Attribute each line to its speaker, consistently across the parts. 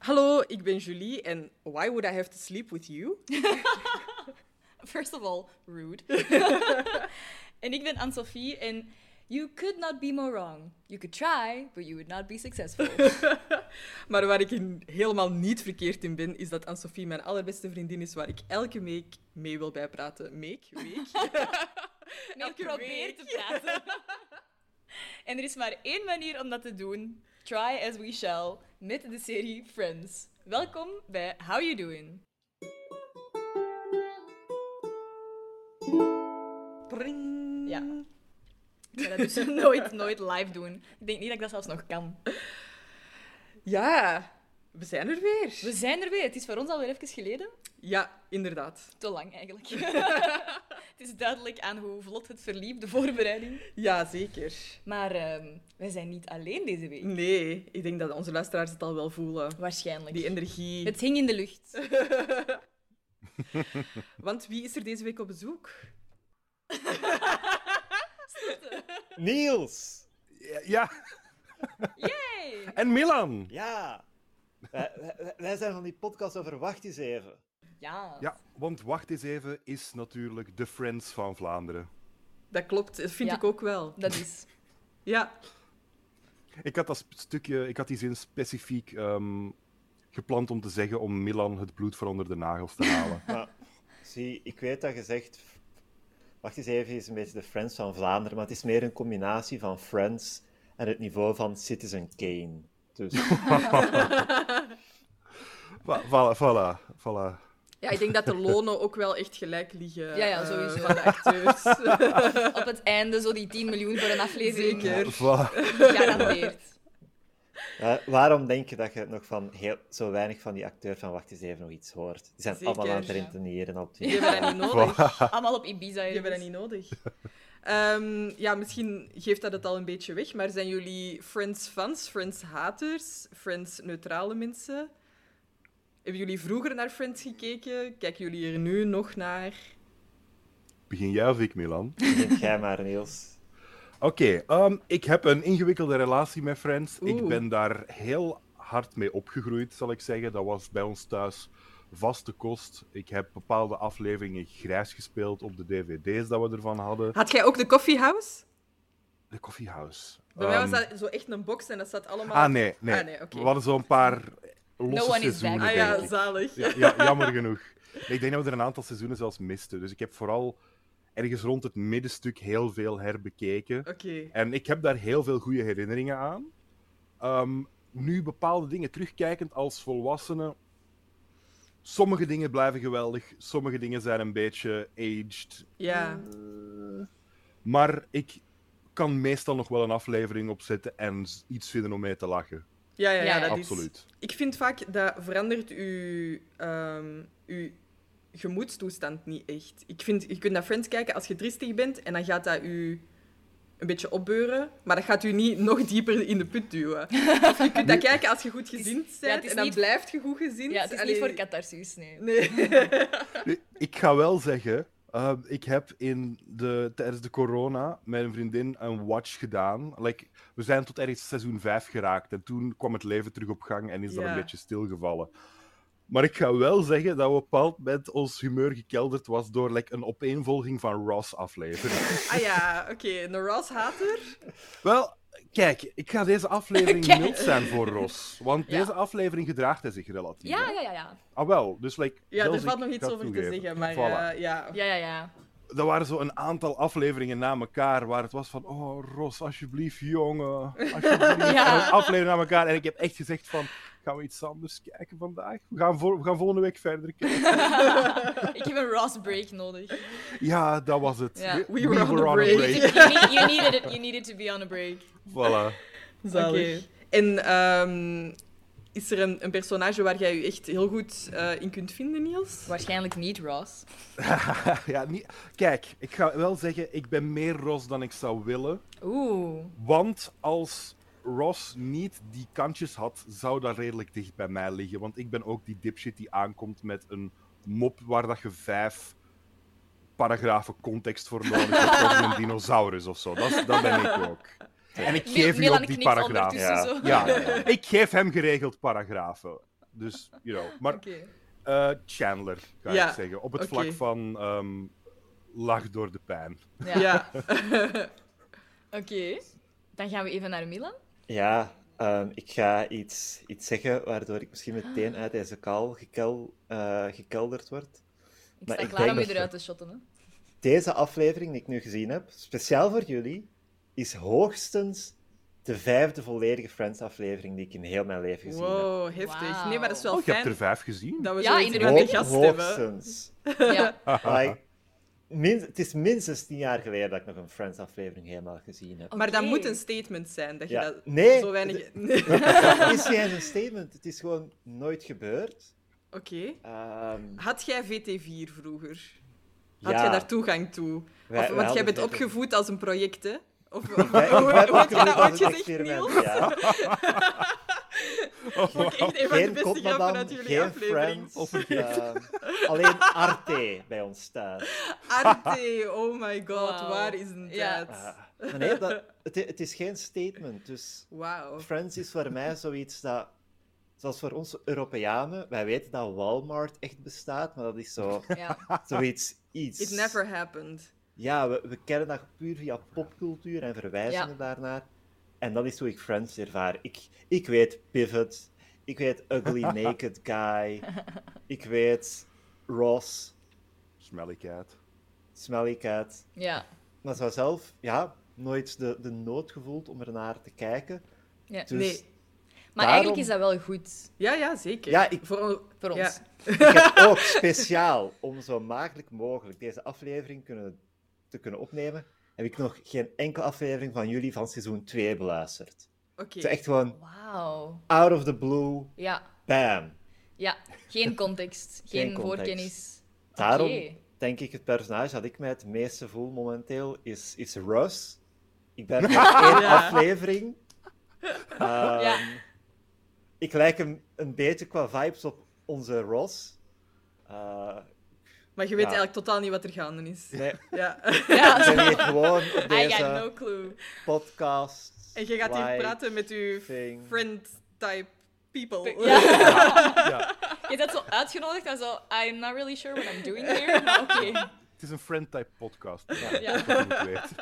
Speaker 1: Hallo, ik ben Julie en why would I have to sleep with you?
Speaker 2: First of all, rude. en ik ben Anne-Sophie en you could not be more wrong. You could try, but you would not be successful.
Speaker 1: Maar waar ik in helemaal niet verkeerd in ben, is dat Anne-Sophie mijn allerbeste vriendin is waar ik elke week mee wil bijpraten. Meek? Week?
Speaker 2: Nee,
Speaker 1: Elke
Speaker 2: probeer
Speaker 1: week.
Speaker 2: te praten. en er is maar één manier om dat te doen. Try as we shall met de serie Friends. Welkom bij How You Doing.
Speaker 1: Pring.
Speaker 2: Ja. Ik ga dat dus nooit, nooit live doen. Ik denk niet dat ik dat zelfs nog kan.
Speaker 1: Ja, we zijn er weer.
Speaker 2: We zijn er weer. Het is voor ons alweer even geleden.
Speaker 1: Ja, inderdaad.
Speaker 2: Te lang eigenlijk. het is duidelijk aan hoe vlot het verliep, de voorbereiding.
Speaker 1: Ja, zeker.
Speaker 2: Maar ehm, wij zijn niet alleen deze
Speaker 1: Mm.
Speaker 2: week.
Speaker 1: Nee, ik denk dat onze luisteraars het al wel voelen.
Speaker 2: Waarschijnlijk.
Speaker 1: Die energie.
Speaker 2: Het hing in de lucht.
Speaker 1: Want wie is er deze week op bezoek?
Speaker 3: Niels!
Speaker 4: Ja,
Speaker 2: Hey.
Speaker 4: en Milan.
Speaker 3: Ja! wij, wij- wij zijn van die podcast over Wacht eens even.
Speaker 2: Ja.
Speaker 4: Ja, want wacht eens even is natuurlijk de Friends van Vlaanderen.
Speaker 1: Dat klopt, dat vind
Speaker 2: Ja.
Speaker 1: ik ook wel.
Speaker 2: Dat is.
Speaker 1: Ja,
Speaker 4: Ik had dat sp- stukje, ik had die zin specifiek ehm, gepland om te zeggen om Milan het bloed van onder de nagels te halen.
Speaker 3: Maar, zie, ik weet dat je zegt... Wacht eens even is een beetje de Friends van Vlaanderen, maar het is meer een combinatie van Friends en het niveau van Citizen Kane. Dus
Speaker 4: Va- voilà, voilà, voilà.
Speaker 1: Ja, ik denk dat de lonen ook wel echt gelijk liggen.
Speaker 2: Ja, ja,
Speaker 1: eh,
Speaker 2: sowieso.
Speaker 1: van de acteurs.
Speaker 2: Op het einde zo die 10 miljoen voor een aflevering.
Speaker 1: Zeker.
Speaker 4: Voilà.
Speaker 2: Gegarandeerd.
Speaker 3: eh, waarom denk je dat je nog van heel, zo weinig van die acteur van Wacht eens even nog iets hoort? Die zijn
Speaker 1: Zeker,
Speaker 3: allemaal aan het
Speaker 2: ja.
Speaker 3: rentenieren op
Speaker 1: Die
Speaker 3: Twitter.
Speaker 1: hebben dat niet nodig.
Speaker 2: Allemaal op Ibiza.
Speaker 1: Die hebben dat niet nodig. Ehm, ja, misschien geeft dat het al een beetje weg, maar zijn jullie Friends-fans, Friends-haters, Friends-neutrale mensen? Hebben jullie vroeger naar Friends gekeken? Kijken jullie er nu nog naar?
Speaker 4: Begin jij of ik, Milan?
Speaker 3: Denk jij maar, Niels.
Speaker 4: Oké, ehm, ik heb een ingewikkelde relatie met Friends.
Speaker 1: Oeh.
Speaker 4: Ik ben daar heel hard mee opgegroeid, zal ik zeggen. Dat was bij ons thuis vaste kost. Ik heb bepaalde afleveringen grijs gespeeld op de dvd's dat we ervan hadden.
Speaker 1: Had jij ook de Coffee House?
Speaker 4: De Coffee House.
Speaker 1: Bij mij was
Speaker 4: Ehm,
Speaker 1: dat zo echt een box en dat zat allemaal...
Speaker 4: Ah, nee, nee.
Speaker 1: Ah, nee, oké.
Speaker 4: We hadden zo'n paar losse
Speaker 2: No one is
Speaker 4: seizoenen,
Speaker 2: back.
Speaker 1: Ah
Speaker 4: denk
Speaker 1: ja,
Speaker 4: ik.
Speaker 1: zalig.
Speaker 4: Ja, ja, jammer genoeg. Nee, ik denk dat we er een aantal seizoenen zelfs misten. Dus ik heb vooral ergens rond het middenstuk heel veel herbekeken.
Speaker 1: Oké.
Speaker 4: En ik heb daar heel veel goede herinneringen aan. Ehm, nu bepaalde dingen terugkijkend als volwassene. Sommige dingen blijven geweldig, sommige dingen zijn een beetje aged.
Speaker 1: Ja.
Speaker 4: Maar ik kan meestal nog wel een aflevering opzetten en z- iets vinden om mee te lachen.
Speaker 1: Ja, ja, ja,
Speaker 2: Ja, ja.
Speaker 1: dat is...
Speaker 4: Absoluut.
Speaker 1: Ik vind vaak dat verandert uw, ehm, uw gemoedstoestand niet echt. Ik vind, je kunt naar Friends kijken als je triestig bent en dan gaat dat u een beetje opbeuren, maar dat gaat u niet nog dieper in de put duwen. Of je kunt dat kijken als je goed gezind bent
Speaker 2: ja, het is
Speaker 1: en dan
Speaker 2: niet-
Speaker 1: blijft je goed gezind.
Speaker 2: Ja, het is
Speaker 1: Allee,
Speaker 2: niet voor catharsis, nee.
Speaker 1: Nee.
Speaker 4: Nu, Ik ga wel zeggen, ehm, ik heb in de, tijdens de corona met een vriendin een watch gedaan. Like, we zijn tot ergens seizoen 5 geraakt en toen kwam het leven terug op gang en is dat
Speaker 1: Ja.
Speaker 4: een beetje stilgevallen. Maar ik ga wel zeggen dat we op een bepaald moment ons humeur gekelderd was door like, een opeenvolging van Ross-afleveringen.
Speaker 1: Ah ja, oké. Een Ross-hater.
Speaker 4: wel, kijk, ik ga deze aflevering
Speaker 2: Kijk.
Speaker 4: mild zijn voor Ross. Want
Speaker 2: Ja.
Speaker 4: deze aflevering gedraagt hij zich relatief.
Speaker 2: Ja,
Speaker 4: hè?
Speaker 2: ja, ja, ja.
Speaker 4: Ah wel, dus like,
Speaker 1: Ja,
Speaker 4: zelfs
Speaker 1: er valt
Speaker 4: ik
Speaker 1: nog iets
Speaker 4: ga
Speaker 1: over te
Speaker 4: toegeven.
Speaker 1: zeggen, maar
Speaker 4: Voilà.
Speaker 1: eh, ja.
Speaker 2: Ja, ja, ja.
Speaker 4: dat waren zo een aantal afleveringen na elkaar waar het was van, oh Ros, alsjeblieft jongen, alsjeblieft.
Speaker 2: Ja.
Speaker 4: En Afleveringen na elkaar en ik heb echt gezegd van, gaan we iets anders kijken vandaag? We gaan, vol- we gaan volgende week verder kijken.
Speaker 2: Ik heb een Ross break nodig.
Speaker 4: Ja, dat was het.
Speaker 2: Ja.
Speaker 1: We were on a
Speaker 4: a
Speaker 1: break.
Speaker 2: You, need- you needed it. You needed to be on a break.
Speaker 4: Voilà.
Speaker 1: Zalig.
Speaker 2: Oké.
Speaker 1: En ehm, is er een, een personage waar jij je echt heel goed eh, in kunt vinden, Niels?
Speaker 2: Waarschijnlijk niet Ross.
Speaker 4: ja, niet... Kijk, ik ga wel zeggen, ik ben meer Ros dan ik zou willen.
Speaker 2: Oeh.
Speaker 4: Want als Ross niet die kantjes had, zou dat redelijk dicht bij mij liggen. Want ik ben ook die dipshit die aankomt met een mop waar dat je vijf paragrafen context voor nodig hebt over een dinosaurus of zo. Dat, is- dat ben ik ook. En ik
Speaker 2: Mil-
Speaker 4: geef u
Speaker 2: Milan
Speaker 4: ook die
Speaker 2: knikt
Speaker 4: paragrafen.
Speaker 2: ondertussen
Speaker 3: Ja.
Speaker 2: zo.
Speaker 4: Ja, ik geef hem geregeld paragrafen. Dus, you know. Maar
Speaker 1: Oké.
Speaker 4: eh, Chandler, ga
Speaker 1: Ja,
Speaker 4: ik zeggen. Op het
Speaker 1: oké.
Speaker 4: vlak van ehm, lach door de pijn.
Speaker 2: Ja.
Speaker 1: Ja.
Speaker 2: Oké. Dan gaan we even naar Milan.
Speaker 3: Ja, ehm, ik ga iets, iets zeggen waardoor ik misschien meteen uit deze kaal gekel, eh, gekelderd word.
Speaker 2: Ik
Speaker 3: Maar
Speaker 2: sta
Speaker 3: ik
Speaker 2: klaar
Speaker 3: denk
Speaker 2: om je
Speaker 3: dat we-
Speaker 2: eruit te shotten. Hè?
Speaker 3: Deze aflevering die ik nu gezien heb, speciaal voor jullie, is hoogstens de vijfde volledige Friends-aflevering die ik in heel mijn leven gezien heb.
Speaker 1: Wow, heftig. Nee, maar dat is wel
Speaker 4: Oh, je hebt
Speaker 1: fijn
Speaker 4: er vijf gezien.
Speaker 1: dat we
Speaker 2: Ja,
Speaker 1: zo
Speaker 2: inderdaad.
Speaker 1: iemand de gast
Speaker 3: Ho-
Speaker 1: hebben.
Speaker 3: hoogstens.
Speaker 2: Ja.
Speaker 3: Like, min- het is minstens tien jaar geleden dat ik nog een Friends-aflevering helemaal gezien heb.
Speaker 1: Maar dat
Speaker 2: Oké.
Speaker 1: moet een statement zijn, dat je
Speaker 3: Ja.
Speaker 1: dat
Speaker 3: Nee,
Speaker 1: zo weinig...
Speaker 3: de-
Speaker 1: Nee.
Speaker 3: Het is geen eens een statement, het is gewoon nooit gebeurd.
Speaker 1: Oké.
Speaker 3: Ehm,
Speaker 1: Had jij VT4 vroeger? Had
Speaker 3: ja,
Speaker 1: jij daar toegang toe?
Speaker 3: wij-
Speaker 1: Of-
Speaker 3: wij
Speaker 1: want jij
Speaker 3: hadden
Speaker 1: bent
Speaker 3: VT4.
Speaker 1: opgevoed als een project, hè? Of, of-
Speaker 3: Wij-
Speaker 1: hoe, hoe
Speaker 3: wij
Speaker 1: had jij
Speaker 3: opgevoed
Speaker 1: dat
Speaker 3: als
Speaker 1: ooit
Speaker 3: een
Speaker 1: gezegd,
Speaker 3: experiment,
Speaker 1: Niels?
Speaker 3: ja.
Speaker 1: Ook echt een van de
Speaker 3: Geen
Speaker 1: beste grappen uit
Speaker 3: Kotmadam,
Speaker 1: jullie
Speaker 3: geen
Speaker 1: aflevering. Oh
Speaker 3: Friends. ehm, alleen Arte bij ons thuis.
Speaker 1: Arte, oh my god,
Speaker 2: Wauw.
Speaker 1: waar is een
Speaker 2: Ja.
Speaker 1: tijd?
Speaker 3: Ah, maar nee, dat, het, i- het is geen statement. Dus
Speaker 1: Wauw.
Speaker 3: Friends is voor mij zoiets dat... Zoals voor ons Europeanen, wij weten dat Walmart echt bestaat, maar dat is zo,
Speaker 2: ja.
Speaker 3: zoiets iets.
Speaker 1: It never happened.
Speaker 3: Ja, we, we kennen dat puur via popcultuur en verwijzingen
Speaker 2: Ja.
Speaker 3: daarnaar. En dat is hoe ik Friends ervaar. Ik, ik weet Pivot, ik weet Ugly Naked Guy, ik weet Ross,
Speaker 4: Smelly cat.
Speaker 3: Smelly Cat.
Speaker 2: ja.
Speaker 3: Maar zo zelf, ja, nooit de, de nood gevoeld om ernaar te kijken.
Speaker 2: Ja.
Speaker 3: Dus
Speaker 1: Nee.
Speaker 2: Maar
Speaker 3: Daarom-
Speaker 2: eigenlijk is dat wel goed
Speaker 1: Ja, ja, zeker.
Speaker 3: Ja, ik-
Speaker 1: Voor,
Speaker 2: voor ons.
Speaker 1: Ja.
Speaker 3: ik heb ook speciaal, om zo makkelijk mogelijk deze aflevering kunnen, te kunnen opnemen, heb ik nog geen enkele aflevering van jullie van seizoen 2 beluisterd.
Speaker 1: Oké.
Speaker 3: Het is echt gewoon
Speaker 2: Wauw.
Speaker 3: out of the blue,
Speaker 2: Ja.
Speaker 3: bam.
Speaker 2: ja. Geen context. Geen,
Speaker 3: Geen context.
Speaker 2: voorkennis.
Speaker 3: Daarom
Speaker 2: Oké.
Speaker 3: denk ik het personage dat ik mij het meeste voel momenteel is, is Russ. Ik ben nog één
Speaker 1: Ja.
Speaker 3: aflevering. Ehm,
Speaker 2: Ja.
Speaker 3: Ik lijk hem een beetje qua vibes op onze Ross. Eh,
Speaker 1: Maar je weet
Speaker 3: Ja.
Speaker 1: eigenlijk totaal niet wat er gaande is.
Speaker 3: nee,
Speaker 1: Ja.
Speaker 2: Ja.
Speaker 3: ben hier gewoon op
Speaker 2: I got
Speaker 3: deze
Speaker 2: no clue.
Speaker 3: podcast.
Speaker 1: En je gaat hier
Speaker 3: live
Speaker 1: praten met je
Speaker 3: thing.
Speaker 1: friend-type people.
Speaker 2: Ja.
Speaker 4: Ja,
Speaker 2: Je hebt dat zo uitgenodigd en zo, I'm not really sure what I'm doing here. Maar oké.
Speaker 4: het is een friend-type podcast. Ja,
Speaker 2: Ja.
Speaker 4: dat je het weet.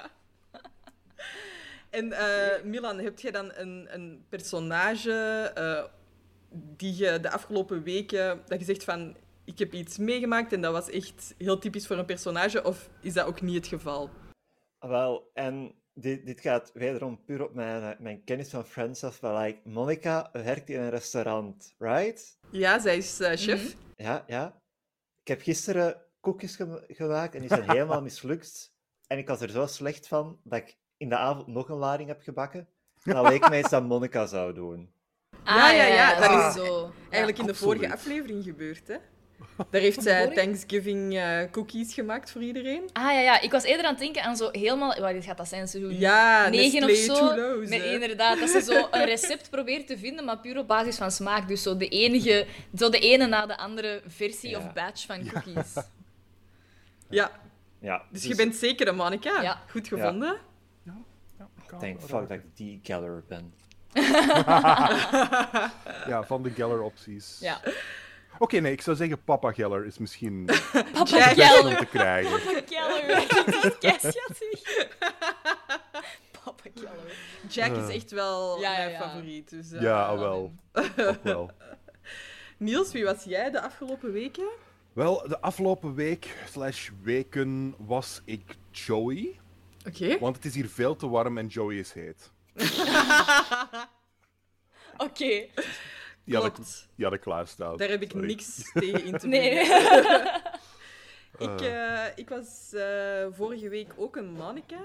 Speaker 1: En eh, Milan, heb jij dan een, een personage eh, die je de afgelopen weken, dat je zegt van, ik heb iets meegemaakt en dat was echt heel typisch voor een personage, of is dat ook niet het geval?
Speaker 3: Wel, en dit, dit gaat wederom puur op mijn, eh, mijn kennis van Friends af. Maar like, Monica werkt in een restaurant, right?
Speaker 1: Ja, zij is eh, chef.
Speaker 2: Mhm.
Speaker 3: Ja, ja. Ik heb gisteren koekjes gema- gemaakt en die zijn helemaal mislukt. En ik was er zo slecht van dat ik in de avond nog een lading heb gebakken. En dat leek mij iets dat Monica zou doen.
Speaker 2: Ah,
Speaker 1: Ja, ja, ja,
Speaker 2: Dat
Speaker 1: dat
Speaker 2: is
Speaker 1: is
Speaker 2: zo.
Speaker 1: Eigenlijk in de
Speaker 4: absoluut.
Speaker 1: vorige aflevering gebeurd, hè? Daar heeft zij
Speaker 2: vorige?
Speaker 1: Thanksgiving eh, cookies gemaakt voor iedereen.
Speaker 2: Ah ja, ja, ik was eerder aan het denken aan zo helemaal. Wat gaat dat zijn? Seizoen
Speaker 1: Ja,
Speaker 2: 9 of
Speaker 1: Nestlé
Speaker 2: zo.
Speaker 1: Two Lows,
Speaker 2: Nee,
Speaker 1: hè.
Speaker 2: inderdaad, dat ze zo een recept probeert te vinden, maar puur op basis van smaak. Dus zo de, enige, zo de ene na de andere versie
Speaker 3: Ja.
Speaker 2: of batch van cookies.
Speaker 1: Ja,
Speaker 3: Ja,
Speaker 1: dus je bent zeker een Monica.
Speaker 2: Ja.
Speaker 1: Goed gevonden.
Speaker 3: Ik denk, fuck, dat ik die Geller ben.
Speaker 4: Ja, van de Geller-opties.
Speaker 2: Ja.
Speaker 4: Oké, nee, ik zou zeggen Papa Geller is misschien
Speaker 2: Papa
Speaker 1: Jack.
Speaker 4: om
Speaker 2: Keller.
Speaker 4: te krijgen.
Speaker 2: Papa Keller. Kerstjattig. Papa Keller.
Speaker 1: Jack is echt wel
Speaker 2: Ja, ja,
Speaker 1: mijn
Speaker 2: ja.
Speaker 1: favoriet. Dus, eh,
Speaker 4: Eh. Ja, ah, wel. Ook wel.
Speaker 1: Niels, wie was jij de afgelopen weken?
Speaker 4: Wel, de afgelopen week slash weken was ik Joey.
Speaker 1: Oké.
Speaker 4: Want het is hier veel te warm en Joey is heet.
Speaker 2: Oké.
Speaker 4: Die had ik,
Speaker 1: Klopt.
Speaker 4: die had ik klaarstaan.
Speaker 1: Daar heb ik
Speaker 4: Sorry.
Speaker 1: niks tegen in te brengen.
Speaker 2: Nee.
Speaker 1: Ik, eh, ik was eh, vorige week ook een manneke.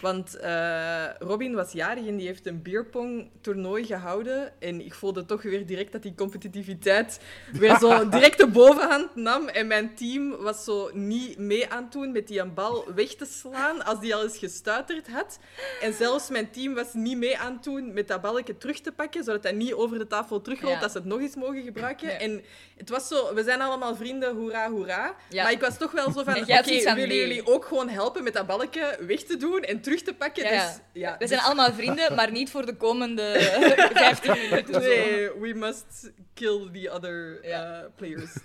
Speaker 1: Want eh, Robin was jarig en die heeft een beerpong-toernooi gehouden. En ik voelde toch weer direct dat die competitiviteit weer zo direct de bovenhand nam. En mijn team was zo niet mee aan het doen met die een bal weg te slaan als die al eens gestuiterd had. En zelfs mijn team was niet mee aan het doen met dat balletje terug te pakken, zodat dat niet over de tafel terugrolt,
Speaker 2: Ja.
Speaker 1: dat ze het nog eens mogen gebruiken.
Speaker 2: Nee.
Speaker 1: En het was zo, we zijn allemaal vrienden, hoera, hoera.
Speaker 2: Ja.
Speaker 1: Maar ik was toch wel zo van,
Speaker 2: En
Speaker 1: oké,
Speaker 2: jij had zoiets van,
Speaker 1: willen
Speaker 2: nee.
Speaker 1: jullie ook gewoon helpen met dat balkje weg te doen en terug te pakken.
Speaker 2: Ja, ja.
Speaker 1: dus, ja,
Speaker 2: We zijn
Speaker 1: dus-
Speaker 2: allemaal vrienden, maar niet voor de komende 15 minuten. zo.
Speaker 1: Nee, dus we must kill the other eh,
Speaker 2: Ja.
Speaker 1: players.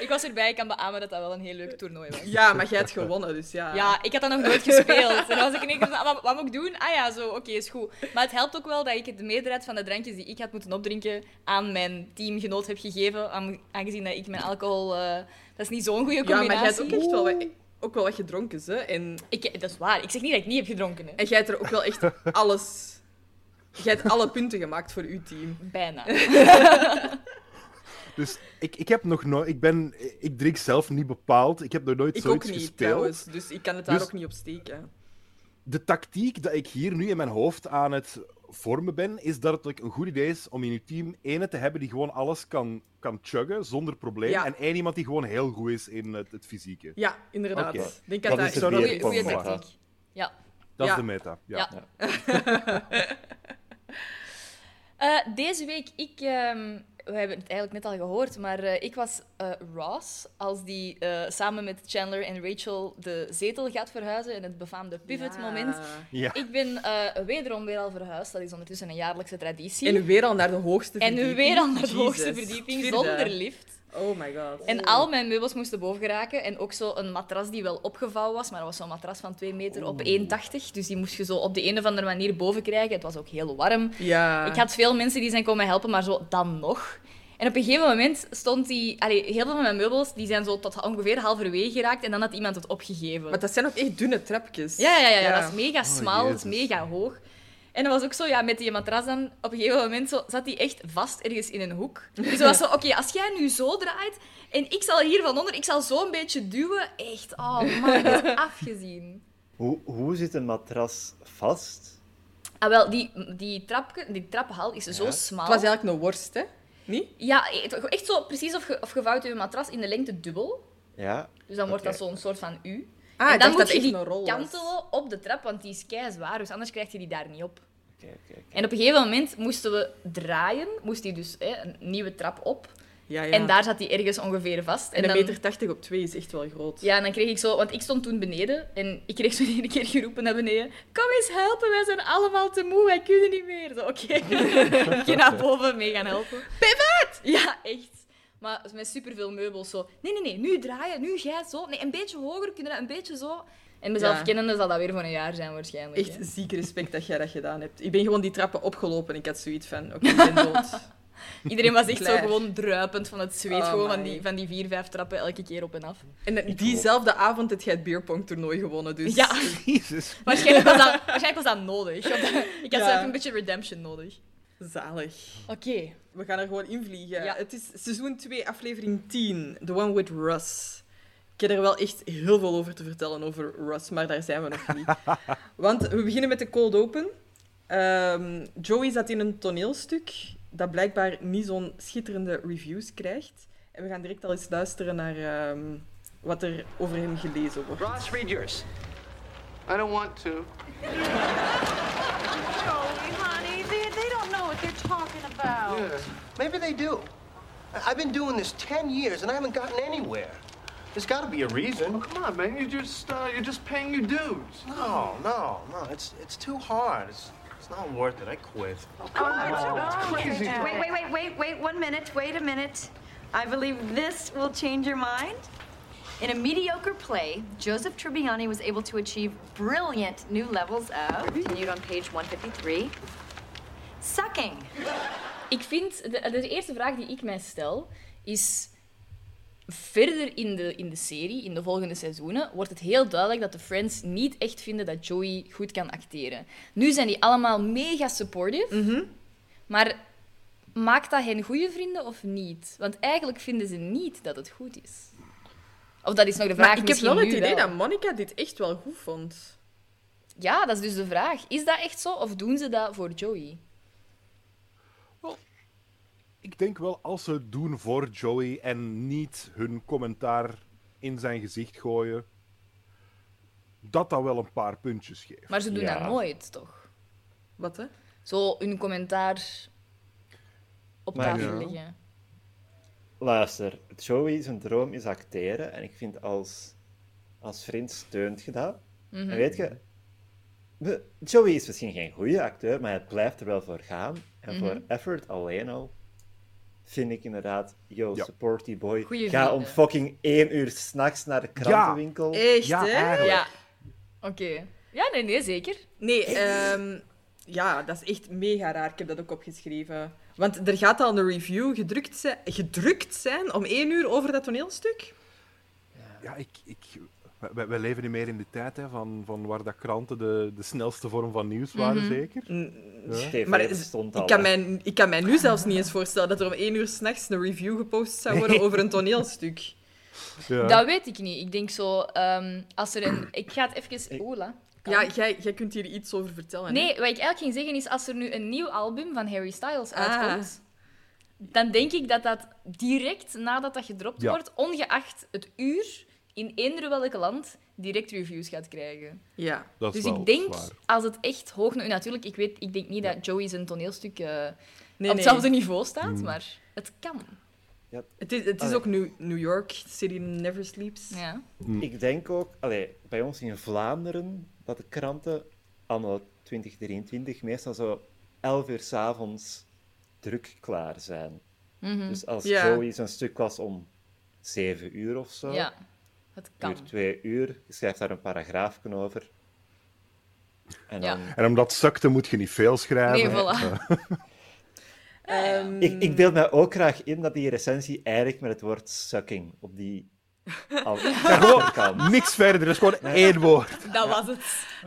Speaker 2: Ik was erbij, ik kan beamen dat dat wel een heel leuk toernooi was.
Speaker 1: Ja, maar jij hebt gewonnen, dus ja.
Speaker 2: Ja, ik had dat nog nooit gespeeld. En dan was ik in één keer van, ah, wat, wat moet ik doen? Ah ja, zo, oké, is goed. Maar het helpt ook wel dat ik de meerderheid van de drankjes die ik had moeten opdrinken aan mijn teamgenoot heb gegeven, aan- aangezien dat ik mijn alcohol... eh, dat is niet zo'n goede
Speaker 1: Ja,
Speaker 2: combinatie.
Speaker 1: maar jij hebt ook echt wel wat, ook wel wat gedronken, hè. En,
Speaker 2: Ik, dat is waar. Ik zeg niet dat ik niet heb gedronken. Hè.
Speaker 1: en jij hebt er ook wel echt alles... Jij hebt alle punten gemaakt voor uw team.
Speaker 2: Bijna.
Speaker 4: Dus ik, ik heb nog nooit... Ik, ben, ik drink zelf niet bepaald. Ik heb nog nooit
Speaker 1: Ik ook
Speaker 4: zoiets
Speaker 1: niet,
Speaker 4: gespeeld.
Speaker 1: trouwens. Dus ik kan het daar
Speaker 4: Dus-
Speaker 1: ook niet op steken.
Speaker 4: De tactiek dat ik hier nu in mijn hoofd aan het vormen ben, is dat het ook een goed idee is om in je team ene te hebben die gewoon alles kan, kan chuggen zonder probleem.
Speaker 1: Ja.
Speaker 4: En één iemand die gewoon heel goed is in het, het fysieke.
Speaker 1: Ja, inderdaad.
Speaker 3: Oké.
Speaker 1: Ik denk dat,
Speaker 3: Dat
Speaker 1: dat
Speaker 3: is het
Speaker 1: zou dat-
Speaker 3: weer.
Speaker 2: Goeie,
Speaker 3: pong,
Speaker 2: goeie
Speaker 3: voilà.
Speaker 2: tactiek. Ja.
Speaker 4: Dat
Speaker 1: Ja.
Speaker 4: is de meta. Ja.
Speaker 2: Ja. Eh, deze week, ik... ehm, we hebben het eigenlijk net al gehoord, maar eh, ik was eh, Ross als die eh, samen met Chandler en Rachel de zetel gaat verhuizen in het befaamde pivot-moment.
Speaker 1: Ja.
Speaker 4: Ja.
Speaker 2: Ik ben eh, wederom weer al verhuisd. Dat is ondertussen een jaarlijkse traditie.
Speaker 1: En weer al naar de hoogste
Speaker 2: En
Speaker 1: verdieping.
Speaker 2: weer aan de
Speaker 1: Jezus.
Speaker 2: hoogste verdieping
Speaker 1: Vierde.
Speaker 2: zonder lift.
Speaker 1: Oh my god.
Speaker 2: En al mijn meubels moesten boven geraken. En ook zo een matras die wel opgevouwen was. Maar dat was zo'n matras van 2 meter op 1,80. Dus die moest je zo op de een of andere manier boven krijgen. Het was ook heel warm.
Speaker 1: Ja.
Speaker 2: Ik had veel mensen die zijn komen helpen, maar zo dan nog. En op een gegeven moment stond die... Allee, heel veel van mijn meubels die zijn zo tot ongeveer halverwege geraakt. En dan had iemand het opgegeven.
Speaker 1: Maar dat zijn ook echt dunne trapjes.
Speaker 2: Ja, ja, ja, ja, dat is mega smal, dat is
Speaker 4: Jezus.
Speaker 2: mega hoog. En dat was ook zo, ja, met die matras dan, op een gegeven moment zo, zat die echt vast ergens in een hoek. Dus dat was zo, oké, als jij nu zo draait en ik zal hier van onder, ik zal zo een beetje duwen, echt, oh man, dat is afgezien.
Speaker 3: Hoe, hoe zit een matras vast?
Speaker 2: Ah, wel, die, die, trapke, die traphal is zo
Speaker 3: Ja.
Speaker 1: Het
Speaker 2: smal.
Speaker 1: was eigenlijk een worst, hè? Niet?
Speaker 2: Ja, het- echt zo precies of, ge, of gevouwd in je matras in de lengte dubbel.
Speaker 3: Ja.
Speaker 2: Dus dan wordt
Speaker 3: Oké.
Speaker 2: dat zo'n soort van U.
Speaker 1: Ah,
Speaker 2: en
Speaker 1: ik
Speaker 2: dan
Speaker 1: dacht
Speaker 2: moet
Speaker 1: dat
Speaker 2: je
Speaker 1: echt
Speaker 2: die
Speaker 1: een rol was.
Speaker 2: kantelen op de trap, want die is kei zwaar, dus anders krijg je die daar niet op.
Speaker 3: Oké, oké, oké.
Speaker 2: En op een gegeven moment moesten we draaien, moest hij dus hè, een nieuwe trap op.
Speaker 1: Ja, ja.
Speaker 2: En daar zat hij ergens ongeveer vast.
Speaker 1: En een
Speaker 2: dan,
Speaker 1: meter 80 op 2 is echt wel groot.
Speaker 2: Ja, en dan kreeg ik zo, want ik stond toen beneden en ik kreeg zo de ene keer geroepen naar beneden: Kom eens helpen, wij zijn allemaal te moe, wij kunnen niet meer. Zo, Oké, ik ga naar boven mee gaan helpen. Pivot! Ja, echt. Maar met superveel meubels zo. Nee, nee, nee, nu draaien, nu jij zo. Nee, een beetje hoger, kunnen we dat een beetje zo. En mezelf
Speaker 1: Ja.
Speaker 2: kennende zal dat weer voor een jaar zijn, waarschijnlijk.
Speaker 1: Echt
Speaker 2: hè.
Speaker 1: ziek respect dat jij dat gedaan hebt. Ik ben gewoon die trappen opgelopen. Ik had zoiets van, oké, ik ben dood.
Speaker 2: Iedereen was echt zo
Speaker 1: Klaar.
Speaker 2: gewoon druipend van het zweet,
Speaker 1: Oh
Speaker 2: gewoon
Speaker 1: my.
Speaker 2: van die, van die vier, vijf trappen elke keer op en af.
Speaker 1: En diezelfde avond heb jij het beerpong-toernooi gewonnen, dus...
Speaker 2: Ja,
Speaker 4: Jezus.
Speaker 2: waarschijnlijk was dat, waarschijnlijk was dat nodig. Ik had
Speaker 1: Ja.
Speaker 2: zo even een beetje redemption nodig.
Speaker 1: Zalig.
Speaker 2: Oké.
Speaker 1: We gaan er gewoon invliegen.
Speaker 2: Ja.
Speaker 1: Het is seizoen 2, aflevering 10. The One with Russ. Ik heb er wel echt heel veel over te vertellen over Russ, maar daar zijn we nog niet. Want we beginnen met de cold open. Ehm, Joey zat in een toneelstuk dat blijkbaar niet zo'n schitterende reviews krijgt. En we gaan direct al eens luisteren naar ehm, wat er over hem gelezen wordt.
Speaker 5: Ross, read yours. I don't want to.
Speaker 6: Joey, honey, they, they don't know what they're talking about.
Speaker 5: Maybe they do. I- I've been doing this 10 years and I haven't gotten anywhere. There's got to be a reason.
Speaker 7: Come on, man. You just uh, you're just paying your dues.
Speaker 5: No, no, no. It's it's too hard. It's it's not worth it. I quit.
Speaker 7: Crazy.
Speaker 8: Wait, wait, wait, wait, wait, one minute, wait a minute. I believe this will change your mind. In a mediocre play, Joseph Tribbiani was able to achieve brilliant new levels of, continued on page 153, sucking.
Speaker 2: Ik vind, de, de eerste vraag die ik mij stel is. Verder in de, in de serie, in de volgende seizoenen, wordt het heel duidelijk dat de Friends niet echt vinden dat Joey goed kan acteren. Nu zijn die allemaal mega supportive,
Speaker 1: Mhm.
Speaker 2: maar maakt dat hen goede vrienden of niet? Want eigenlijk vinden ze niet dat het goed is. Of dat is nog de vraag.
Speaker 1: Maar ik heb
Speaker 2: misschien
Speaker 1: wel het
Speaker 2: nu
Speaker 1: idee
Speaker 2: wel.
Speaker 1: dat Monica dit echt wel goed vond.
Speaker 2: Ja, dat is dus de vraag. Is dat echt zo of doen ze dat voor Joey?
Speaker 4: Ik denk wel, als ze het doen voor Joey en niet hun commentaar in zijn gezicht gooien, dat dat wel een paar puntjes geeft.
Speaker 2: Maar ze doen
Speaker 3: Ja.
Speaker 2: dat nooit, toch?
Speaker 1: Wat, hè?
Speaker 2: Zo hun commentaar op
Speaker 3: Maar
Speaker 2: tafel
Speaker 4: ja.
Speaker 2: leggen.
Speaker 3: Luister, Joey, zijn droom is acteren. En ik vind als Als vriend steunt je dat. En weet je, we- Joey is misschien geen goede acteur, maar het blijft er wel voor gaan. En voor effort alleen al vind ik inderdaad, yo,
Speaker 4: Ja.
Speaker 3: support die boy.
Speaker 2: Goeie
Speaker 3: Ga om
Speaker 2: vrienden.
Speaker 3: fucking één uur s'nachts naar de krantenwinkel.
Speaker 1: Echt,
Speaker 4: Ja,
Speaker 1: hè?
Speaker 4: eigenlijk.
Speaker 2: Ja. Oké. Ja, nee, nee, zeker.
Speaker 1: Nee, ehm, ja, dat is echt mega raar. Ik heb dat ook opgeschreven. Want er gaat al een review gedrukt zijn, gedrukt zijn om één uur over dat toneelstuk.
Speaker 4: Ja, ik, ik, wij, wij leven niet meer in de tijd hè, van, van waar dat kranten de, de snelste vorm van nieuws waren,
Speaker 2: Mhm.
Speaker 4: zeker.
Speaker 2: Mm,
Speaker 4: Ja.
Speaker 3: TV
Speaker 1: Maar
Speaker 3: stond al.
Speaker 1: Ik kan,
Speaker 3: hè.
Speaker 1: mij, ik kan mij nu zelfs niet eens voorstellen dat er om één uur s'nachts een review gepost zou worden over een toneelstuk.
Speaker 4: Ja.
Speaker 2: Dat weet ik niet. Ik denk zo, ehm, als er een... Ik ga het even... Ola.
Speaker 1: Ja, jij, jij kunt hier iets over vertellen. hè?
Speaker 2: Nee, wat ik eigenlijk ging zeggen is, als er nu een nieuw album van Harry Styles
Speaker 1: Ah.
Speaker 2: uitkomt, dan denk ik dat dat direct nadat dat gedropt
Speaker 4: Ja.
Speaker 2: wordt, ongeacht het uur, in eender welk land, direct reviews gaat krijgen.
Speaker 1: Ja.
Speaker 4: Dat is
Speaker 2: dus ik
Speaker 4: wel
Speaker 2: denk,
Speaker 4: zwaar.
Speaker 2: als het echt hoog... nou, natuurlijk, ik, weet, ik denk niet dat Joey zijn toneelstuk eh,
Speaker 1: Nee,
Speaker 2: op
Speaker 1: nee.
Speaker 2: hetzelfde niveau staat, maar het kan.
Speaker 1: Het is, het is
Speaker 3: Allee.
Speaker 1: ook New, New York, City Never Sleeps.
Speaker 2: Ja.
Speaker 3: Ik denk ook, allee, bij ons in Vlaanderen, dat de kranten anno 2023 meestal zo 11 uur s'avonds druk klaar zijn.
Speaker 2: Mhm.
Speaker 3: Dus als
Speaker 1: Ja.
Speaker 3: Joey zijn stuk was om 7 uur of zo,
Speaker 2: ja, het kan.
Speaker 3: duurt 2 uur, je schrijft daar een paragraaf over. En
Speaker 2: Ja.
Speaker 3: dan...
Speaker 4: En omdat sukte moet je niet veel schrijven.
Speaker 2: Nee, voilà.
Speaker 1: Ehm,
Speaker 3: ik, ik beeld mij ook graag in dat die recensie eigenlijk met het woord sucking op die al kan.
Speaker 4: Niks verder, dat is gewoon één woord.
Speaker 2: Dat was het.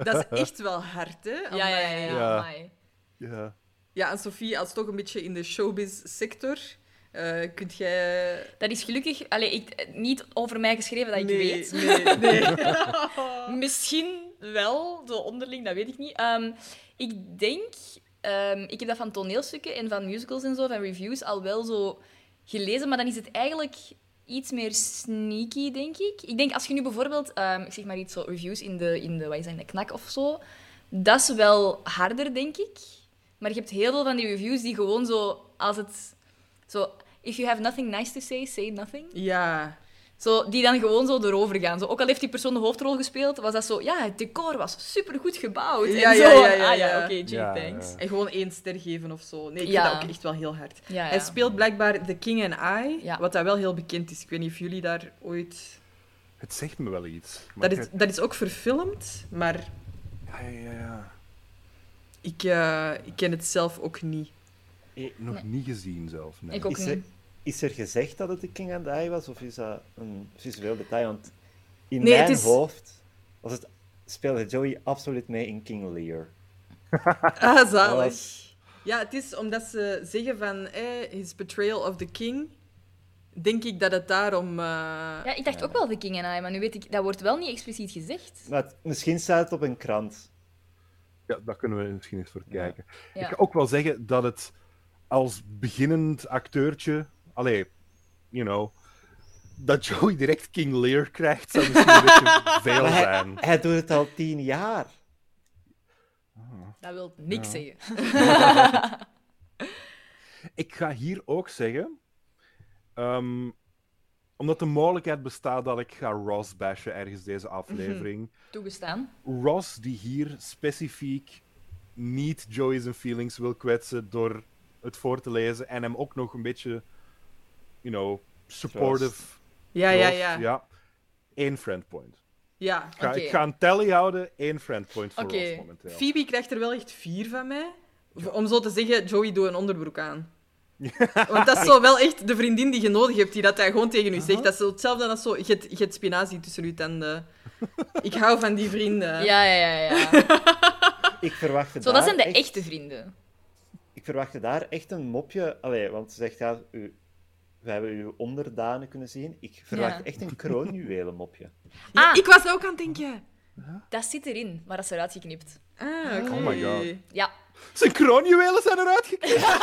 Speaker 1: dat is echt wel hard, hè?
Speaker 2: Ja, ja, ja. ja,
Speaker 4: Ja.
Speaker 2: amai.
Speaker 4: Ja.
Speaker 1: Ja, en Sophie, als toch een beetje in de showbiz-sector, eh, kunt jij...
Speaker 2: Dat is gelukkig allee, ik, niet over mij geschreven dat ik
Speaker 1: nee,
Speaker 2: weet.
Speaker 1: Nee, nee.
Speaker 2: Misschien wel, zo onderling, dat weet ik niet. Ehm, ik denk, ehm, ik heb dat van toneelstukken en van musicals en zo, van reviews, al wel zo gelezen, maar dan is het eigenlijk iets meer sneaky, denk ik. Ik denk als je nu bijvoorbeeld, ehm, ik zeg maar iets zo, reviews in de, in de, wat is dat, in de knak of zo, dat is wel harder, denk ik. Maar je hebt heel veel van die reviews die gewoon zo, als het zo, if you have nothing nice to say, say nothing.
Speaker 1: Ja.
Speaker 2: Zo, die dan gewoon zo erover gaan. Zo, ook al heeft die persoon de hoofdrol gespeeld, was dat zo... Ja, het decor was supergoed gebouwd.
Speaker 1: Ja,
Speaker 2: en zo.
Speaker 1: ja, ja, ja,
Speaker 2: ah ja,
Speaker 1: ja.
Speaker 2: oké, gee,
Speaker 4: Ja,
Speaker 2: thanks.
Speaker 4: ja.
Speaker 1: En gewoon één ster geven of zo. Nee, ik
Speaker 2: Ja.
Speaker 1: vind dat ook echt wel heel hard.
Speaker 2: Ja, ja.
Speaker 1: Hij speelt blijkbaar The King and I,
Speaker 2: Ja.
Speaker 1: wat dat wel heel bekend is. Ik weet niet of jullie daar ooit...
Speaker 4: Het zegt me wel iets. maar
Speaker 1: Dat is,
Speaker 4: ik-
Speaker 1: dat is ook verfilmd, maar
Speaker 4: Ja, ja, ja, ja.
Speaker 1: ik, eh, ik ken het zelf ook niet.
Speaker 4: Nog niet gezien zelf. Nee.
Speaker 2: Ik ook
Speaker 3: Is er,
Speaker 2: niet.
Speaker 3: is er gezegd dat het de King and I was, of is dat een visueel detail? Want in
Speaker 1: Nee, het
Speaker 3: mijn
Speaker 1: is-
Speaker 3: hoofd was het, speelde Joey absoluut mee in King Lear.
Speaker 1: Ah, zalig.
Speaker 4: Oh.
Speaker 3: Alles.
Speaker 1: Ja, het is omdat ze zeggen van eh, his betrayal of the king, denk ik dat het daarom... eh,
Speaker 2: Ja, ik dacht ook wel The King and I, maar nu weet ik... Dat wordt wel niet expliciet gezegd.
Speaker 3: Maar het- misschien staat het op een krant.
Speaker 4: Ja, daar kunnen we misschien eens voor kijken.
Speaker 2: Ja.
Speaker 4: Ik kan ook wel zeggen dat het als beginnend acteurtje, allee, you know, dat Joey direct King Lear krijgt, zou misschien een beetje veel
Speaker 3: Maar hij,
Speaker 4: zijn.
Speaker 3: hij doet het al tien jaar.
Speaker 2: Dat wil niks zeggen.
Speaker 4: Ik ga hier ook zeggen, ehm, omdat de mogelijkheid bestaat dat ik ga Ross bashen ergens deze aflevering.
Speaker 2: Toegestaan.
Speaker 1: Mhm.
Speaker 4: Ross die hier specifiek niet Joey zijn feelings wil kwetsen door het voor te lezen en hem ook nog een beetje, you know, supportive.
Speaker 1: ja, ja,
Speaker 4: troost,
Speaker 1: ja.
Speaker 4: ja. Eén friend point.
Speaker 1: ja.
Speaker 4: Ik ga,
Speaker 2: Oké.
Speaker 4: ik ga een tally houden, één friend point voor
Speaker 2: Oké.
Speaker 4: Ross momenteel.
Speaker 1: Phoebe krijgt er wel echt vier van mij. V- Om zo te zeggen, Joey, doe een onderbroek aan. Want dat is zo wel echt de vriendin die je nodig hebt, die dat hij gewoon tegen u zegt. Dat is zo hetzelfde als zo, je hebt- je hebt spinazie tussen uw tanden. Ik hou van die vrienden.
Speaker 2: Ja, ja, ja. ja.
Speaker 3: Ik verwachtte,
Speaker 2: zo, dat
Speaker 3: daar
Speaker 2: zijn de
Speaker 3: echt,
Speaker 2: echte vrienden.
Speaker 3: ik verwachtte daar echt een mopje. Allee, want ze zegt, ja, u, we hebben uw onderdanen kunnen zien. Ik verwacht
Speaker 2: Ja.
Speaker 3: echt een kroonjuwelen mopje.
Speaker 1: Ja,
Speaker 2: Ah.
Speaker 1: Ik was daar ook aan het denken.
Speaker 2: Dat zit erin, maar dat is eruit geknipt.
Speaker 1: Ah, oké.
Speaker 4: Oh my god.
Speaker 2: Ja.
Speaker 4: Zijn kroonjuwelen zijn eruit gekomen.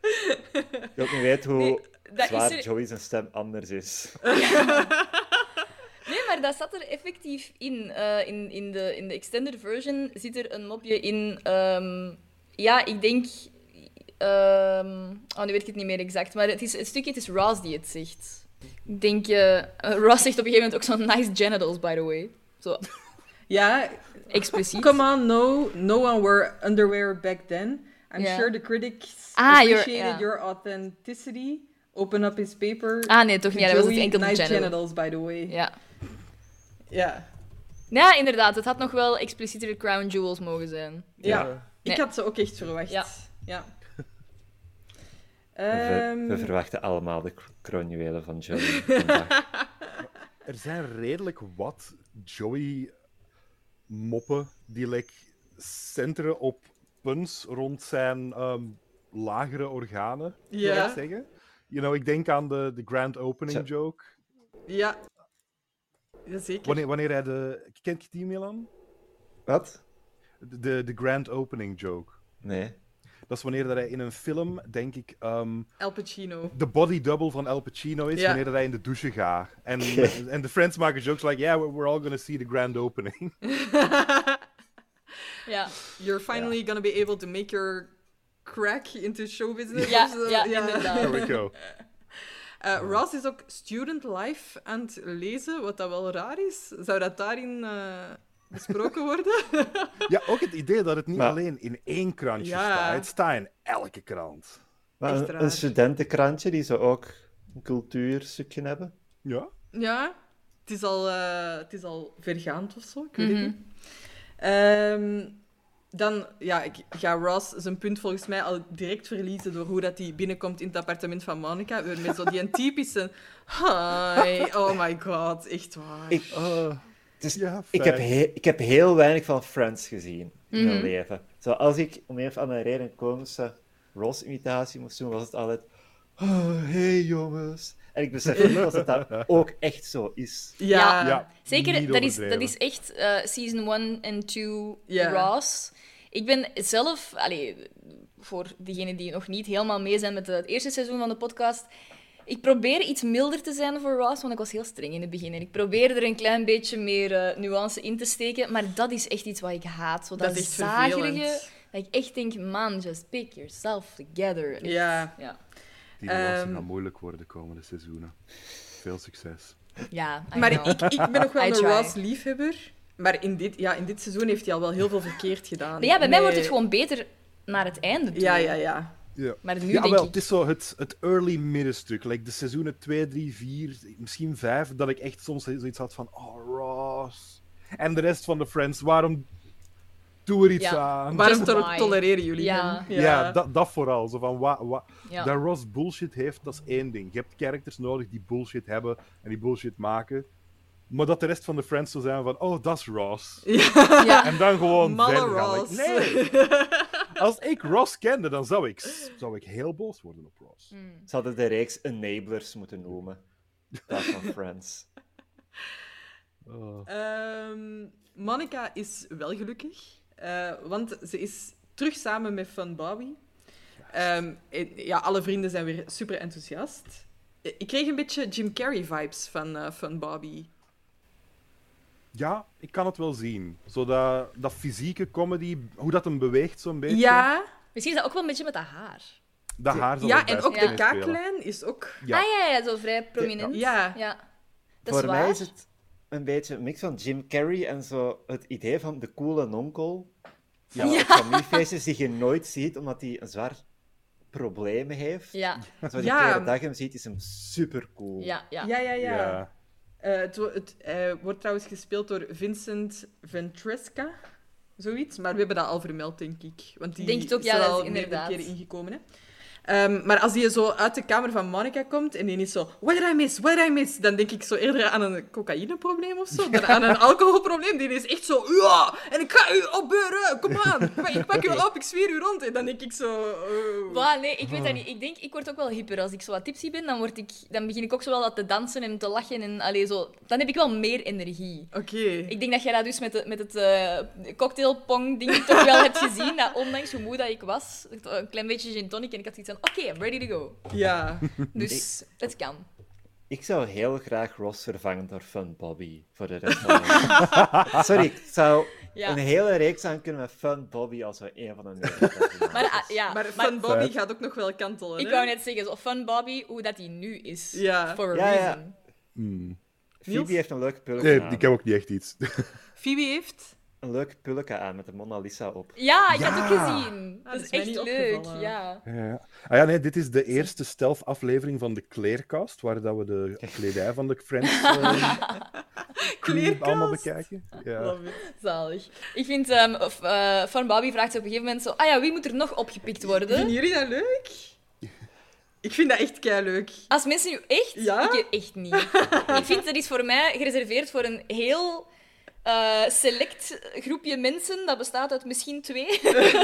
Speaker 3: Ik wil ook niet weten hoe
Speaker 2: dat
Speaker 3: zwaar
Speaker 2: is er-
Speaker 3: Joey zijn stem anders is.
Speaker 2: Nee, maar dat zat er effectief in. Eh, in, in, de, in de extended version zit er een mopje in. ehm, ja, ik denk. ehm, oh, nu weet ik het niet meer exact. Maar het is een stukje, het is Ross die het zegt. Ik denk, eh, Ross zegt op een gegeven moment ook zo'n nice genitals, by the way. Zo
Speaker 1: Ja,
Speaker 2: expliciet.
Speaker 1: come on, no, no one wore underwear back then. I'm
Speaker 2: Ja.
Speaker 1: sure the critics
Speaker 2: Ah, you're-
Speaker 1: appreciated
Speaker 2: ja.
Speaker 1: your authenticity. Open up his paper.
Speaker 2: Ah nee, toch niet. Ja, dat was het
Speaker 1: Joey,
Speaker 2: enkel de
Speaker 1: nice
Speaker 2: genital.
Speaker 1: genitals, by the way. Ja.
Speaker 2: Ja. Nou ja, inderdaad. Het had nog wel explicieter crown jewels mogen zijn.
Speaker 1: Ja.
Speaker 2: Nee.
Speaker 1: Ik had ze ook echt verwacht.
Speaker 2: Ja.
Speaker 1: Ja.
Speaker 3: We,
Speaker 1: Ehm,
Speaker 3: we verwachten allemaal de kro- kroonjuwelen van Joey. vandaag.
Speaker 4: Er zijn redelijk wat Joey-moppen die like, centeren op puns rond zijn ehm, lagere organen,
Speaker 1: Ja.
Speaker 4: zou ik zeggen. You know, ik denk aan de, de grand opening
Speaker 3: Zo.
Speaker 4: joke.
Speaker 1: ja. Ja, zeker.
Speaker 4: Wanneer, wanneer hij de... Kent je die, Milan?
Speaker 3: Wat?
Speaker 4: De, de, de grand opening joke.
Speaker 3: Nee.
Speaker 4: Dat is wanneer dat hij in een film, denk ik, ehm,
Speaker 1: Al Pacino.
Speaker 4: de body double van Al Pacino is
Speaker 1: Ja.
Speaker 4: wanneer dat hij in de douche gaat. En, en de friends maken jokes like, yeah, we're- we're all gonna see the grand opening.
Speaker 2: Ja.
Speaker 1: You're finally gonna be able to make your crack into show business.
Speaker 2: Ja,
Speaker 1: of zo.
Speaker 2: ja, inderdaad.
Speaker 4: There we go.
Speaker 1: Eh, Ross is ook Student Life aan het lezen, wat dat wel raar is. Zou dat daarin eh, besproken worden?
Speaker 4: Ja, ook het idee dat het niet
Speaker 3: Maar-
Speaker 4: alleen in één krantje
Speaker 1: Ja.
Speaker 4: staat. Het staat in elke krant.
Speaker 3: Maar
Speaker 1: Echt
Speaker 3: een-
Speaker 1: raar.
Speaker 3: een studentenkrantje die ze ook een cultuurstukje hebben.
Speaker 4: Ja?
Speaker 1: ja, het is al, eh, het is al vergaand of zo, ik weet
Speaker 2: Mhm.
Speaker 1: het niet. Ehm, dan ja, ik ga Ross zijn punt volgens mij al direct verliezen door hoe dat hij binnenkomt in het appartement van Monica. Weer met zo die een typische... Hi, oh my god, echt waar.
Speaker 3: Ik-
Speaker 1: Oh,
Speaker 4: Dus
Speaker 3: Ik heb, he- ik heb heel weinig van Friends gezien in mijn leven. Zo, als ik om een of andere reden een komische Ross-imitatie moest doen, was het altijd... Oh, hey jongens. En ik besef nu pas dat dat ook echt zo is.
Speaker 1: Ja,
Speaker 4: Ja,
Speaker 2: Zeker,
Speaker 4: niet
Speaker 2: dat is, dat
Speaker 4: overdreven.
Speaker 2: is echt eh, season 1 en 2
Speaker 1: Ja.
Speaker 2: Ross. Ik ben zelf, allee, voor degenen die nog niet helemaal mee zijn met het eerste seizoen van de podcast, ik probeer iets milder te zijn voor Ross, want ik was heel streng in het begin. En ik probeer er een klein beetje meer eh, nuance in te steken, maar dat is echt iets wat ik haat. Zo, dat,
Speaker 1: Dat is echt
Speaker 2: zagerige,
Speaker 1: vervelend.
Speaker 2: dat ik echt denk, man, just pick yourself together. Echt,
Speaker 1: Ja.
Speaker 2: Ja,
Speaker 4: Die nuance
Speaker 1: Ehm.
Speaker 4: gaan moeilijk worden de komende seizoenen. Veel succes.
Speaker 2: ja I
Speaker 1: Maar
Speaker 2: know.
Speaker 1: ik, ik ben nog wel
Speaker 2: I
Speaker 1: een
Speaker 2: try.
Speaker 1: Ross-liefhebber. Maar in dit, ja, in dit seizoen heeft hij al wel heel veel verkeerd gedaan.
Speaker 2: Maar ja, bij mij
Speaker 1: Nee.
Speaker 2: wordt het gewoon beter naar het einde toe.
Speaker 1: Ja, ja, ja.
Speaker 4: Ja.
Speaker 2: Maar nu
Speaker 4: ja,
Speaker 2: denk
Speaker 4: wel,
Speaker 2: ik-
Speaker 4: het is zo het, het early middenstuk. Like de seizoenen 2, 3, 4, misschien 5, dat ik echt soms zoiets had van, oh, Ross. En de rest van de Friends, waarom doe er iets
Speaker 2: Ja.
Speaker 4: aan?
Speaker 1: Waarom to-
Speaker 2: why?
Speaker 1: tolereren jullie
Speaker 2: Ja.
Speaker 1: hem?
Speaker 4: Ja, dat, dat vooral. Zo van, wa, wa,
Speaker 2: Ja.
Speaker 4: Dat Ross bullshit heeft, dat is één ding. Je hebt characters nodig die bullshit hebben en die bullshit maken. Maar dat de rest van de Friends zo zijn van, oh, dat is Ross.
Speaker 2: Ja.
Speaker 4: En dan gewoon
Speaker 1: Malle
Speaker 4: verder gaan. Like,
Speaker 1: Ross.
Speaker 4: nee! Als ik Ross kende, dan zou ik, zou ik heel boos worden op Ross.
Speaker 1: Mm.
Speaker 3: Ze hadden de reeks enablers moeten noemen. Dat van Friends.
Speaker 1: Ehm, Monica is wel gelukkig. eh, want ze is terug samen met Fun Bobby. Ehm, en, ja, alle vrienden zijn weer super enthousiast. Eh, Ik kreeg een beetje Jim Carrey-vibes van eh, Fun Bobby.
Speaker 4: Ja, ik kan het wel zien. Zo dat, dat fysieke comedy, hoe dat hem beweegt zo'n beetje.
Speaker 1: Ja,
Speaker 2: Misschien is dat ook wel een beetje met dat haar.
Speaker 4: Dat haar zal
Speaker 1: ja
Speaker 4: erbij
Speaker 1: en ook
Speaker 4: spelen.
Speaker 1: de kaaklijn is ook...
Speaker 4: Ja.
Speaker 2: Ah ja, ja, zo vrij prominent.
Speaker 1: Ja.
Speaker 2: Dat
Speaker 3: Voor
Speaker 2: is
Speaker 3: mij
Speaker 2: waar.
Speaker 3: is het een beetje een mix van Jim Carrey en zo het idee van de coole nonkel. Ja. op familiefeestjes die je nooit ziet, omdat hij een zwaar probleem heeft.
Speaker 2: Ja,
Speaker 3: Als je
Speaker 1: Ja.
Speaker 3: de keer dat je hem ziet, is hem supercool.
Speaker 2: ja, ja.
Speaker 1: Ja, ja, ja.
Speaker 4: Ja.
Speaker 1: Eh, het wo- het eh, wordt trouwens gespeeld door Vincent Ventresca, zoiets. Maar we hebben dat al vermeld, denk ik. Want die
Speaker 2: Denk het ook,
Speaker 1: is
Speaker 2: ja,
Speaker 1: er
Speaker 2: dat
Speaker 1: al
Speaker 2: is
Speaker 1: meerdere
Speaker 2: inderdaad.
Speaker 1: keren ingekomen. Hè? Ehm, maar als die zo uit de kamer van Monica komt en die is zo... What did I miss? What did I miss? Dan denk ik zo eerder aan een cocaïneprobleem of zo, dan aan een alcoholprobleem. Die is echt zo... Ja, en ik ga u opbeuren. Kom aan. Ik pak u op. Ik zweer u rond. En dan denk ik zo... oh.
Speaker 2: Waar, nee, ik weet dat niet. Ik denk, ik word ook wel hyper. Als ik zo wat tipsy ben, dan, word ik, dan begin ik ook zo wel wat te dansen en te lachen. En, allee, zo. Dan heb ik wel meer energie.
Speaker 1: Oké.
Speaker 2: Ik denk dat jij dat dus met, de, met het eh cocktailpong-ding toch wel hebt gezien. Dat ondanks hoe moe dat ik was, het, eh, een klein beetje gin tonic. En ik had iets van, oké, I'm ready to go.
Speaker 1: Ja.
Speaker 2: Dus het kan.
Speaker 3: Ik zou heel graag Ross vervangen door Fun Bobby voor de rest van mijn leven. Sorry, ik zou
Speaker 2: Ja.
Speaker 3: Een hele reeks aan kunnen we Fun Bobby als we een van de negen
Speaker 2: Maar, ah, ja,
Speaker 1: Maar
Speaker 2: maar
Speaker 1: Fun Bobby
Speaker 4: Vet.
Speaker 1: gaat ook nog wel kantelen.
Speaker 2: ik
Speaker 1: hè?
Speaker 2: wou net zeggen, zo Fun Bobby, hoe dat die nu is.
Speaker 1: Ja.
Speaker 2: For a
Speaker 3: Ja, ja.
Speaker 2: reason.
Speaker 3: Phoebe heeft een leuke pulke
Speaker 4: Nee,
Speaker 3: aan.
Speaker 4: ik heb ook niet echt iets.
Speaker 1: Phoebe heeft...
Speaker 3: Een leuke pulke aan met de Mona Lisa op.
Speaker 2: Ja, ik
Speaker 4: Ja.
Speaker 2: had het ook gezien. dat
Speaker 1: Ah, dat
Speaker 2: is
Speaker 1: is mij
Speaker 2: echt
Speaker 1: niet
Speaker 2: leuk.
Speaker 1: opgevallen.
Speaker 2: Ja.
Speaker 4: Ja, ja. Ah ja, nee, dit is de eerste stealth-aflevering van de kleerkast, waar dat we de kledij van de Friends eh, crew allemaal bekijken. Ja.
Speaker 1: Love it.
Speaker 2: Zalig. Ik vind, ehm, of, eh, Fun Bobby vraagt ze op een gegeven moment zo, ah ja, wie moet er nog opgepikt worden?
Speaker 1: Vinden jullie dat leuk? Ik vind dat echt kei leuk.
Speaker 2: Als mensen nu echt,
Speaker 1: Ja?
Speaker 2: ik eh, echt niet. ik vind dat is voor mij gereserveerd voor een heel eh, select groepje mensen. Dat bestaat uit misschien twee,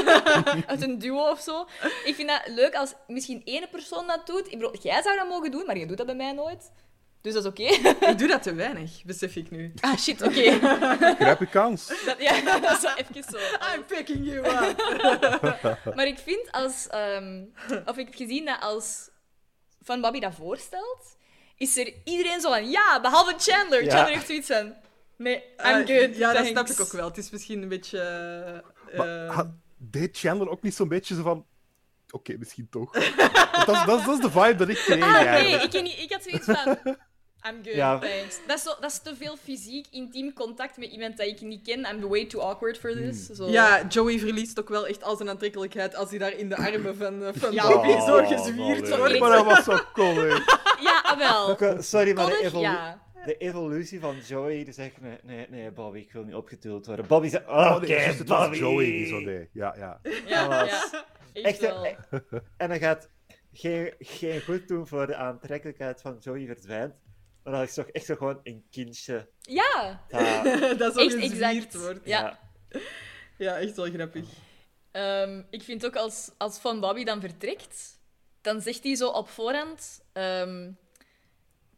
Speaker 2: uit een duo of zo. Ik vind dat leuk als misschien één persoon dat doet. Ik bedoel, jij zou dat mogen doen, maar je doet dat bij mij nooit. Dus dat is oké.
Speaker 1: Ik doe dat te weinig, besef ik nu.
Speaker 2: ah shit, oké.
Speaker 4: Grijp je kans.
Speaker 2: Dat- Ja, dat is zo even zo.
Speaker 1: I'm picking you up.
Speaker 2: Maar ik vind als. ehm, of ik heb gezien dat als Van Bobby dat voorstelt, is er iedereen zo van ja, behalve Chandler.
Speaker 3: Ja.
Speaker 2: Chandler heeft zoiets van. Nee, I'm
Speaker 1: Eh,
Speaker 2: good.
Speaker 1: Ja, dat
Speaker 2: thanks."
Speaker 1: snap ik ook wel. Het is misschien een beetje... eh,
Speaker 4: Maar
Speaker 1: eh,
Speaker 4: had- deed Chandler ook niet zo'n beetje zo van... Oké, misschien toch. Want dat, is, dat, is, dat is de vibe dat ik kreeg
Speaker 2: Ah, nee,
Speaker 4: eigenlijk.
Speaker 2: ik, weet niet, ik had zoiets van. I'm good,
Speaker 3: Ja.
Speaker 2: thanks. Dat is, zo, dat is te veel fysiek, intiem contact met iemand dat ik niet ken. I'm way too awkward for this.
Speaker 3: Hmm.
Speaker 2: Zo.
Speaker 1: eh, Ja, Joey verliest ook wel echt al zijn aantrekkelijkheid als hij daar in de armen van, eh, van
Speaker 2: Ja.
Speaker 1: Bobby
Speaker 3: Oh,
Speaker 1: zo gezwierd
Speaker 3: wel
Speaker 1: wordt.
Speaker 2: leuk.
Speaker 4: Maar dat was zo cool, hè.
Speaker 2: ja ah, wel.
Speaker 3: Ook, eh, sorry, maar de,
Speaker 2: Koddig,
Speaker 3: evolu-
Speaker 2: ja.
Speaker 3: de evolutie van Joey die zegt: nee, nee, nee, Bobby, ik wil niet opgeduld worden. Bobby zegt: Oké,
Speaker 4: Oh, nee, juist, het
Speaker 3: Bobby.
Speaker 4: was Joey die zo deed. Ja, ja.
Speaker 2: Ja,
Speaker 3: Alles.
Speaker 2: ja. Echt,
Speaker 3: Echt,
Speaker 2: wel.
Speaker 3: eh, En dan gaat geen, geen goed doen voor de aantrekkelijkheid van Joey verdwijnt. Maar dan is toch echt zo gewoon een kindje.
Speaker 2: Ja,
Speaker 3: dat-
Speaker 1: dat zo
Speaker 2: echt
Speaker 1: gezwierd
Speaker 2: exact.
Speaker 1: wordt.
Speaker 2: Ja.
Speaker 1: Ja, echt wel grappig.
Speaker 2: Ehm, ik vind ook als, als Van Bobby dan vertrekt, dan zegt hij zo op voorhand: ehm,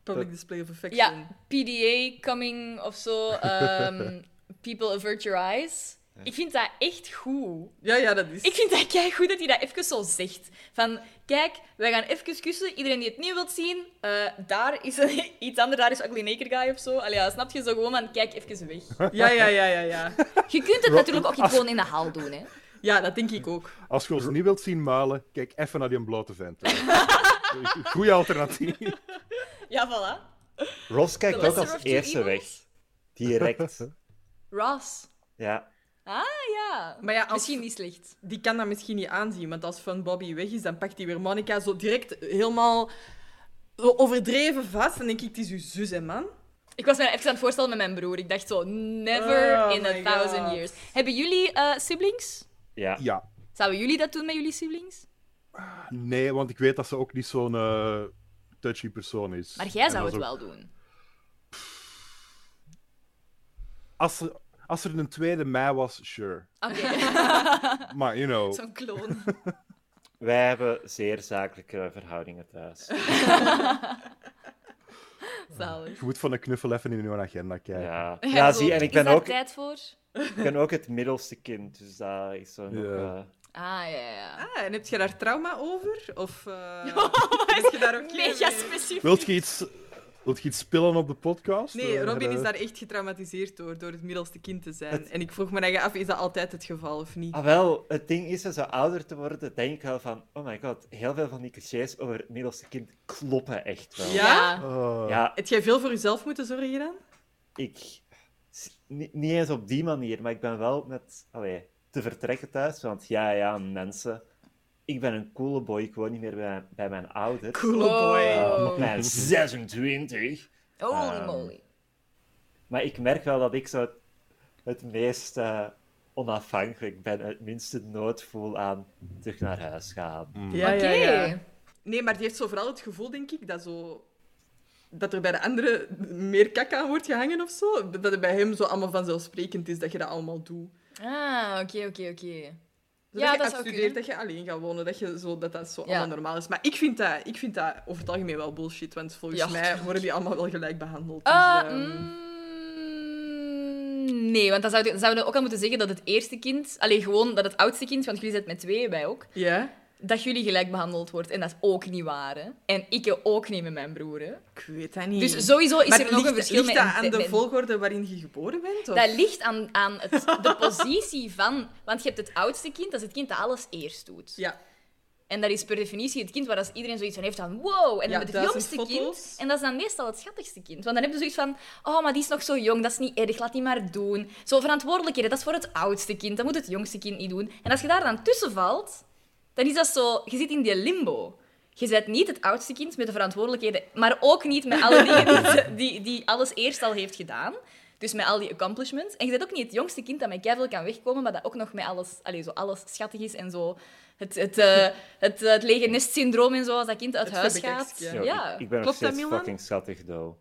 Speaker 1: Public display of affection.
Speaker 2: Ja, PDA coming of zo. ehm, people avert your eyes. Ik vind dat echt goed.
Speaker 1: Ja, ja, dat is.
Speaker 2: Ik vind dat kei goed dat hij dat even zo zegt. Van, kijk, wij gaan even kussen. Iedereen die het niet wilt zien, eh, daar is een- iets anders. Daar is Ugly Naked Guy of zo. Allee, ja, snap je? Zo gewoon van, kijk even weg.
Speaker 1: Ja, ja, ja, ja, ja.
Speaker 2: Je kunt het natuurlijk ook gewoon in de haal doen, hè.
Speaker 1: Ja, dat denk ik ook.
Speaker 4: Als je ons niet wilt zien muilen, kijk even naar die blote vent. Goeie alternatief.
Speaker 2: Ja, voilà.
Speaker 3: Ross
Speaker 2: The
Speaker 3: kijkt ook
Speaker 2: lesser
Speaker 3: als
Speaker 2: of two
Speaker 3: eerste weg.
Speaker 2: evils.
Speaker 3: Direct.
Speaker 2: Ross.
Speaker 3: Ja.
Speaker 2: Ah, ja.
Speaker 1: Maar ja, als-
Speaker 2: Misschien niet slecht.
Speaker 1: Die kan dat misschien niet aanzien, want als Fun Bobby weg is, dan pakt hij weer Monica zo direct helemaal zo overdreven vast. Dan denk ik, het is uw zus, hè, man.
Speaker 2: Ik was mij even aan het voorstellen met mijn broer. Ik dacht zo, never
Speaker 1: Oh
Speaker 2: in a
Speaker 1: my
Speaker 2: thousand
Speaker 1: God.
Speaker 2: years. Hebben jullie eh, siblings?
Speaker 3: Ja.
Speaker 4: Ja,
Speaker 2: Zouden jullie dat doen met jullie siblings?
Speaker 4: nee, want ik weet dat ze ook niet zo'n eh, touchy persoon is.
Speaker 2: Maar jij
Speaker 4: En
Speaker 2: zou
Speaker 4: dat
Speaker 2: het
Speaker 4: is ook-
Speaker 2: wel doen.
Speaker 4: Als er, als er een tweede mei was, sure.
Speaker 2: Oké,
Speaker 4: Maar, you know...
Speaker 2: zo'n kloon.
Speaker 3: Wij hebben zeer zakelijke verhoudingen thuis.
Speaker 2: Zalig.
Speaker 4: Je moet van een knuffel even in je agenda kijken.
Speaker 3: Ja,
Speaker 2: Ja,
Speaker 3: ja
Speaker 2: zo,
Speaker 3: zie, en ik
Speaker 2: is
Speaker 3: ben,
Speaker 2: daar
Speaker 3: ook,
Speaker 2: tijd voor?
Speaker 3: ik ben ook het middelste kind, dus dat is zo nog...
Speaker 4: Ja.
Speaker 3: eh,
Speaker 2: Ah, ja, ja.
Speaker 1: Ah, en heb je daar trauma over? Of eh ben je daar ook
Speaker 2: Mega specifiek.
Speaker 4: Wilt je iets... Wilt je iets spillen op de podcast?
Speaker 1: Nee,
Speaker 4: Eh,
Speaker 1: Robin
Speaker 4: eh,
Speaker 1: is daar echt getraumatiseerd door, door het middelste kind te zijn. En ik vroeg me eigen af, is dat altijd het geval of niet?
Speaker 3: Ah, wel, het ding is, als we ouder te worden, denk ik wel van... Oh my god, heel veel van die clichés over het middelste kind kloppen echt wel.
Speaker 1: Ja?
Speaker 2: Ja.
Speaker 4: eh,
Speaker 3: Ja,
Speaker 1: Heb jij veel voor jezelf moeten zorgen dan?
Speaker 3: ik... s- Niet, niet eens op die manier, maar ik ben wel met... Allee, te vertrekken thuis, want ja, ja, mensen... Ik ben een coole boy, ik woon niet meer bij, bij mijn ouders. Eh,
Speaker 1: Coole boy.
Speaker 3: Op mijn 26.
Speaker 2: Holy moly.
Speaker 3: Maar ik merk wel dat ik zo het, het meest eh, onafhankelijk ben, het minste nood voel aan terug naar huis gaan.
Speaker 1: Ja,
Speaker 2: Oké.
Speaker 1: ja, ja. Nee, maar die heeft zo vooral het gevoel, denk ik, dat, zo... dat er bij de anderen meer kak aan wordt gehangen of zo. Dat het bij hem zo allemaal vanzelfsprekend is dat je dat allemaal doet.
Speaker 2: Ah, oké, oké,
Speaker 1: Dus,
Speaker 2: oké.
Speaker 1: Zo
Speaker 2: Ja,
Speaker 1: dat
Speaker 2: dat
Speaker 1: je
Speaker 2: zou kunnen.
Speaker 1: afstudeert, dat je alleen gaat wonen, dat, je zo, dat dat zo
Speaker 2: Ja.
Speaker 1: allemaal normaal is. Maar ik vind, dat, ik vind dat over het algemeen wel bullshit, want volgens
Speaker 2: Ja,
Speaker 1: mij
Speaker 2: tuurlijk.
Speaker 1: worden die allemaal wel gelijk behandeld. Dus,
Speaker 2: Eh,
Speaker 1: ehm,
Speaker 2: mm, nee, want dan zouden, zouden we ook al moeten zeggen dat het eerste kind, alleen gewoon dat het oudste kind, want jullie zitten met twee, wij ook,
Speaker 1: Ja,
Speaker 2: dat jullie gelijk behandeld wordt. En dat is ook niet waar. Hè? En ik ook niet met mijn broer. Hè?
Speaker 1: Ik weet dat niet.
Speaker 2: Dus sowieso is
Speaker 1: Maar
Speaker 2: er nog
Speaker 1: ligt-
Speaker 2: een verschil
Speaker 1: ligt
Speaker 2: met
Speaker 1: dat
Speaker 2: een-
Speaker 1: aan de
Speaker 2: met-
Speaker 1: volgorde waarin je geboren bent? Of?
Speaker 2: Dat ligt aan, aan het, de positie van... Want je hebt het oudste kind, dat is het kind dat alles eerst doet.
Speaker 1: Ja.
Speaker 2: En dat is per definitie het kind waar als iedereen zoiets van heeft van wow. En dan
Speaker 1: Ja,
Speaker 2: met het
Speaker 1: duizend
Speaker 2: jongste
Speaker 1: foto's.
Speaker 2: kind. En dat is dan meestal het schattigste kind. Want dan heb je zoiets van, oh, maar die is nog zo jong, dat is niet erg, laat die maar doen. Zo verantwoordelijkheden, dat is voor het oudste kind, dat moet het jongste kind niet doen. En als je daar dan tussen valt, dan is dat zo, je zit in die limbo. Je bent niet het oudste kind met de verantwoordelijkheden, maar ook niet met alle dingen die, ze- die, die alles eerst al heeft gedaan. Dus met al die accomplishments. En je bent ook niet het jongste kind dat met keiveel kan wegkomen, maar dat ook nog met alles, allee, zo alles schattig is en zo. Het, het, eh, het, eh, het lege nest syndroom en zo, als dat kind uit
Speaker 1: Het
Speaker 2: huis
Speaker 1: verbekkekst,
Speaker 2: gaat.
Speaker 1: ja.
Speaker 2: Ja.
Speaker 3: ik, ik ben nog
Speaker 1: Klopt dat,
Speaker 3: steeds
Speaker 1: Milan?
Speaker 3: fucking schattig, though.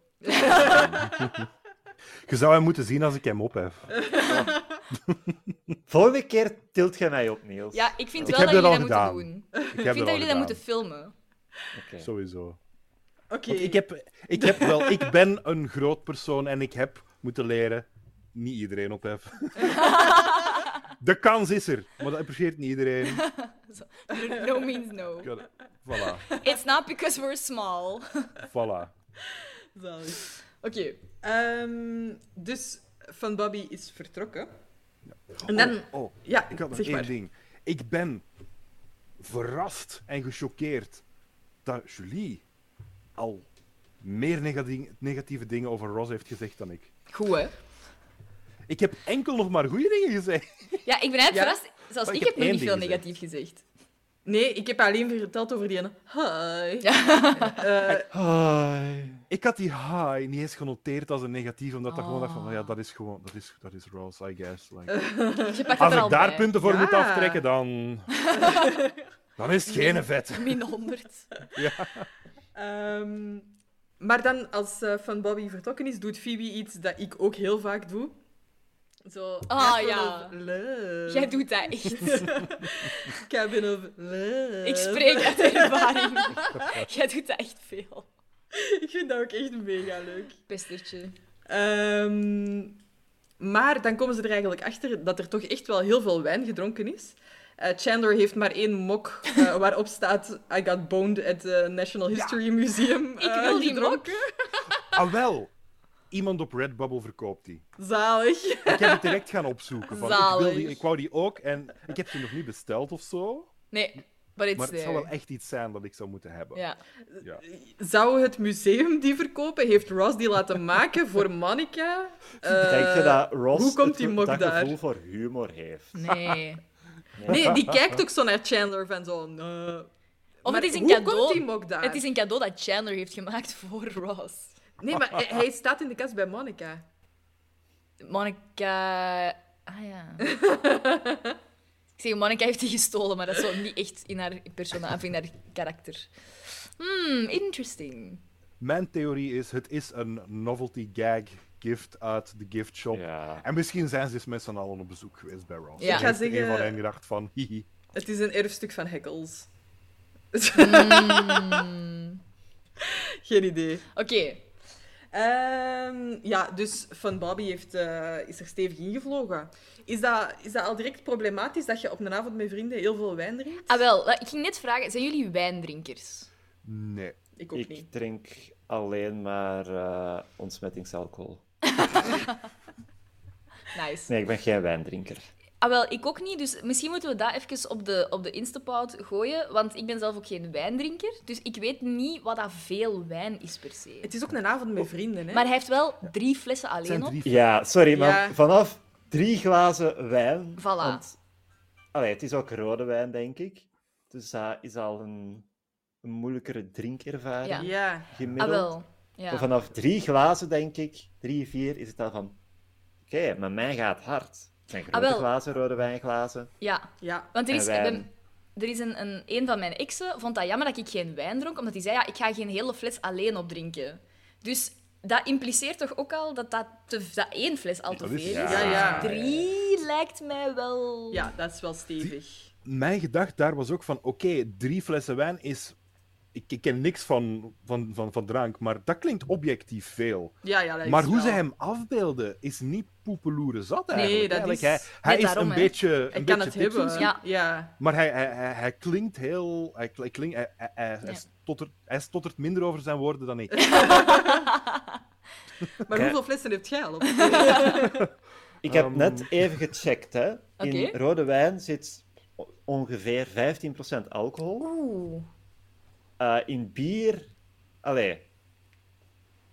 Speaker 4: Je zou hem moeten zien als ik hem ophef.
Speaker 3: Volgende keer tilt jij mij op, Niels.
Speaker 2: Ja, ik vind
Speaker 4: Ik
Speaker 2: wel
Speaker 4: heb
Speaker 2: dat
Speaker 4: dat
Speaker 2: jullie dat
Speaker 4: al
Speaker 2: moeten
Speaker 4: gedaan.
Speaker 2: doen.
Speaker 4: Ik,
Speaker 2: Ik
Speaker 4: heb
Speaker 2: vind
Speaker 4: dat
Speaker 2: dat
Speaker 4: al
Speaker 2: jullie dat moeten
Speaker 4: gedaan.
Speaker 2: filmen.
Speaker 3: Oké.
Speaker 4: Sowieso.
Speaker 1: Oké.
Speaker 4: Want ik, heb, ik, heb wel, ik ben een groot persoon en ik heb moeten leren niet iedereen opheffen. De kans is er, maar dat apprecieert niet iedereen.
Speaker 2: No means no.
Speaker 4: Ja, Voilà,
Speaker 2: It's not because we're small.
Speaker 4: voilà.
Speaker 1: Zalig.
Speaker 2: Oké.
Speaker 1: Ehm, dus Van Bobby is vertrokken. En dan...
Speaker 4: Oh, oh,
Speaker 1: ja,
Speaker 4: ik had nog
Speaker 1: zeg
Speaker 4: één
Speaker 1: maar.
Speaker 4: ding. Ik ben verrast en gechoqueerd dat Julie al meer negati- negatieve dingen over Ross heeft gezegd dan ik.
Speaker 2: Goed, hè?
Speaker 4: Ik heb enkel nog maar goede dingen gezegd.
Speaker 2: Ja, ik ben eigenlijk
Speaker 1: Ja.
Speaker 2: verrast. Zelfs
Speaker 4: Maar
Speaker 2: ik,
Speaker 4: Oh, ik
Speaker 2: heb
Speaker 4: heb
Speaker 2: nog
Speaker 4: één
Speaker 2: niet veel
Speaker 4: ding gezegd.
Speaker 2: negatief gezegd.
Speaker 1: Nee, ik heb alleen verteld over die ene. Hi. Eh,
Speaker 3: Hi.
Speaker 4: Ik had die high niet eens genoteerd als een negatief, omdat dat gewoon dacht van,
Speaker 2: Ah.
Speaker 4: ja, dat is gewoon, dat is, dat is Ross, I guess. Like,
Speaker 2: Je pakt het
Speaker 4: als
Speaker 2: er al
Speaker 4: ik daar
Speaker 2: bij.
Speaker 4: punten voor moet
Speaker 1: Ja.
Speaker 4: aftrekken, dan... dan is het geen vet.
Speaker 2: Min 100.
Speaker 1: ehm, maar dan, als eh, Van Bobby vertrokken is, doet Phoebe iets dat ik ook heel vaak doe. Zo...
Speaker 2: Ah,
Speaker 1: Cabin
Speaker 2: ja.
Speaker 1: of love.
Speaker 2: Jij doet dat echt.
Speaker 1: Cabin of love.
Speaker 2: Ik spreek uit ervaring. Jij doet dat echt veel.
Speaker 1: ik vind dat ook echt mega leuk.
Speaker 2: Pestertje.
Speaker 1: Ehm, maar dan komen ze er eigenlijk achter dat er toch echt wel heel veel wijn gedronken is. Eh, Chandler heeft maar één mok eh, waarop staat I got boned at the National History Museum. eh,
Speaker 2: Ik wil die mok.
Speaker 4: Ah, wel. Iemand op Redbubble verkoopt die.
Speaker 1: Zalig.
Speaker 4: Ik heb het direct gaan opzoeken. Van, ik, wil
Speaker 2: Zalig.
Speaker 4: die, ik wou die ook en ik heb ze nog niet besteld of zo.
Speaker 2: Nee, but it's
Speaker 4: Maar het
Speaker 2: there.
Speaker 4: zou wel echt iets zijn dat ik zou moeten hebben.
Speaker 2: Ja.
Speaker 4: Ja.
Speaker 1: Zou het museum die verkopen? Heeft Ross die laten maken voor Monica? Eh,
Speaker 3: Denk je dat Ross
Speaker 1: hoe komt
Speaker 3: het-
Speaker 1: die mok
Speaker 3: dat
Speaker 1: daar?
Speaker 3: gevoel voor humor heeft?
Speaker 2: Nee.
Speaker 1: Nee, die kijkt ook zo naar Chandler van zo... nee.
Speaker 2: Of
Speaker 1: Maar
Speaker 2: het is een
Speaker 1: hoe
Speaker 2: cadeau.
Speaker 1: komt die mok daar?
Speaker 2: Het is een cadeau dat Chandler heeft gemaakt voor Ross.
Speaker 1: Nee, maar hij- hij staat in de kast bij Monica.
Speaker 2: Monica. Ah ja. Ik zeg, Monica heeft die gestolen, maar dat is zo niet echt in haar persona of in haar karakter. Hmm, interesting.
Speaker 4: Mijn theorie is, het is een novelty gag gift uit de gift shop.
Speaker 3: Ja.
Speaker 4: En misschien zijn ze eens met z'n allen op bezoek geweest bij Ross.
Speaker 2: Ja. Ik
Speaker 4: En
Speaker 2: ga eh,
Speaker 4: heeft
Speaker 1: zeggen-
Speaker 4: Een van hen gedacht van, hihi.
Speaker 1: Het is een erfstuk van Heckles. Hmm. Geen idee.
Speaker 2: Oké,
Speaker 1: Ehm, ja, dus Van Bobby heeft, eh, is er stevig ingevlogen. Is dat, is dat al direct problematisch dat je op een avond met vrienden heel veel wijn drinkt?
Speaker 2: ah wel, ik ging net vragen, zijn jullie wijndrinkers?
Speaker 4: Nee.
Speaker 1: Ik ook niet.
Speaker 3: Ik drink alleen maar eh, ontsmettingsalcohol.
Speaker 2: Nice.
Speaker 3: Nee, ik ben geen wijndrinker.
Speaker 2: Ah wel, ik ook niet, dus misschien moeten we dat even op de, op de Instapout gooien, want ik ben zelf ook geen wijndrinker, dus ik weet niet wat dat veel wijn is per se.
Speaker 1: Het is ook een avond met vrienden, hè?
Speaker 2: Maar hij heeft wel drie flessen
Speaker 4: Het
Speaker 2: alleen
Speaker 4: zijn
Speaker 2: op.
Speaker 4: drie...
Speaker 3: Ja, sorry, maar
Speaker 1: Ja.
Speaker 3: vanaf drie glazen wijn...
Speaker 2: Voilà.
Speaker 3: want- Allee, het is ook rode wijn, denk ik. Dus dat is al een, een moeilijkere drinkervaring
Speaker 2: Ja.
Speaker 1: Ja.
Speaker 2: Ah
Speaker 3: gemiddeld.
Speaker 2: wel, ja.
Speaker 3: Maar vanaf drie glazen, denk ik, drie, vier, is het dan van... Oké, maar mij gaat hard. Het zijn grote
Speaker 2: Ah, wel.
Speaker 3: glazen, rode wijnglazen.
Speaker 2: ja.
Speaker 1: Ja.
Speaker 2: Want er
Speaker 3: En
Speaker 2: is,
Speaker 3: wijn.
Speaker 2: ben- er is een, een, een van mijn exen vond dat jammer dat ik geen wijn dronk, omdat hij zei, ja, ik ga geen hele fles alleen opdrinken. Dus dat impliceert toch ook al dat, dat, te, dat één fles al te
Speaker 4: Dat is-
Speaker 2: veel is.
Speaker 1: Ja, ja.
Speaker 2: Drie lijkt mij wel...
Speaker 1: Ja, dat is wel stevig.
Speaker 4: Mijn gedachte daar was ook van, oké, drie flessen wijn is ik, ik ken niks van, van, van, van drank, maar dat klinkt objectief veel.
Speaker 1: Ja, ja, dat is
Speaker 4: Maar hoe
Speaker 1: wel-
Speaker 4: ze hem afbeelden is niet poepeloeren zat eigenlijk.
Speaker 1: dat
Speaker 4: Eigenlijk,
Speaker 1: is-
Speaker 4: Hij, hij
Speaker 2: Net
Speaker 4: is
Speaker 2: daarom,
Speaker 4: een
Speaker 2: hè.
Speaker 4: beetje,
Speaker 1: Hij
Speaker 4: een
Speaker 1: kan
Speaker 4: beetje
Speaker 1: het hebben.
Speaker 4: tipsy,
Speaker 1: Ja.
Speaker 2: Ja.
Speaker 1: ja.
Speaker 4: maar hij, hij, hij, hij klinkt heel... Hij, kli- klinkt, hij, hij, hij, hij
Speaker 2: Ja.
Speaker 4: stottert, hij stottert minder over zijn woorden dan ik.
Speaker 1: Maar
Speaker 3: Kijk.
Speaker 1: hoeveel flessen heb jij al op?
Speaker 3: Ik heb
Speaker 4: Ehm.
Speaker 3: net even gecheckt, hè. In
Speaker 2: Oké.
Speaker 3: rode wijn zit o- ongeveer 15% alcohol.
Speaker 2: Oeh.
Speaker 3: Eh, in bier, allee,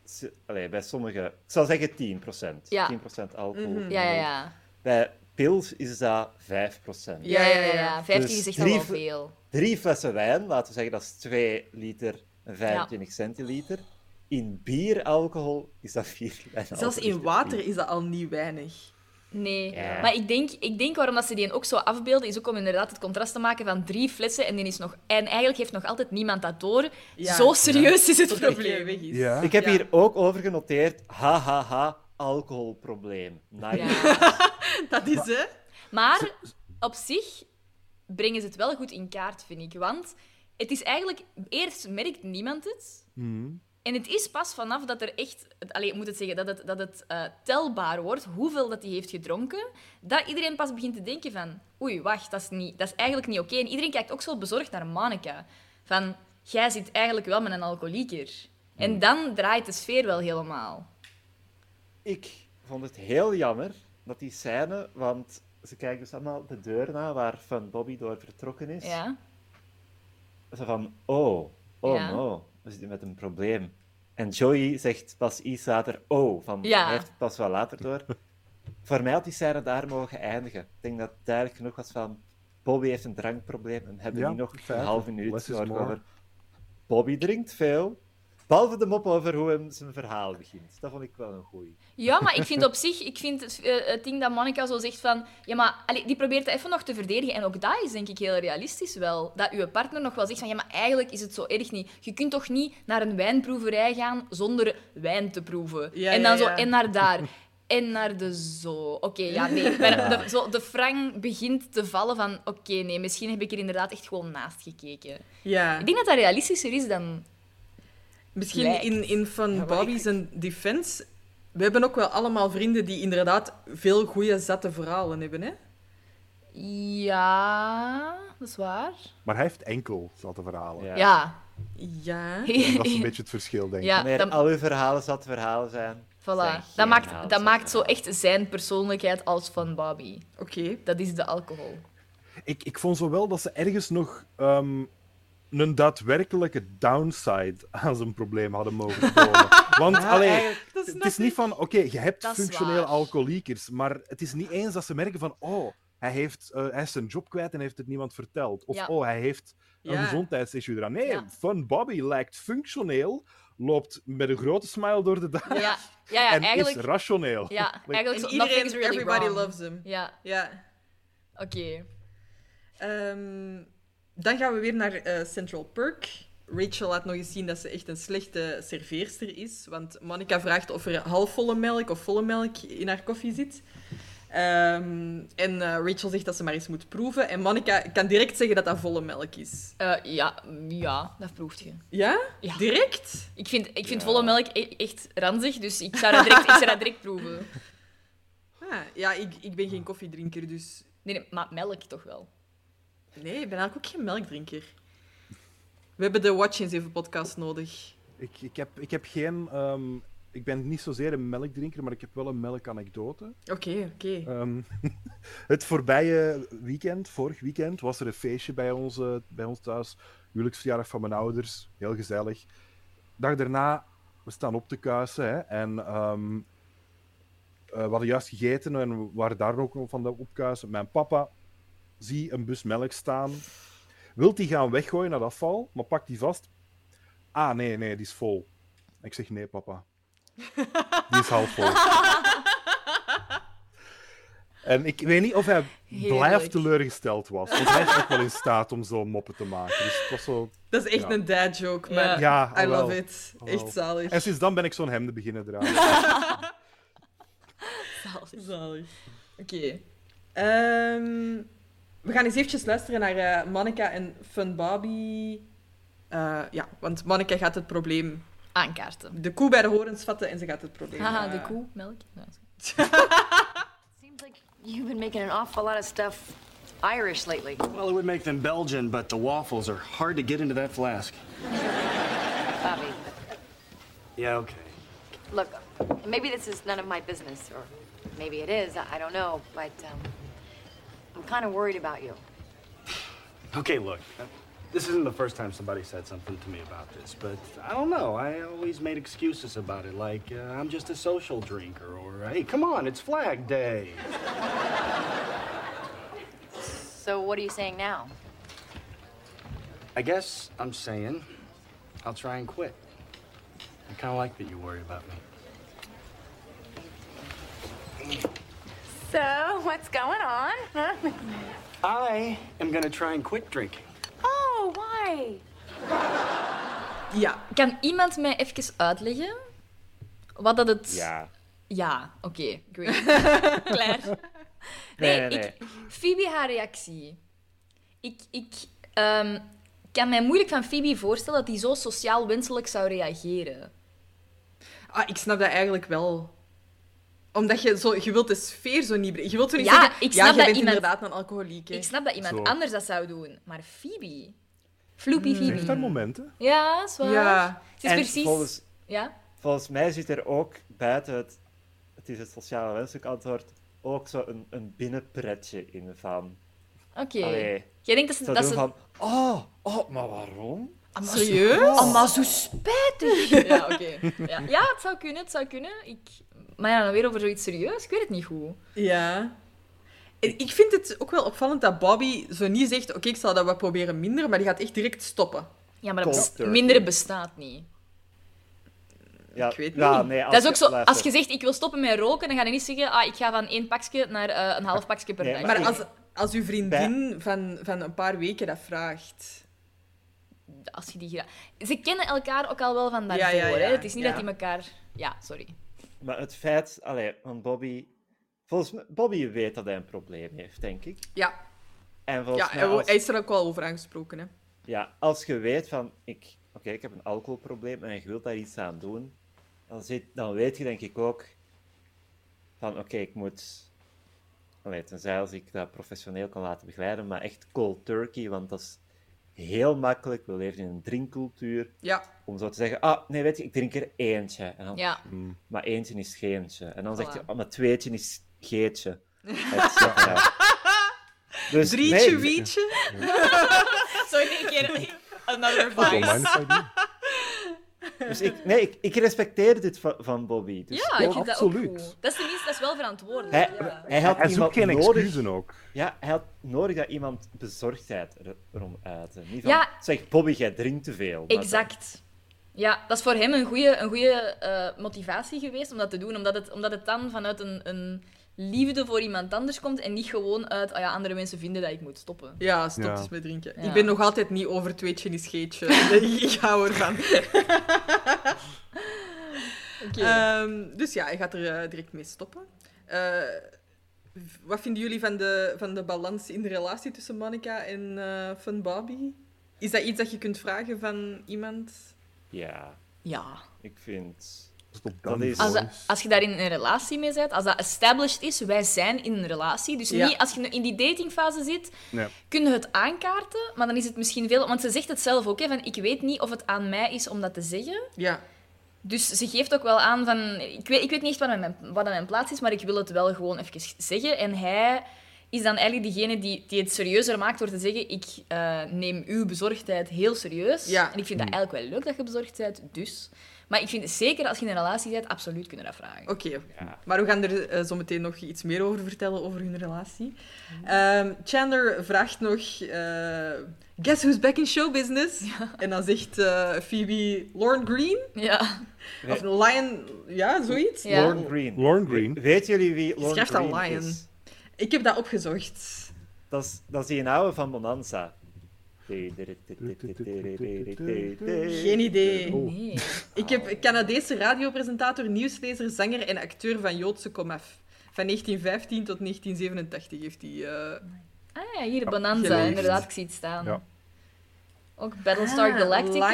Speaker 3: s- allee, bij sommige, ik zal zeggen 10%.
Speaker 2: Ja. Mhm.
Speaker 3: 10% alcohol.
Speaker 2: Ja, ja, ja.
Speaker 3: Bij pils is dat 5%.
Speaker 2: Ja, ja, ja. ja. 15 is
Speaker 3: Dus
Speaker 2: echt al wel
Speaker 3: drie-
Speaker 2: veel.
Speaker 3: Drie flessen wijn, laten we zeggen dat is 2 liter en 25 centiliter. In bieralcohol is dat 4 liter. en
Speaker 1: Zelfs in
Speaker 3: alcohol.
Speaker 1: water is dat al niet weinig.
Speaker 2: Nee.
Speaker 3: Ja.
Speaker 2: Maar ik denk, ik denk waarom dat ze die ook zo afbeelden, is ook om inderdaad het contrast te maken van drie flessen en die is nog... En eigenlijk heeft nog altijd niemand dat door.
Speaker 1: Ja.
Speaker 2: Zo serieus is het
Speaker 1: Tot het keer
Speaker 2: probleem.
Speaker 1: weg is.
Speaker 3: Ik heb
Speaker 1: Ja.
Speaker 3: hier ook over genoteerd, hahaha, alcoholprobleem. Nice.
Speaker 2: Ja.
Speaker 1: Dat is, hè?
Speaker 2: Maar op zich brengen ze het wel goed in kaart, vind ik. Want het is eigenlijk... Eerst merkt niemand het. En het is pas vanaf dat er echt... Allee, ik moet het zeggen, dat het, dat het eh, telbaar wordt, hoeveel dat hij heeft gedronken, dat iedereen pas begint te denken van... Oei, wacht, dat is, niet, dat is eigenlijk niet oké. En iedereen kijkt ook zo bezorgd naar Monica. Van, jij zit eigenlijk wel met een alcoholieker. En dan draait de sfeer wel helemaal.
Speaker 3: Ik vond het heel jammer dat die scène, want ze kijken dus allemaal de deur na waar Van Bobby door vertrokken is.
Speaker 2: Ja.
Speaker 3: Zo van, oh, oh
Speaker 2: Ja.
Speaker 3: no, we zitten met een probleem. En Joey zegt pas iets later, oh, van,
Speaker 2: Ja.
Speaker 3: hij heeft het pas wel later door. Voor mij had die scène daar mogen eindigen. Ik denk dat het duidelijk genoeg was van, Bobby heeft een drankprobleem en hebben
Speaker 4: Ja,
Speaker 3: niet nog
Speaker 4: in
Speaker 3: een
Speaker 4: feite.
Speaker 3: halve minuut
Speaker 4: Less is
Speaker 3: zorgen
Speaker 4: more.
Speaker 3: over. Bobby drinkt veel, behalve de mop over hoe hem zijn verhaal begint. Dat vond ik wel een goeie.
Speaker 2: Ja, maar ik vind op zich, ik vind het, eh, het ding dat Monica zo zegt van, ja, maar allee, die probeert het even nog te verdedigen. En ook dat is denk ik heel realistisch wel. Dat uw partner nog wel zegt van, ja, maar eigenlijk is het zo erg niet. Je kunt toch niet naar een wijnproeverij gaan zonder wijn te proeven.
Speaker 1: Ja,
Speaker 2: en dan
Speaker 1: ja,
Speaker 2: zo,
Speaker 1: ja.
Speaker 2: en naar daar. En naar de zo. Oké, ja, nee. Maar de, zo, de frang begint te vallen van, oké, nee, misschien heb ik er inderdaad echt gewoon naast gekeken.
Speaker 1: Ja.
Speaker 2: Ik denk dat dat realistischer is dan...
Speaker 1: Misschien
Speaker 2: Lijkt.
Speaker 1: in, in van
Speaker 3: maar
Speaker 1: Bobby's defense. We hebben ook wel allemaal vrienden die inderdaad veel goede zatte verhalen hebben, hè?
Speaker 2: Ja, dat is waar.
Speaker 4: Maar hij heeft enkel zatte verhalen.
Speaker 3: Ja.
Speaker 2: Ja.
Speaker 1: Ja.
Speaker 4: Dat is een beetje het verschil, denk ik.
Speaker 2: Ja,
Speaker 3: Wanneer
Speaker 2: dan-
Speaker 3: al uw verhalen zat verhalen zijn. zijn
Speaker 2: Voilà. Dat
Speaker 3: geen verhalen,
Speaker 2: maakt, dat
Speaker 3: zat
Speaker 2: maakt zo
Speaker 3: verhalen.
Speaker 2: echt zijn persoonlijkheid als van Bobby.
Speaker 1: Oké.
Speaker 2: Dat is de alcohol.
Speaker 4: Ik, ik vond zowel dat ze ergens nog ehm, een daadwerkelijke downside aan zijn probleem hadden mogen komen. Want
Speaker 3: Ja,
Speaker 4: allee,
Speaker 3: eigenlijk-
Speaker 1: Dat
Speaker 4: het
Speaker 1: snap
Speaker 4: is niet van, oké, je hebt
Speaker 2: Dat is
Speaker 4: functionele
Speaker 2: waar.
Speaker 4: alcoholiekers, maar het is niet eens dat ze merken van, oh, hij, heeft, eh, hij is zijn job kwijt en heeft het niemand verteld. Of,
Speaker 2: Ja.
Speaker 4: oh, hij heeft een
Speaker 1: Ja.
Speaker 4: gezondheidsissue eraan. Nee,
Speaker 2: Ja.
Speaker 4: Fun Bobby lijkt functioneel, loopt met een grote smile door de dag
Speaker 2: Ja, ja, ja,
Speaker 4: en is
Speaker 2: eigenlijk.
Speaker 4: rationeel.
Speaker 2: Ja, eigenlijk
Speaker 1: En
Speaker 2: zo,
Speaker 1: iedereen,
Speaker 2: nothing is really
Speaker 1: everybody
Speaker 2: wrong.
Speaker 1: loves him.
Speaker 2: Ja,
Speaker 1: Ja.
Speaker 2: oké.
Speaker 1: Ehm, dan gaan we weer naar eh, Central Perk. Rachel laat nog eens zien dat ze echt een slechte serveerster is. Want Monica vraagt of er halfvolle melk of volle melk in haar koffie zit. Ehm, en eh, Rachel zegt dat ze maar eens moet proeven. En Monica kan direct zeggen dat dat volle melk is.
Speaker 2: Eh, ja, ja, dat proeft je.
Speaker 1: Ja?
Speaker 2: Ja.
Speaker 1: Direct?
Speaker 2: Ik vind, ik vind
Speaker 3: Ja.
Speaker 2: volle melk e- echt ranzig, dus ik zou dat direct, ik zou dat direct proeven.
Speaker 1: Ah, ja, ik, ik ben geen koffiedrinker, dus...
Speaker 2: Nee, nee, maar melk toch wel.
Speaker 1: Nee, ik ben eigenlijk ook geen melkdrinker. We hebben de Watch Eens Even podcast nodig.
Speaker 4: Ik, ik, heb, ik heb geen... ehm, ik ben niet zozeer een melkdrinker, maar ik heb wel een melkanekdote.
Speaker 1: Oké, oké.
Speaker 4: Ehm, het voorbije weekend, vorig weekend, was er een feestje bij ons, eh, bij ons thuis. Huwelijksverjaardag van mijn ouders. Heel gezellig. Dag daarna, we staan op te kuisen. Hè, en ehm, eh, we hadden juist gegeten en we waren daar ook nog van de opkuisen. Mijn papa zie een bus melk staan. Wilt die gaan weggooien naar het afval, maar pakt die vast. Ah, nee, nee, die is vol. Ik zeg, nee, papa. Die is half vol. En ik weet niet of hij
Speaker 2: Heerlijk.
Speaker 4: blijft teleurgesteld was. Want hij is ook wel in staat om zo moppen te maken. Dus het was zo...
Speaker 1: Dat is echt
Speaker 4: Ja.
Speaker 1: een dad joke,
Speaker 2: Ja.
Speaker 1: maar
Speaker 4: Ja,
Speaker 1: I
Speaker 4: alhoewel.
Speaker 1: love it.
Speaker 4: Alhoewel.
Speaker 1: Echt zalig.
Speaker 4: En sinds dan ben ik zo'n hemde beginnen dragen.
Speaker 2: Zalig.
Speaker 1: Zalig. Oké. Ehm, we gaan eens eventjes luisteren naar eh Monica en Fun Bobby Eh, ja, want Monica gaat het probleem...
Speaker 2: Aankaarten.
Speaker 1: De koe bij de horens vatten en ze gaat het probleem...
Speaker 2: Haha,
Speaker 1: eh,
Speaker 2: de koe, melk.
Speaker 8: Seems like you've been making an awful lot of stuff Irish lately.
Speaker 9: Well, it would make them Belgian, but the waffles are hard to get into that flask.
Speaker 8: Bobby,
Speaker 9: Yeah, okay.
Speaker 8: look, maybe this is none of my business, or maybe it is, I I don't know, but um, I'm kind of worried about you.
Speaker 9: Okay, look. uh, This isn't the first time somebody said something to me about this, but I don't know. I always made excuses about it, like uh, I'm just a social drinker, or hey, come on, it's Flag Day.
Speaker 8: So what are you saying now?
Speaker 9: I guess I'm saying I'll try and quit. I kind of like that you worry about me.
Speaker 6: So, what's going on? Huh?
Speaker 9: I am gonna try and quit drinking.
Speaker 6: Oh, why?
Speaker 1: Ja,
Speaker 2: Kan iemand mij even uitleggen wat dat het...
Speaker 3: Ja.
Speaker 2: Ja, oké. ik weet het. Klaar. Nee,
Speaker 3: nee, nee.
Speaker 2: Ik, Phoebe, haar reactie. Ik, ik ehm, kan mij moeilijk van Phoebe voorstellen dat hij zo sociaal wenselijk zou reageren.
Speaker 1: Ah, ik snap dat eigenlijk wel. Omdat je zo... Je wilt de sfeer zo niet... bre- Je wilt zo niet
Speaker 2: Ja,
Speaker 1: zeggen...
Speaker 2: ik
Speaker 1: ja,
Speaker 2: snap dat
Speaker 1: jij bent
Speaker 2: iemand-
Speaker 1: inderdaad een alcoholiek. hè."
Speaker 2: Ik snap dat iemand
Speaker 4: Zo.
Speaker 2: anders dat zou doen, maar Phoebe... Floepie
Speaker 4: Ze
Speaker 2: Phoebe.
Speaker 4: heeft haar momenten.
Speaker 2: Ja, dat is waar.
Speaker 1: Ja.
Speaker 2: Het is
Speaker 3: en
Speaker 2: precies...
Speaker 3: volgens,
Speaker 2: Ja?
Speaker 3: volgens mij zit er ook buiten het, het is het sociale wenselijk antwoord, ook zo een, een binnenpretje in van.
Speaker 2: Oké.
Speaker 3: Allee.
Speaker 2: Jij denkt dat ze...
Speaker 3: Zo
Speaker 2: Dat
Speaker 3: doen
Speaker 2: ze...
Speaker 3: van, oh, oh, maar waarom?
Speaker 1: Serieus?
Speaker 2: Oh, maar zo spijtig. Ja, oké. Ja. ja, het zou kunnen, het zou kunnen. Ik... Maar ja, dan weer over zoiets serieus. Ik weet het niet goed.
Speaker 1: Ja. En ik vind het ook wel opvallend dat Bobby zo niet zegt... Oké, ik zal dat wel proberen minder, maar die gaat echt direct stoppen.
Speaker 2: Ja, maar dat
Speaker 3: Cold
Speaker 2: bes-
Speaker 3: turkey.
Speaker 2: mindere bestaat niet.
Speaker 3: Ja,
Speaker 1: Ik weet
Speaker 3: ja,
Speaker 1: niet.
Speaker 3: nee, als
Speaker 2: dat is ook
Speaker 3: je-
Speaker 2: zo,
Speaker 3: luister.
Speaker 2: als je zegt ik wil stoppen met roken, dan ga je niet zeggen ah, ik ga van één pakje naar eh, een half pakje per
Speaker 3: Nee,
Speaker 2: dag.
Speaker 1: Maar
Speaker 3: ik-
Speaker 1: als, als uw vriendin van, van een paar weken dat vraagt...
Speaker 2: als je die gra- Ze kennen elkaar ook al wel van daarvoor.
Speaker 1: Ja, ja, ja.
Speaker 2: Hè? Het is niet
Speaker 1: Ja.
Speaker 2: dat die elkaar... Ja, sorry.
Speaker 3: Maar het feit, allee, want Bobby, volgens mij, Bobby weet dat hij een probleem heeft, denk ik.
Speaker 1: Ja,
Speaker 3: En volgens
Speaker 1: ja
Speaker 3: mij,
Speaker 1: hij,
Speaker 3: als,
Speaker 1: hij is er ook wel over aangesproken. Hè.
Speaker 3: ja, als je weet van, ik, oké, ik heb een alcoholprobleem en je wilt daar iets aan doen, dan, zit, dan weet je denk ik ook van, oké, ik moet, allee, tenzij als ik dat professioneel kan laten begeleiden, maar echt cold turkey, want dat is heel makkelijk. We leven in een drinkcultuur.
Speaker 1: Ja.
Speaker 3: Om zo te zeggen, ah, nee, weet je, ik drink er eentje. En dan
Speaker 2: Ja,
Speaker 3: maar eentje is geentje. En dan zegt
Speaker 2: Voilà.
Speaker 3: je, oh, maar tweetje is geetje. Et cetera. Dus,
Speaker 1: Drietje,
Speaker 3: nee,
Speaker 1: wietje.
Speaker 2: sorry, ik keer another
Speaker 4: Don't
Speaker 2: vice.
Speaker 4: mind if I do.
Speaker 3: dus ik, nee, ik, ik respecteer dit van, van Bobby. Dus
Speaker 2: Ja, ik vind dat ook
Speaker 4: absoluut.
Speaker 2: goed. Dat is tenminste, dat is wel verantwoordelijk.
Speaker 3: Hij,
Speaker 2: ja.
Speaker 3: hij had
Speaker 4: Hij zoekt
Speaker 3: iemand
Speaker 4: geen
Speaker 3: nodig.
Speaker 4: excuses ook.
Speaker 3: Ja, hij had nodig dat iemand bezorgdheid er- erom uitte. Niet van,
Speaker 2: Ja.
Speaker 3: zeg Bobby, jij drinkt te veel. Maar
Speaker 2: Exact. Ja, dat is voor hem een goede een goeie, eh, motivatie geweest om dat te doen. Omdat het, omdat het dan vanuit een, een liefde voor iemand anders komt en niet gewoon uit ah ja, andere mensen vinden dat ik moet stoppen.
Speaker 1: Ja, stop
Speaker 4: Ja.
Speaker 1: eens met drinken.
Speaker 2: Ja.
Speaker 1: Ik ben nog altijd niet over tweetje is geetje. ik hou ervan.
Speaker 2: Oké.
Speaker 1: Ehm, dus ja, hij gaat er eh, direct mee stoppen. Eh, v- wat vinden jullie van de, van de balans in de relatie tussen Monica en eh Fun Bobby? Is dat iets dat je kunt vragen van iemand?
Speaker 3: dan- ja,
Speaker 2: ja.
Speaker 3: ik vind...
Speaker 4: Stop
Speaker 3: Dat
Speaker 4: dan,
Speaker 3: is-
Speaker 2: Als,
Speaker 4: boys.
Speaker 2: dat- als je daar in een relatie mee bent, als dat established is, wij zijn in een relatie. Dus
Speaker 1: Ja.
Speaker 2: niet als je in die datingfase zit,
Speaker 4: Nee.
Speaker 2: kun je het aankaarten, maar dan is het misschien veel... Want ze zegt het zelf ook, hè, van ik weet niet of het aan mij is om dat te zeggen.
Speaker 1: Ja,
Speaker 2: Dus ze geeft ook wel aan van... Ik weet, ik weet niet echt wat aan, mijn, wat aan mijn plaats is, maar ik wil het wel gewoon even zeggen. En hij is dan eigenlijk degene die, die het serieuzer maakt door te zeggen... Ik eh, neem uw bezorgdheid heel serieus.
Speaker 1: Ja. Hm.
Speaker 2: En ik vind dat eigenlijk wel leuk dat je bezorgd bent, dus... Maar ik vind zeker als je in een relatie bent, absoluut kunnen dat vragen.
Speaker 1: oké. Maar we gaan er eh, zo meteen nog iets meer over vertellen, over hun relatie. Ehm, Chandler vraagt nog... eh, Guess who's back in show business? En dan zegt eh, Phoebe Lauren Green?
Speaker 2: Ja.
Speaker 1: Of Lion... Ja, zoiets.
Speaker 2: Ja.
Speaker 3: Lauren Green.
Speaker 4: Lauren Green.
Speaker 3: We- Weet jullie wie Lauren
Speaker 1: schrijft al
Speaker 3: Green
Speaker 1: Lion.
Speaker 3: is?
Speaker 1: Ik heb dat opgezocht.
Speaker 3: Dat is, dat is die oude van Bonanza. Geen
Speaker 1: Geen idee.
Speaker 4: Oh.
Speaker 2: Nee.
Speaker 1: Ik heb Canadese radiopresentator, nieuwslezer, zanger en acteur van Joodse komaf. Van 1915 tot 1987 heeft hij... eh,
Speaker 2: Ah ja, hier, Bonanza,
Speaker 1: geen idee.
Speaker 2: inderdaad. Ik zie het staan.
Speaker 4: Ja.
Speaker 2: Ook Battlestar
Speaker 1: Ah,
Speaker 2: Galactica.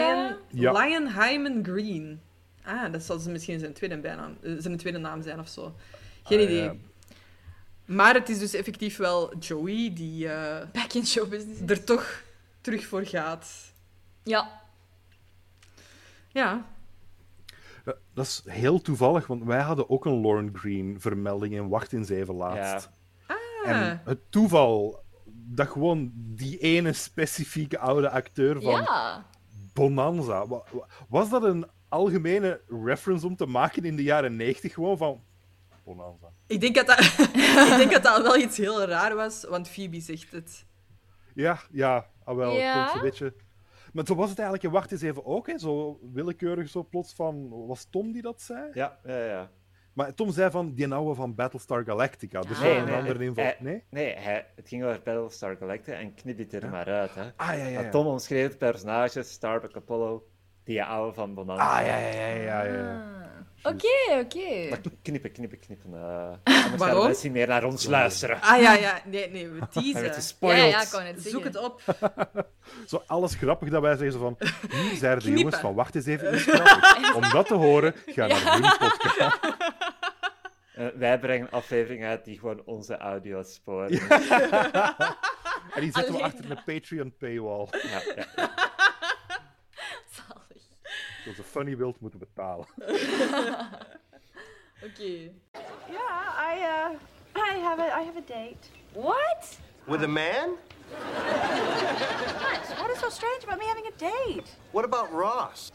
Speaker 1: Lion,
Speaker 4: Ja.
Speaker 1: Lion Hyman Green. Ah, dat zal ze misschien zijn tweede, bijnaam, eh, zijn tweede naam zijn of zo. Geen
Speaker 4: Ah,
Speaker 1: idee.
Speaker 4: ja.
Speaker 1: Maar het is dus effectief wel Joey die eh,
Speaker 2: Back in show business.
Speaker 1: er toch terug voor gaat.
Speaker 2: Ja.
Speaker 1: Ja,
Speaker 4: Ja, Dat is heel toevallig, want wij hadden ook een Lauren Green vermelding in Wacht in Zeven laatst.
Speaker 2: Ah.
Speaker 4: En het toeval dat gewoon die ene specifieke oude acteur van
Speaker 2: Ja.
Speaker 4: Bonanza. wa- wa- Was dat een algemene reference om te maken in de jaren 90 gewoon van Bonanza?
Speaker 1: ik denk dat dat, ik denk dat, dat wel iets heel raar was, want Phoebe zegt het.
Speaker 4: Ja, ja, ah wel,
Speaker 2: Ja?
Speaker 4: komt zo'n beetje. Maar zo was het eigenlijk in Wacht eens even ook, hè? zo willekeurig zo plots van, was Tom die dat zei?
Speaker 3: Ja, ja, ja.
Speaker 4: Maar Tom zei van die oude van Battlestar Galactica, dus
Speaker 2: Ah, Nee,
Speaker 4: wel een
Speaker 2: nee, Eh,
Speaker 4: andere inval.
Speaker 3: hij-
Speaker 4: Nee?
Speaker 3: Nee, hij, het ging over Battlestar Galactica en knip dit er maar uit. Hè.
Speaker 4: Ah, ja, ja, ja.
Speaker 3: Maar Tom omschreef het personage, Starbuck Apollo, die oude van Bonanza.
Speaker 4: Ah, ja, ja, ja, ja, ja.
Speaker 2: Ah. Oké, oké.
Speaker 3: Maar k- knippen, knippen, knippen. eh anders gaan
Speaker 1: Waarom?
Speaker 3: de mensen meer naar ons luisteren.
Speaker 1: Ah ja, ja, nee, nee, we
Speaker 3: Hij werd
Speaker 1: teasen.
Speaker 2: Ja,
Speaker 3: gespoild.
Speaker 2: ja, ik kan het zeggen.
Speaker 1: Zoek het op.
Speaker 4: Zo alles grappig dat wij zeggen zo van, hier zijn de jongens
Speaker 1: Knippen.
Speaker 4: van Wacht eens even iets grappig. Om dat te horen, ga naar hun podcast.
Speaker 3: Eh, wij brengen afleveringen uit die gewoon onze audio sporen.
Speaker 4: En die zetten we
Speaker 2: Alleen
Speaker 4: achter een Patreon paywall.
Speaker 3: Ja, ja.
Speaker 2: Zalig.
Speaker 4: Dat ze funny wilt moeten betalen.
Speaker 2: Oké.
Speaker 6: Yeah, I uh, I have a I have a date.
Speaker 8: What?
Speaker 5: With a man?
Speaker 6: What is so strange about me having a date?
Speaker 5: What about Ross?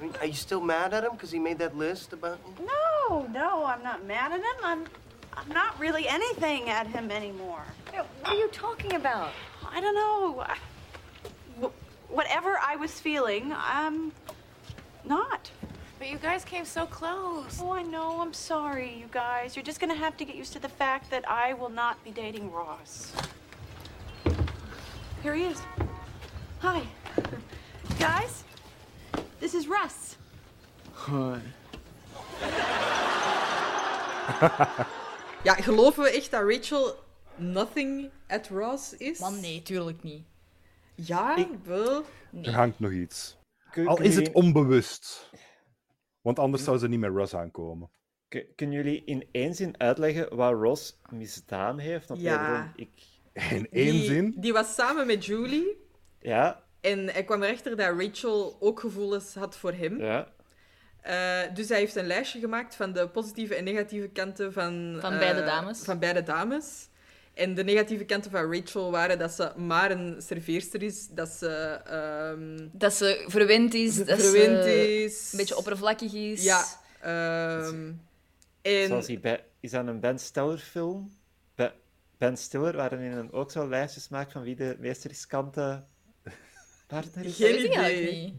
Speaker 5: I mean, are you still mad at him because he made that list about you?
Speaker 6: No, no, I'm not mad at him. I'm I'm not really anything at him anymore.
Speaker 8: What are you talking about?
Speaker 6: I don't know. I- wh- Whatever I was feeling, I'm not.
Speaker 7: But you guys came so close.
Speaker 6: Oh, I know. I'm sorry, you guys. You're just gonna have to get used to the fact that I will not be dating Ross. Here he is. Hi, guys. This is Russ.
Speaker 1: Ja, geloven we echt dat Rachel nothing at Ross is?
Speaker 2: Man, nee, tuurlijk niet.
Speaker 1: Ja, wel.
Speaker 4: Er hangt nog iets.
Speaker 3: Kun-
Speaker 4: Al
Speaker 3: kunnen
Speaker 4: is het
Speaker 3: jullie-
Speaker 4: onbewust. Want anders zou ze niet met Russ aankomen.
Speaker 3: kun- Kunnen jullie in één zin uitleggen wat Ross misdaan heeft? Want
Speaker 1: Ja.
Speaker 3: wederom, ik...
Speaker 4: In één
Speaker 1: die,
Speaker 4: zin.
Speaker 1: Die was samen met Julie.
Speaker 3: Ja,
Speaker 1: En hij kwam erachter dat Rachel ook gevoelens had voor hem.
Speaker 3: ja.
Speaker 1: Eh, dus hij heeft een lijstje gemaakt van de positieve en negatieve kanten van...
Speaker 2: Van
Speaker 1: eh,
Speaker 2: beide dames.
Speaker 1: Van beide dames. En de negatieve kanten van Rachel waren dat ze maar een serveerster is, dat ze ehm
Speaker 2: Dat ze verwend is. Dat
Speaker 1: verwend
Speaker 2: ze
Speaker 1: is.
Speaker 2: Een beetje oppervlakkig is.
Speaker 1: Ja. ehm, en...
Speaker 3: Zoals die bij, is dat een Ben Stiller film? Be- ben Stiller, waarin hij dan ook zo lijstjes maakt van wie de meest riskante partner is?
Speaker 2: Dat weet ik
Speaker 1: Geen
Speaker 2: eigenlijk
Speaker 1: idee.
Speaker 2: niet.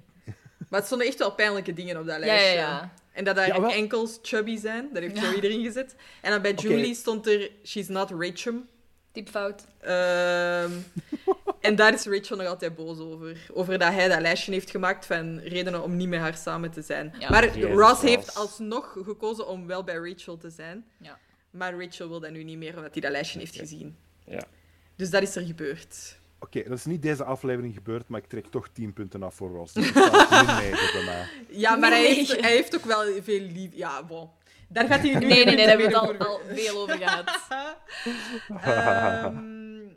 Speaker 1: Maar het stonden echt wel pijnlijke dingen op dat
Speaker 2: Ja,
Speaker 1: lijstje.
Speaker 2: ja, ja.
Speaker 1: En dat haar
Speaker 4: Ja, wel-
Speaker 1: enkels chubby zijn. Dat heeft Joey erin gezet. En dan bij Julie stond er... She's not ehm. Rachel.
Speaker 2: Typfout.
Speaker 1: Ehm, en daar is Rachel nog altijd boos over. Over dat hij dat lijstje heeft gemaakt van redenen om niet met haar samen te zijn.
Speaker 2: Ja.
Speaker 1: maar
Speaker 3: Jezus,
Speaker 1: Ross
Speaker 3: Ross.
Speaker 1: heeft alsnog gekozen om wel bij Rachel te zijn.
Speaker 2: Ja.
Speaker 1: Maar Rachel wil dat nu niet meer, omdat hij dat lijstje heeft gezien.
Speaker 3: Ja.
Speaker 1: Dus dat is er gebeurd.
Speaker 4: Oké, dat is niet deze aflevering gebeurd, maar ik trek toch 10 punten af voor Ross. Dus dat staat min negen bij mij.
Speaker 1: Ja, maar hij,
Speaker 2: Nee.
Speaker 1: heeft, hij heeft ook wel veel liefde. Ja, bon. Daar gaat hij nu
Speaker 2: Nee, nee, nee,
Speaker 1: niet
Speaker 2: daar hebben we
Speaker 1: meer
Speaker 2: het
Speaker 1: over.
Speaker 2: al, al veel over gehad.
Speaker 1: Ehm,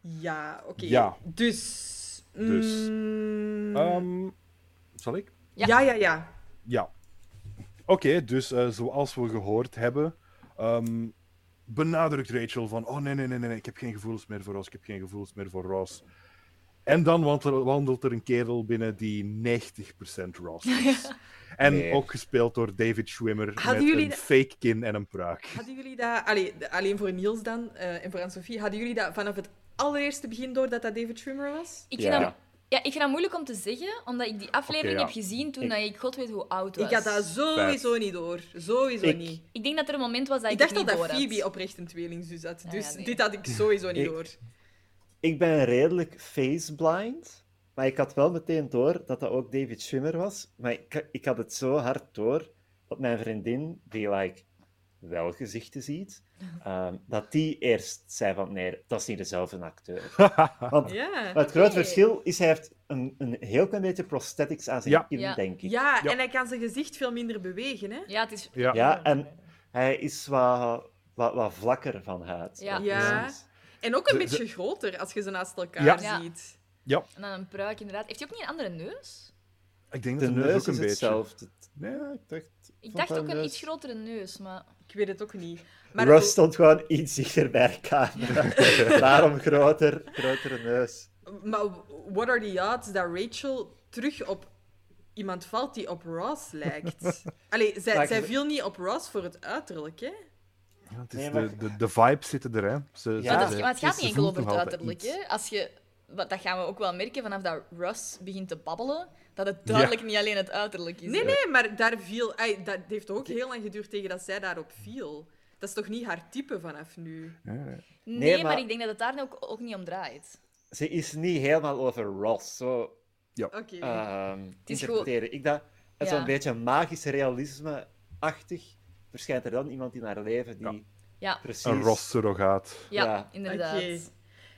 Speaker 1: ja, oké.
Speaker 4: Ja.
Speaker 1: Dus.
Speaker 4: Dus.
Speaker 1: mm,
Speaker 4: Ehm, zal ik?
Speaker 2: ja.
Speaker 1: Ja, ja, ja.
Speaker 4: Ja. Oké, dus eh, zoals we gehoord hebben, ehm, benadrukt Rachel van: Oh nee, nee, nee, nee, nee, ik heb geen gevoelens meer voor Ross, ik heb geen gevoelens meer voor Ross. En dan wandelt- wandelt er een kerel binnen die 90% Ross is. En
Speaker 3: Nee.
Speaker 4: ook gespeeld door David Schwimmer
Speaker 1: Hadden
Speaker 4: met
Speaker 1: jullie
Speaker 4: een
Speaker 1: de-
Speaker 4: fake kin en een pruik.
Speaker 1: Hadden jullie dat. Allee, de- alleen voor Niels dan eh, en voor Anne-Sophie. Hadden jullie dat vanaf het allereerste begin door dat dat David Trimmer was?
Speaker 2: Ik vind,
Speaker 3: Ja.
Speaker 2: dat, ja, ik vind dat moeilijk om te zeggen, omdat ik die aflevering
Speaker 4: Oké, ja.
Speaker 2: heb gezien toen
Speaker 3: Ik-
Speaker 2: dat ik god weet hoe oud was.
Speaker 1: Ik had dat sowieso niet door. Sowieso
Speaker 3: Ik-
Speaker 1: niet.
Speaker 2: Ik denk dat er een moment was dat
Speaker 1: Ik
Speaker 2: ik,
Speaker 1: dacht
Speaker 2: het
Speaker 1: al
Speaker 2: niet
Speaker 1: dat
Speaker 2: door had.
Speaker 1: Phoebe oprecht een tweelingzus had.
Speaker 2: ja,
Speaker 1: Dus
Speaker 2: nee.
Speaker 1: dit had ik sowieso niet
Speaker 3: Ik-
Speaker 1: door.
Speaker 3: Ik ben redelijk faceblind, maar ik had wel meteen door dat dat ook David Schwimmer was. Maar ik, ik had het zo hard door dat mijn vriendin, die like, wel gezichten ziet, ehm, dat die eerst zei van nee, dat is niet dezelfde acteur. Want
Speaker 1: Ja.
Speaker 3: Maar het groot verschil is, hij heeft een, een heel klein beetje prosthetics aan zijn
Speaker 4: Ja.
Speaker 3: kin,
Speaker 2: Ja.
Speaker 3: denk ik.
Speaker 1: Ja,
Speaker 4: Ja.
Speaker 1: en hij kan zijn gezicht veel minder bewegen, hè?
Speaker 2: Ja, het is...
Speaker 4: Ja.
Speaker 3: Ja, en hij is wat, wat, wat vlakker van huid.
Speaker 2: Ja.
Speaker 3: Wat
Speaker 1: Ja.
Speaker 3: precies.
Speaker 1: En ook een
Speaker 4: Ze- ze-
Speaker 1: beetje groter als je ze naast
Speaker 4: Ja.
Speaker 1: elkaar
Speaker 2: Ja.
Speaker 1: ziet.
Speaker 2: En dan een pruik, inderdaad. Heeft hij ook niet een andere neus?
Speaker 4: Ik denk
Speaker 3: De,
Speaker 4: dat de,
Speaker 3: neus
Speaker 4: ook een
Speaker 3: is
Speaker 4: beetje...
Speaker 3: hetzelfde.
Speaker 4: Nee, ik dacht...
Speaker 2: Ik
Speaker 3: Vond
Speaker 2: dacht
Speaker 3: haar
Speaker 2: ook een
Speaker 3: neus-
Speaker 2: iets grotere neus, maar...
Speaker 1: Ik weet het ook niet. Maar
Speaker 3: Ruff stond gewoon iets dichter bij elkaar. Daarom groter, grotere neus.
Speaker 1: Maar what are the odds dat Rachel terug op iemand valt die op Ross lijkt? Allee, zij,
Speaker 3: Maar ik-
Speaker 1: zij viel niet op Ross voor het uiterlijk, hè?
Speaker 4: Ja, het is
Speaker 3: Nee, maar-
Speaker 4: de, de, de vibes zitten er, hè. Ze,
Speaker 3: Ja.
Speaker 2: maar,
Speaker 4: ze-
Speaker 2: dat,
Speaker 4: ze-
Speaker 2: maar het gaat
Speaker 4: ze
Speaker 2: niet enkel
Speaker 4: voelt
Speaker 2: over het
Speaker 4: nog altijd
Speaker 2: uiterlijk.
Speaker 4: iets.
Speaker 2: Hè? Als je, wat, dat gaan we ook wel merken vanaf dat Russ begint te babbelen, dat het duidelijk niet alleen het uiterlijk is.
Speaker 1: Nee, nee, maar daar viel... ai, dat heeft ook heel lang geduurd tegen dat zij daarop viel. Dat is toch niet haar type vanaf nu?
Speaker 2: Nee,
Speaker 3: Nee,
Speaker 2: maar...
Speaker 3: maar-
Speaker 2: ik denk dat het daar ook, ook niet om draait.
Speaker 3: Ze is niet helemaal over Ross. Zo
Speaker 1: Oké.
Speaker 4: Ah.
Speaker 3: ehm,
Speaker 2: is
Speaker 3: interpreteren. Ik dacht, het is
Speaker 2: Ja.
Speaker 3: zo'n beetje magisch realisme-achtig. Verschijnt er dan iemand in haar leven die
Speaker 2: Ja,
Speaker 3: precies...
Speaker 4: Een Ross-surrogaat.
Speaker 2: ja,
Speaker 3: Ja.
Speaker 2: inderdaad.
Speaker 1: Oké.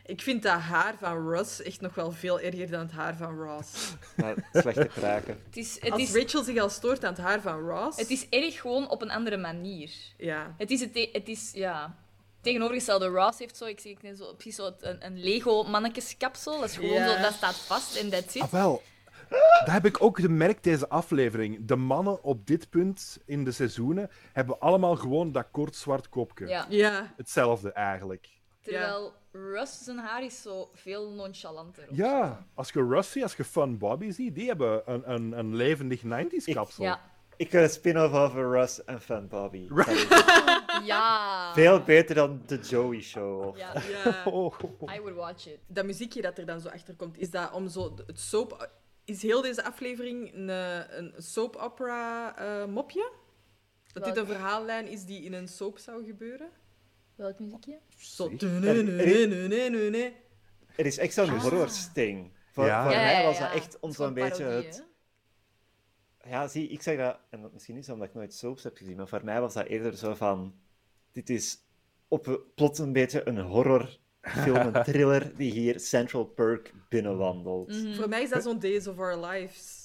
Speaker 1: Ik vind dat haar van Ross echt nog wel veel erger dan het haar van Ross.
Speaker 3: Maar slechte kraken.
Speaker 2: Het, is, het,
Speaker 1: Als
Speaker 2: is,
Speaker 1: Rachel zich al stoort aan het haar van Ross...
Speaker 2: het is erg gewoon op een andere manier.
Speaker 1: Ja.
Speaker 2: Het is, het, te- het is ja. Tegenovergestelde Ross heeft zo, ik zie ik net zo, precies zo het- een, een Lego mannetjeskapsel. Dat is gewoon
Speaker 1: Ja.
Speaker 2: zo, dat staat vast en that's it.
Speaker 4: Ah, wel. Dat heb ik ook gemerkt deze aflevering. De mannen op dit punt in de seizoenen hebben allemaal gewoon dat kort zwart kopje.
Speaker 2: Ja.
Speaker 1: Ja.
Speaker 4: Hetzelfde eigenlijk.
Speaker 2: Terwijl Russ zijn haar is zo veel nonchalanter. of zo.
Speaker 4: Ja, als je Rusty, als je Fun Bobby ziet, die hebben een, een, een levendig 90s
Speaker 3: Ik-
Speaker 4: kapsel.
Speaker 2: Ja.
Speaker 3: Ik wil een spin-off over Russ en Fun Bobby. Dat is
Speaker 2: Ja.
Speaker 3: Veel beter dan de Joey Show. of-
Speaker 2: Ja,
Speaker 1: ja.
Speaker 4: Oh, oh, oh.
Speaker 2: I would watch it.
Speaker 1: dat muziekje dat er dan zo achter komt, is dat om zo het soap. Is heel deze aflevering een, eh, een soap opera eh, mopje? Dat dit
Speaker 2: Welk?
Speaker 1: een verhaallijn is die in een soap zou gebeuren?
Speaker 2: Welk muziekje?
Speaker 1: Zo.
Speaker 3: Er is echt zo'n horrorsting. Voor,
Speaker 4: Ja.
Speaker 3: voor
Speaker 4: Ja,
Speaker 3: mij
Speaker 2: ja,
Speaker 3: was
Speaker 2: ja.
Speaker 3: dat echt om
Speaker 2: Zo'n
Speaker 3: zo'n beetje
Speaker 2: parodie,
Speaker 3: het...
Speaker 2: hè?
Speaker 3: Ja, zie, ik zeg dat... En dat misschien is omdat ik nooit soaps heb gezien, maar voor mij was dat eerder zo van... Dit is op, plots een beetje een horrorfilm, een thriller, die hier Central Perk binnenwandelt.
Speaker 1: Hmm. Voor mij is dat zo'n Days of Our Lives.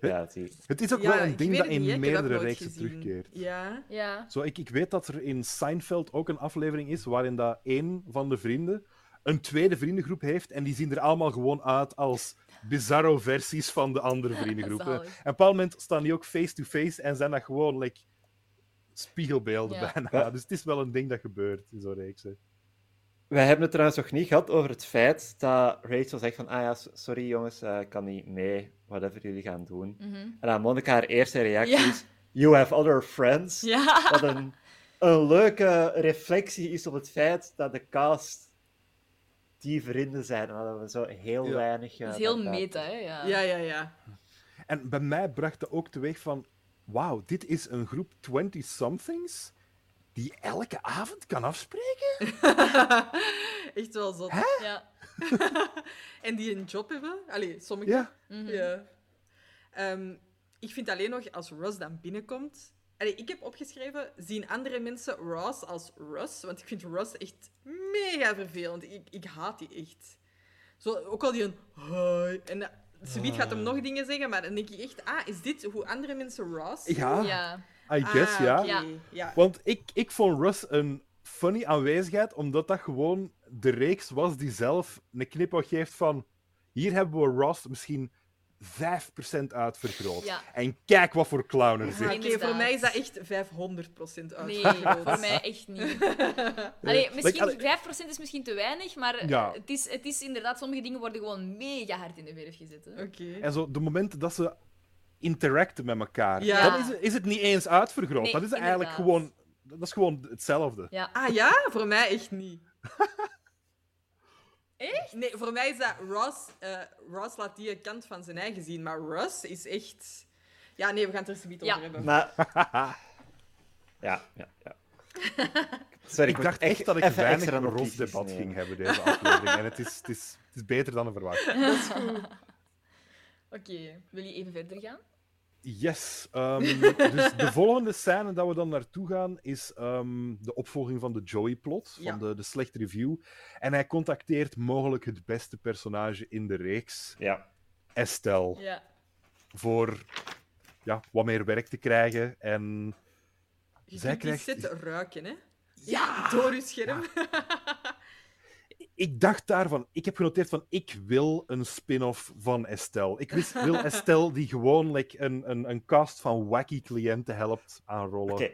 Speaker 3: Ja, zie.
Speaker 4: Het is ook
Speaker 1: Ja,
Speaker 4: wel een
Speaker 1: ik
Speaker 4: ding
Speaker 1: weet
Speaker 4: dat
Speaker 1: het
Speaker 4: in
Speaker 1: niet, hè, ik heb dat
Speaker 4: meerdere
Speaker 1: nooit
Speaker 4: reeksen
Speaker 1: gezien.
Speaker 4: terugkeert.
Speaker 1: Ja.
Speaker 2: Ja.
Speaker 4: Zo, ik, ik weet dat er in Seinfeld ook een aflevering is waarin dat één van de vrienden een tweede vriendengroep heeft en die zien er allemaal gewoon uit als bizarro versies van de andere vriendengroepen. En op
Speaker 2: Zalig.
Speaker 4: een bepaald moment staan die ook face-to-face en zijn dat gewoon like, spiegelbeelden
Speaker 2: Ja.
Speaker 4: bijna. Dus het is wel een ding dat gebeurt in zo'n reeks. hè.
Speaker 3: Wij hebben het trouwens nog niet gehad over het feit dat Rachel zegt van ah ja, s- sorry jongens, eh, ik kan niet mee, whatever jullie gaan doen. En dan Monica haar eerste reactie
Speaker 2: Mhm. Ja.
Speaker 3: is, you have other friends.
Speaker 2: Ja.
Speaker 3: Wat een, een leuke reflectie is op het feit dat de cast die vrienden zijn. En dat we zo heel
Speaker 4: Ja.
Speaker 3: weinig... eh,
Speaker 2: Dat is heel
Speaker 3: dat-
Speaker 2: meta, hè? Ja.
Speaker 1: Ja, ja, ja.
Speaker 4: En bij mij bracht dat ook teweeg van... Wauw, dit is een groep 20-somethings die elke avond kan afspreken?
Speaker 1: Echt wel zot.
Speaker 2: Ja.
Speaker 1: En die een job hebben. Allee, sommigen.
Speaker 4: Ja.
Speaker 1: Ja. Ehm, ik vind alleen nog als Ross dan binnenkomt. Allee, ik heb opgeschreven: zien andere mensen Ross als Ross? Want ik vind Ross echt mega vervelend. Ik, ik haat die echt. Zo, ook al die een hi. En dat- ze biedt gaat hem
Speaker 4: Ah.
Speaker 1: nog dingen zeggen, maar dan denk ik echt: ah, is dit hoe andere mensen Ross? zien?
Speaker 4: Ja,
Speaker 2: Ja.
Speaker 4: I guess,
Speaker 1: Ah,
Speaker 4: ja.
Speaker 1: oké,
Speaker 2: Ja.
Speaker 1: ja.
Speaker 4: Want ik, ik vond Russ een funny aanwezigheid, omdat dat gewoon de reeks was die zelf een knipoog geeft van... Hier hebben we Ross misschien 5% uitvergroot.
Speaker 2: Ja.
Speaker 4: En kijk wat voor clown er
Speaker 1: Ah,
Speaker 4: zit.
Speaker 1: Oké,
Speaker 2: Inderdaad.
Speaker 1: voor mij is dat echt 500% uit.
Speaker 2: Nee, voor mij echt niet. Allee, misschien,
Speaker 4: allee-
Speaker 2: 5% is misschien te weinig, maar
Speaker 4: Ja.
Speaker 2: het, is, het is inderdaad, sommige dingen worden gewoon mega hard in de verf gezet. Hè.
Speaker 1: Oké.
Speaker 4: En zo, de momenten dat ze interacten met elkaar,
Speaker 1: Ja.
Speaker 4: dan is, het- is het niet eens uitvergroot.
Speaker 2: Nee,
Speaker 4: dat is eigenlijk
Speaker 2: inderdaad.
Speaker 4: gewoon, dat is gewoon hetzelfde.
Speaker 2: Ja.
Speaker 1: Ah ja, voor mij echt niet. echt? Nee, voor mij is dat Ross. eh, Ross laat die een kant van zijn eigen zien, maar Ross is echt. Ja, nee, we gaan het er zo niet
Speaker 2: Ja.
Speaker 1: over hebben.
Speaker 3: Maar... ja, ja, ja. Sorry,
Speaker 4: Ik
Speaker 3: moet
Speaker 4: dacht echt dat ik
Speaker 3: even
Speaker 4: weinig
Speaker 3: extra
Speaker 4: een
Speaker 3: notities
Speaker 4: rot debat
Speaker 3: nemen.
Speaker 4: ging hebben deze aflevering. En het is, het, is, het is beter dan een verwacht.
Speaker 2: Oké, wil je even verder gaan?
Speaker 4: Yes. ehm, dus de volgende scène dat we dan naartoe gaan is ehm, de opvolging van de Joey-plot,
Speaker 1: Ja.
Speaker 4: van de, de slechte review. En hij contacteert mogelijk het beste personage in de reeks,
Speaker 3: Ja.
Speaker 4: Estelle,
Speaker 2: Ja.
Speaker 4: voor ja, wat meer werk te krijgen. En
Speaker 1: Je
Speaker 4: Zij
Speaker 1: kunt die
Speaker 4: krijgt-
Speaker 1: set ruiken, hè? Ja! Door je scherm.
Speaker 4: ik dacht daarvan, ik heb genoteerd van ik wil een spin-off van Estelle. Ik wist, wil Estelle die gewoonlijk een, een, een cast van wacky cliënten helpt aanrollen.
Speaker 3: Oké.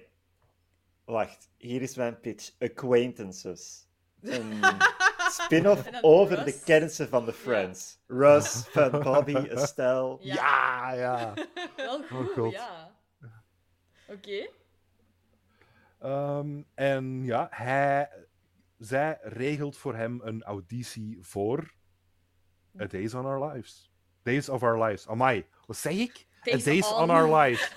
Speaker 3: Wacht, hier is mijn pitch. Acquaintances. Een spin-off
Speaker 2: En dan
Speaker 3: over
Speaker 2: Russ.
Speaker 3: de kennissen van de Friends. Russ, Van Bobby, Estelle.
Speaker 2: Ja.
Speaker 4: Ja, ja.
Speaker 2: Wel goed,
Speaker 4: Oh God.
Speaker 2: ja. Oké.
Speaker 4: Ehm, en ja, hij, zij regelt voor hem een auditie voor A Days on Our Lives. Days of Our Lives. Amai, wat zeg ik?
Speaker 2: Days
Speaker 4: A Days on
Speaker 2: on.
Speaker 4: Our Lives.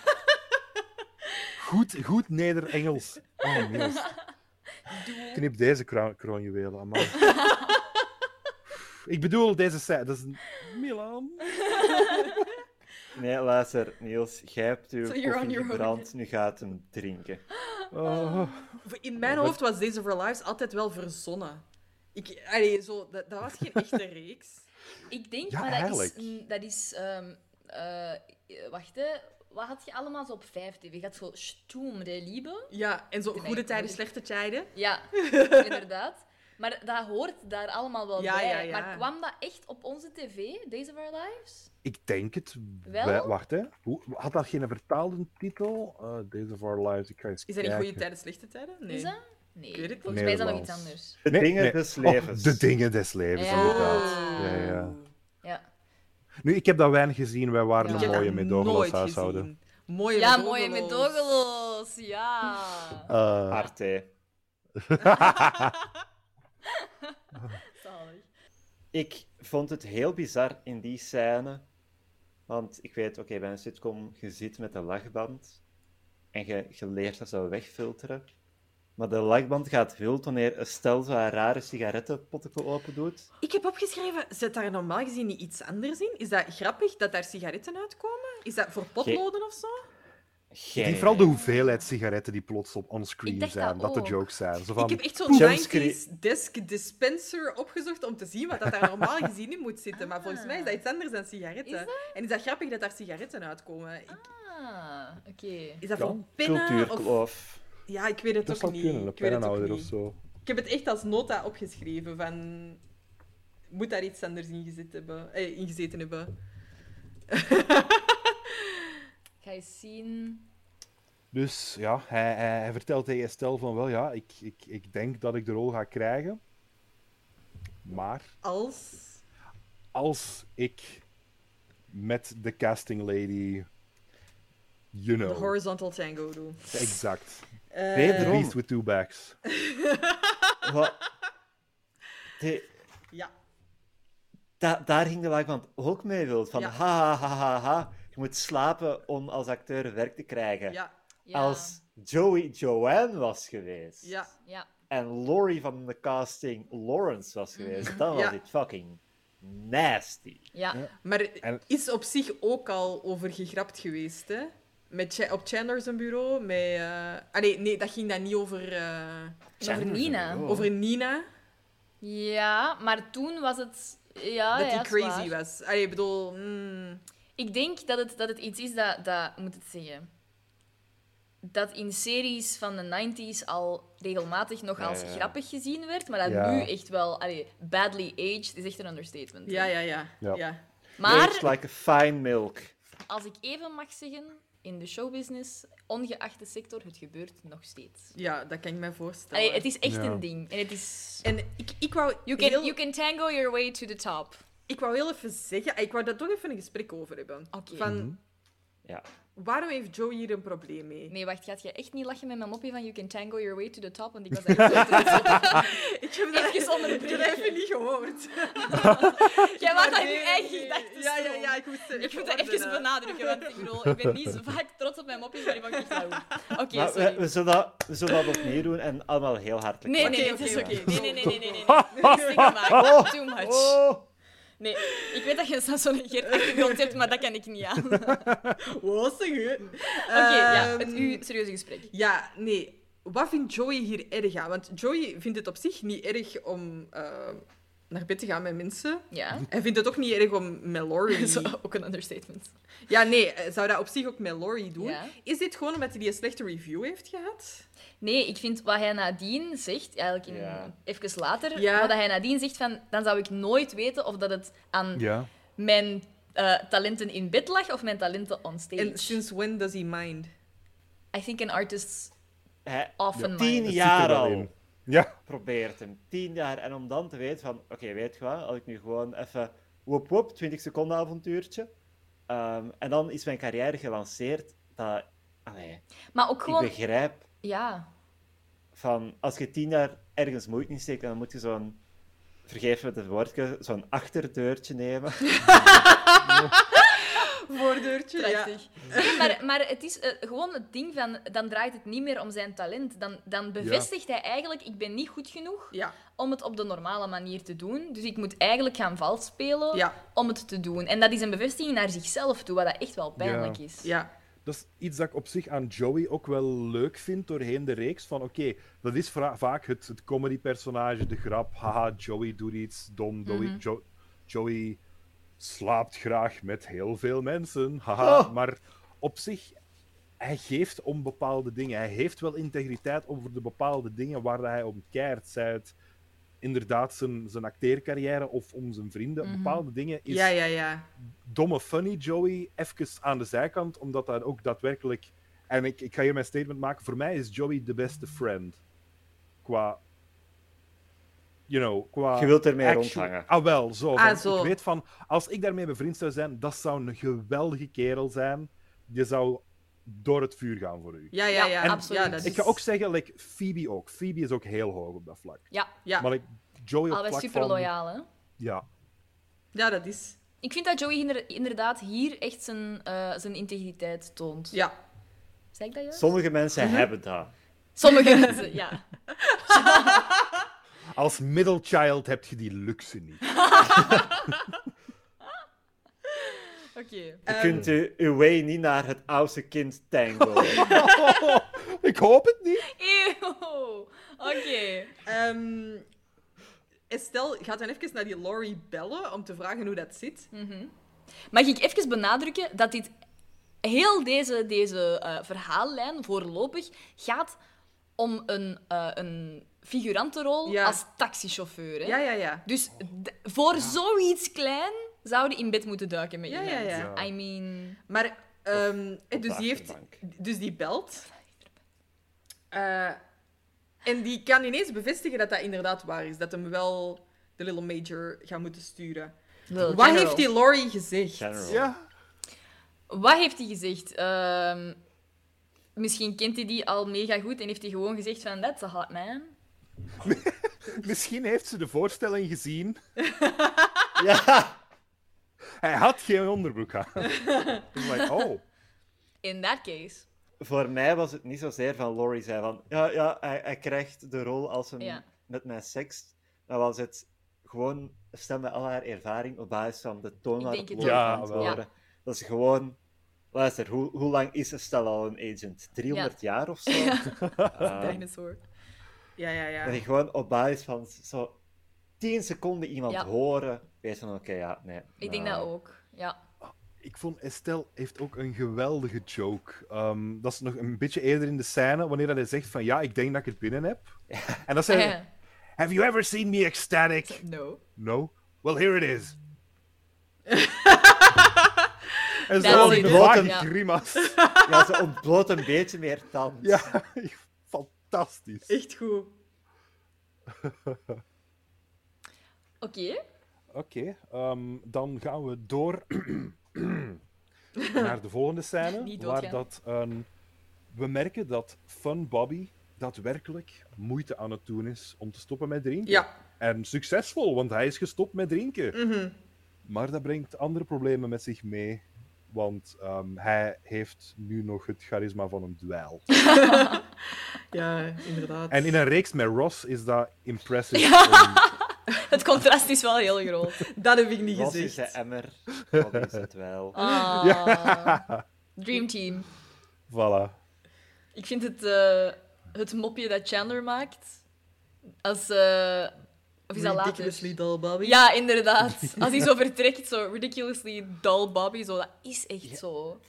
Speaker 4: goed, goed Neder-Engels. Oh, Niels. Knip deze kra- kroonjuwelen, amai. ik bedoel deze scène. Dat is een... Milan.
Speaker 3: Nee, luister, Niels, jij hebt uw
Speaker 2: So you're on
Speaker 3: koffie
Speaker 2: your own.
Speaker 3: gebrand, nu gaat hem drinken.
Speaker 4: Oh.
Speaker 1: In mijn
Speaker 4: Wat-
Speaker 1: hoofd was Days of Our Lives altijd wel verzonnen. Ik, allee, zo, dat, dat was geen echte reeks.
Speaker 2: Ik denk,
Speaker 4: Ja,
Speaker 2: maar
Speaker 4: eigenlijk.
Speaker 2: dat is... mm, Dat is ehm, eh, eh, wacht, hè. Wat had je allemaal zo op 5 TV? Je had zo Stoem de Liebe.
Speaker 1: Ja, en zo
Speaker 2: Nee,
Speaker 1: goede tijden,
Speaker 2: ik-
Speaker 1: slechte tijden.
Speaker 2: Ja, inderdaad. Maar dat hoort daar allemaal wel
Speaker 1: Ja,
Speaker 2: bij.
Speaker 1: ja, ja.
Speaker 2: Maar kwam dat echt op onze tv, Days of Our Lives?
Speaker 4: Ik denk het
Speaker 2: Wel?
Speaker 4: wa- Wacht, hè. Hoe- Had dat geen vertaalde titel? Eh, Days of Our Lives. Ik ga eens
Speaker 1: Is dat in goede
Speaker 4: kijken.
Speaker 1: tijden, slechte tijden? Nee.
Speaker 2: Is dat? Nee,
Speaker 1: weet het
Speaker 2: volgens mij is dat nog iets
Speaker 4: Nederlands.
Speaker 2: anders.
Speaker 3: De
Speaker 4: Nee,
Speaker 3: dingen
Speaker 4: nee.
Speaker 3: des
Speaker 4: Oh,
Speaker 3: levens.
Speaker 4: de dingen des levens,
Speaker 2: Ja.
Speaker 4: inderdaad. Ja, ja, ja.
Speaker 2: Ja,
Speaker 4: Nu, ik heb dat weinig gezien. Wij waren
Speaker 2: Ja.
Speaker 1: Ik
Speaker 4: een
Speaker 1: heb
Speaker 4: mooie
Speaker 1: dat
Speaker 4: met
Speaker 1: nooit
Speaker 4: Dogelos
Speaker 1: gezien.
Speaker 4: huishouden.
Speaker 1: Mooie
Speaker 2: ja
Speaker 1: met
Speaker 2: mooie
Speaker 1: Dogelo's.
Speaker 2: medogelos. Ja.
Speaker 3: Ah,
Speaker 4: Eh,
Speaker 3: Arte.
Speaker 2: Zalig.
Speaker 3: Ik vond het heel bizar in die scène. Want ik weet, oké, bij een sitcom, je zit met een lachband. En je, je leert dat zo wegfilteren. Maar de lachband gaat wild wanneer Estelle zo haar rare sigarettenpotten open doet.
Speaker 1: Ik heb opgeschreven, zet daar normaal gezien niet iets anders in? Is dat grappig dat daar sigaretten uitkomen? Is dat voor potloden of zo?
Speaker 3: Geen
Speaker 4: die, vooral de
Speaker 3: idee.
Speaker 4: hoeveelheid sigaretten die plots op onscreen
Speaker 2: Ik dacht
Speaker 4: zijn, dat,
Speaker 2: dat
Speaker 4: de
Speaker 2: ook.
Speaker 4: jokes zijn. Zo
Speaker 1: Ik
Speaker 4: van,
Speaker 1: heb echt zo'n
Speaker 3: Jumpscare-
Speaker 1: 90s desk dispenser opgezocht om te zien wat dat daar normaal gezien in moet zitten. Maar volgens mij is dat iets anders dan sigaretten.
Speaker 2: Ah. Is
Speaker 1: En is dat grappig dat daar sigaretten uitkomen? Ik-
Speaker 2: Ah, oké.
Speaker 1: Is dat
Speaker 4: Ja,
Speaker 1: voor pennen? Of...
Speaker 3: cultuurkloof.
Speaker 1: Ja, ik weet het
Speaker 4: dat
Speaker 1: ook
Speaker 4: zou
Speaker 1: niet.
Speaker 4: kunnen, een
Speaker 1: ik weet het ook
Speaker 4: pennenhouder of
Speaker 1: niet.
Speaker 4: zo.
Speaker 1: Ik heb het echt als nota opgeschreven van... Moet daar iets anders in gezeten hebben? Eh, in gezeten hebben.
Speaker 2: Ik ga eens zien...
Speaker 4: Dus ja, hij, hij, hij vertelt tegen Estelle van, wel ja, ik, ik, ik denk dat ik de rol ga krijgen. Maar
Speaker 1: Als...
Speaker 4: als ik met de casting lady, you
Speaker 1: De
Speaker 4: know,
Speaker 1: horizontal tango doen.
Speaker 4: exact.
Speaker 1: Eh,
Speaker 4: The
Speaker 3: Wederom.
Speaker 4: beast with two backs.
Speaker 3: Wat? De-
Speaker 1: ja.
Speaker 3: da- daar ging de lachband ook mee wild. Van
Speaker 1: Ja.
Speaker 3: ha, ha, ha, ha, ha. Je moet slapen om als acteur werk te krijgen.
Speaker 1: Ja.
Speaker 2: Ja,
Speaker 3: Als Joey Joanne was geweest.
Speaker 1: Ja.
Speaker 2: Ja,
Speaker 3: en Laurie van de casting Lawrence was
Speaker 2: Mhm.
Speaker 3: geweest, dan was
Speaker 1: Ja.
Speaker 3: dit fucking nasty.
Speaker 2: ja.
Speaker 1: Maar
Speaker 4: En-
Speaker 1: is op zich ook al over gegrapt geweest, hè? Met Ch- op Chandler zijn bureau, met... eh, Ah nee, nee, dat ging dan niet over, eh,
Speaker 2: En over Nina.
Speaker 1: over Nina,
Speaker 2: Ah, Ja, maar toen was het... Ja,
Speaker 1: dat
Speaker 2: ja,
Speaker 1: die
Speaker 2: is
Speaker 1: crazy
Speaker 2: waar.
Speaker 1: was. Allee, ik bedoel... mm,
Speaker 2: Ik denk dat het, dat het iets is dat, dat... hoe moet het zeggen? Dat in series van de 90s al regelmatig nog als
Speaker 3: ja.
Speaker 2: grappig gezien werd, maar dat
Speaker 4: Ja.
Speaker 2: nu echt wel... Allee, badly aged is echt een understatement.
Speaker 1: ja, ja, ja,
Speaker 4: Ja.
Speaker 1: ja.
Speaker 2: Maar,
Speaker 3: Aged like a fine milk.
Speaker 2: als ik even mag zeggen, in de showbusiness, ongeacht de sector, het gebeurt nog steeds.
Speaker 1: Ja, dat kan ik mij voorstellen.
Speaker 2: Allee, het is echt
Speaker 4: Ja.
Speaker 2: een ding. En het is...
Speaker 1: En ik, ik, wou
Speaker 2: You can,
Speaker 1: heel,
Speaker 2: you can tango your way to the top.
Speaker 1: ik wou heel even zeggen... Ik wou daar toch even een gesprek over hebben.
Speaker 2: Oké.
Speaker 1: Van,
Speaker 3: Ja.
Speaker 1: waarom heeft Joe hier een probleem mee?
Speaker 2: Nee, wacht, gaat je echt niet lachen met mijn mopje van You can tango your way to the top? Want ik was daar heel trots op.
Speaker 1: Ik heb dat
Speaker 2: Even onderbreken.
Speaker 1: Ik heb dat even niet gehoord.
Speaker 2: Jij maakt
Speaker 1: Maar
Speaker 2: dat in je
Speaker 1: nee,
Speaker 2: eigen
Speaker 1: nee.
Speaker 2: gedachten.
Speaker 1: Ja, ja, ja, ik eh, moest
Speaker 2: Ik moet dat even benadrukken, want ik bedoel, ik ben niet zo vaak trots op mijn mopjes, maar die vond ik echt wel goed. Oké,
Speaker 3: Maar we,
Speaker 2: sorry.
Speaker 3: we, zullen dat, we zullen dat opnieuw doen en allemaal heel hartelijk
Speaker 2: Nee, nee,
Speaker 3: lachen.
Speaker 2: nee,
Speaker 1: Oké,
Speaker 2: het is
Speaker 1: oké,
Speaker 2: oké.
Speaker 1: oké.
Speaker 2: Nee, nee, nee, nee, nee, nee. Rustig gemaakt. Too much.
Speaker 3: Oh,
Speaker 2: Nee, ik weet dat je een Samson en Gert achtergrond hebt, maar dat kan ik niet aan. Oké,
Speaker 1: Wat zeg je? Oké,
Speaker 3: Ehm.
Speaker 2: ja, het uw serieuze gesprek.
Speaker 1: Ja, nee. Wat vindt Joey hier erg aan? Want Joey vindt het op zich niet erg om eh, naar bed te gaan met mensen.
Speaker 2: Ja.
Speaker 1: Hij vindt het ook niet erg om met Laurie...
Speaker 2: Zo, ook een understatement.
Speaker 1: Ja, nee. hij Zou dat op zich ook met Laurie doen?
Speaker 2: Ja.
Speaker 1: Is dit gewoon omdat hij die slechte review heeft gehad?
Speaker 2: Nee, ik vind wat hij nadien zegt, eigenlijk in,
Speaker 3: Ja.
Speaker 2: even later,
Speaker 1: Ja.
Speaker 2: wat hij nadien zegt van, dan zou ik nooit weten of dat het aan
Speaker 4: Ja.
Speaker 2: mijn eh, talenten in bed lag of mijn talenten on stage.
Speaker 1: En since when does he mind?
Speaker 2: I think an artist
Speaker 3: Hij
Speaker 2: often
Speaker 3: tien
Speaker 2: minds.
Speaker 3: jaar
Speaker 4: wel
Speaker 3: al
Speaker 4: in. Ja,
Speaker 3: probeert hem. Tien jaar. En om dan te weten van, oké, weet je wat, als ik nu gewoon even woep woep, 20 seconden avontuurtje. ehm, en dan is mijn carrière gelanceerd. Dat, allee,
Speaker 2: Maar ook gewoon,
Speaker 3: ik begrijp
Speaker 2: ja.
Speaker 3: van, als je tien jaar ergens moeite in steekt, dan moet je zo'n, vergeef me het woordje, zo'n achterdeurtje nemen.
Speaker 1: Voordeurtje, ja.
Speaker 2: Prachtig. Nee, maar, maar het is eh, gewoon het ding van, dan draait het niet meer om zijn talent. Dan, dan bevestigt hij eigenlijk, ik ben niet goed genoeg
Speaker 1: Ja.
Speaker 2: om het op de normale manier te doen. Dus ik moet eigenlijk gaan vals spelen
Speaker 1: Ja.
Speaker 2: om het te doen. En dat is een bevestiging naar zichzelf toe, wat dat echt wel pijnlijk
Speaker 4: Ja.
Speaker 2: is.
Speaker 1: Ja.
Speaker 4: dat is iets dat ik op zich aan Joey ook wel leuk vind doorheen de reeks. Van oké, dat is vra- vaak het, het comedy-personage, de grap. Haha, Joey doet iets dom. Joey, Jo- Joey slaapt graag met heel veel mensen. Haha,
Speaker 1: Oh.
Speaker 4: maar op zich, hij geeft om bepaalde dingen. Hij heeft wel integriteit over de bepaalde dingen waar hij om keert. Zij het inderdaad zijn, zijn acteercarrière of om zijn vrienden. Bepaalde dingen is
Speaker 1: ja, ja, ja.
Speaker 4: domme funny Joey even aan de zijkant, omdat daar ook daadwerkelijk. En ik, ik ga hier mijn statement maken. Voor mij is Joey de beste friend. Qua. You know, qua.
Speaker 3: Je wilt ermee
Speaker 4: actual-
Speaker 3: rondhangen.
Speaker 4: Ah, wel, zo.
Speaker 1: Ah,
Speaker 4: want
Speaker 1: zo.
Speaker 4: Ik weet van, als ik daarmee bevriend zou zijn, dat zou een geweldige kerel zijn. Je zou door het vuur gaan voor u.
Speaker 1: Ja, ja, ja.
Speaker 2: En-
Speaker 1: absoluut. Ja, dat
Speaker 4: Ik
Speaker 1: is...
Speaker 4: ga ook zeggen, like, Phoebe ook. Phoebe is ook heel hoog op dat vlak.
Speaker 2: Ja,
Speaker 1: Ja.
Speaker 4: Maar like, Joey op
Speaker 2: al
Speaker 4: vlak
Speaker 2: was super
Speaker 4: van-
Speaker 2: loyaal. Hè?
Speaker 4: Ja.
Speaker 1: ja, dat is...
Speaker 2: Ik vind dat Joey inder- inderdaad hier echt zijn, eh, zijn integriteit toont.
Speaker 1: Ja.
Speaker 2: Zeg ik dat juist?
Speaker 3: Sommige mensen
Speaker 2: Mhm.
Speaker 3: hebben dat.
Speaker 2: Sommige mensen, ja.
Speaker 4: Als middle child heb je die luxe niet.
Speaker 2: Oké.
Speaker 3: Je
Speaker 2: Ehm.
Speaker 3: kunt u, uw way niet naar het oudste kind tango.
Speaker 4: ik hoop het niet.
Speaker 2: Eeuw. Oké.
Speaker 1: Ehm, Estelle gaat dan even naar die Laurie bellen om te vragen hoe dat zit.
Speaker 2: Mag ik even benadrukken dat dit heel deze, deze eh, verhaallijn voorlopig gaat om een, eh een figurantenrol
Speaker 1: Ja.
Speaker 2: als taxichauffeur. Hè?
Speaker 1: Ja, ja, ja.
Speaker 2: Dus d- voor zoiets klein zouden in bed moeten duiken met
Speaker 1: Ja, ja,
Speaker 2: iemand.
Speaker 1: ja.
Speaker 2: I mean...
Speaker 1: Maar, ehm, eh, dus,
Speaker 3: de
Speaker 1: die heeft,
Speaker 3: achterbank.
Speaker 1: dus die belt. Eh, en die kan ineens bevestigen dat dat inderdaad waar is. Dat hem wel de Little Major gaat moeten sturen.
Speaker 2: Wel,
Speaker 1: Wat
Speaker 2: general.
Speaker 1: heeft die Laurie gezegd?
Speaker 3: General.
Speaker 4: Ja.
Speaker 2: Wat heeft hij gezegd? Ehm, misschien kent hij die al mega goed en heeft hij gewoon gezegd van... That's a hot man.
Speaker 4: Misschien heeft ze de voorstelling gezien.
Speaker 3: Ja.
Speaker 4: Hij had geen onderbroek aan. Ik like, oh.
Speaker 2: In that case.
Speaker 3: Voor mij was het niet zozeer van Laurie zei van, ja, ja hij, hij krijgt de rol als een
Speaker 2: Ja.
Speaker 3: met mij seks. Dan was het gewoon, stem met al haar ervaring op basis van de toon
Speaker 2: Ik
Speaker 3: waarop
Speaker 2: denk het
Speaker 3: Laurie
Speaker 4: ook.
Speaker 3: aan
Speaker 4: Ja,
Speaker 3: het
Speaker 4: wel.
Speaker 3: horen. Dat is gewoon, luister, hoe, hoe lang is Estelle al een agent? 300 jaar of zo? Ehm,
Speaker 2: Dinosaur.
Speaker 1: Ja, ja,
Speaker 3: dat
Speaker 1: ja.
Speaker 3: je gewoon op basis van zo 10 seconden iemand
Speaker 2: Ja.
Speaker 3: horen, weet van, oké, ja, nee.
Speaker 2: Ik denk
Speaker 3: nou,
Speaker 2: dat ook. Ja.
Speaker 4: Ik vond Estelle heeft ook een geweldige joke. Ehm, dat is nog een beetje eerder in de scène, wanneer dat hij zegt van ja, ik denk dat ik het binnen heb. En dan zei hij, have you ever seen me ecstatic?
Speaker 2: No.
Speaker 4: No? Well, here it is. en
Speaker 2: That's
Speaker 4: zo
Speaker 2: it.
Speaker 4: een vage
Speaker 2: Ja.
Speaker 4: grimas.
Speaker 3: Ja, ze ontbloot een beetje meer tand.
Speaker 4: Ja, fantastisch.
Speaker 1: Echt goed.
Speaker 2: Oké.
Speaker 4: Oké, ehm, dan gaan we door naar de volgende scène.
Speaker 2: Niet
Speaker 4: waar
Speaker 2: doodgaan.
Speaker 4: dat, ehm, we merken dat Fun Bobby daadwerkelijk moeite aan het doen is om te stoppen met drinken.
Speaker 1: Ja.
Speaker 4: En succesvol, want hij is gestopt met drinken. Maar dat brengt andere problemen met zich mee. Want ehm, hij heeft nu nog het charisma van een dweil.
Speaker 1: Ja, inderdaad.
Speaker 4: En in een reeks met Ross is dat impressive. om
Speaker 2: Het contrast is wel heel groot.
Speaker 1: Dat heb ik niet
Speaker 3: Ross is
Speaker 1: gezegd.
Speaker 3: de emmer. Wat is het wel?
Speaker 2: Ah,
Speaker 4: Ja.
Speaker 2: Dream Team.
Speaker 4: voilà.
Speaker 2: Ik vind het, eh, het mopje dat Chandler maakt. Als. eh, of is dat later?
Speaker 1: Ridiculously dull, Bobby.
Speaker 2: Ja, inderdaad. Als hij zo vertrekt, zo ridiculously dull Bobby, zo, dat is echt zo.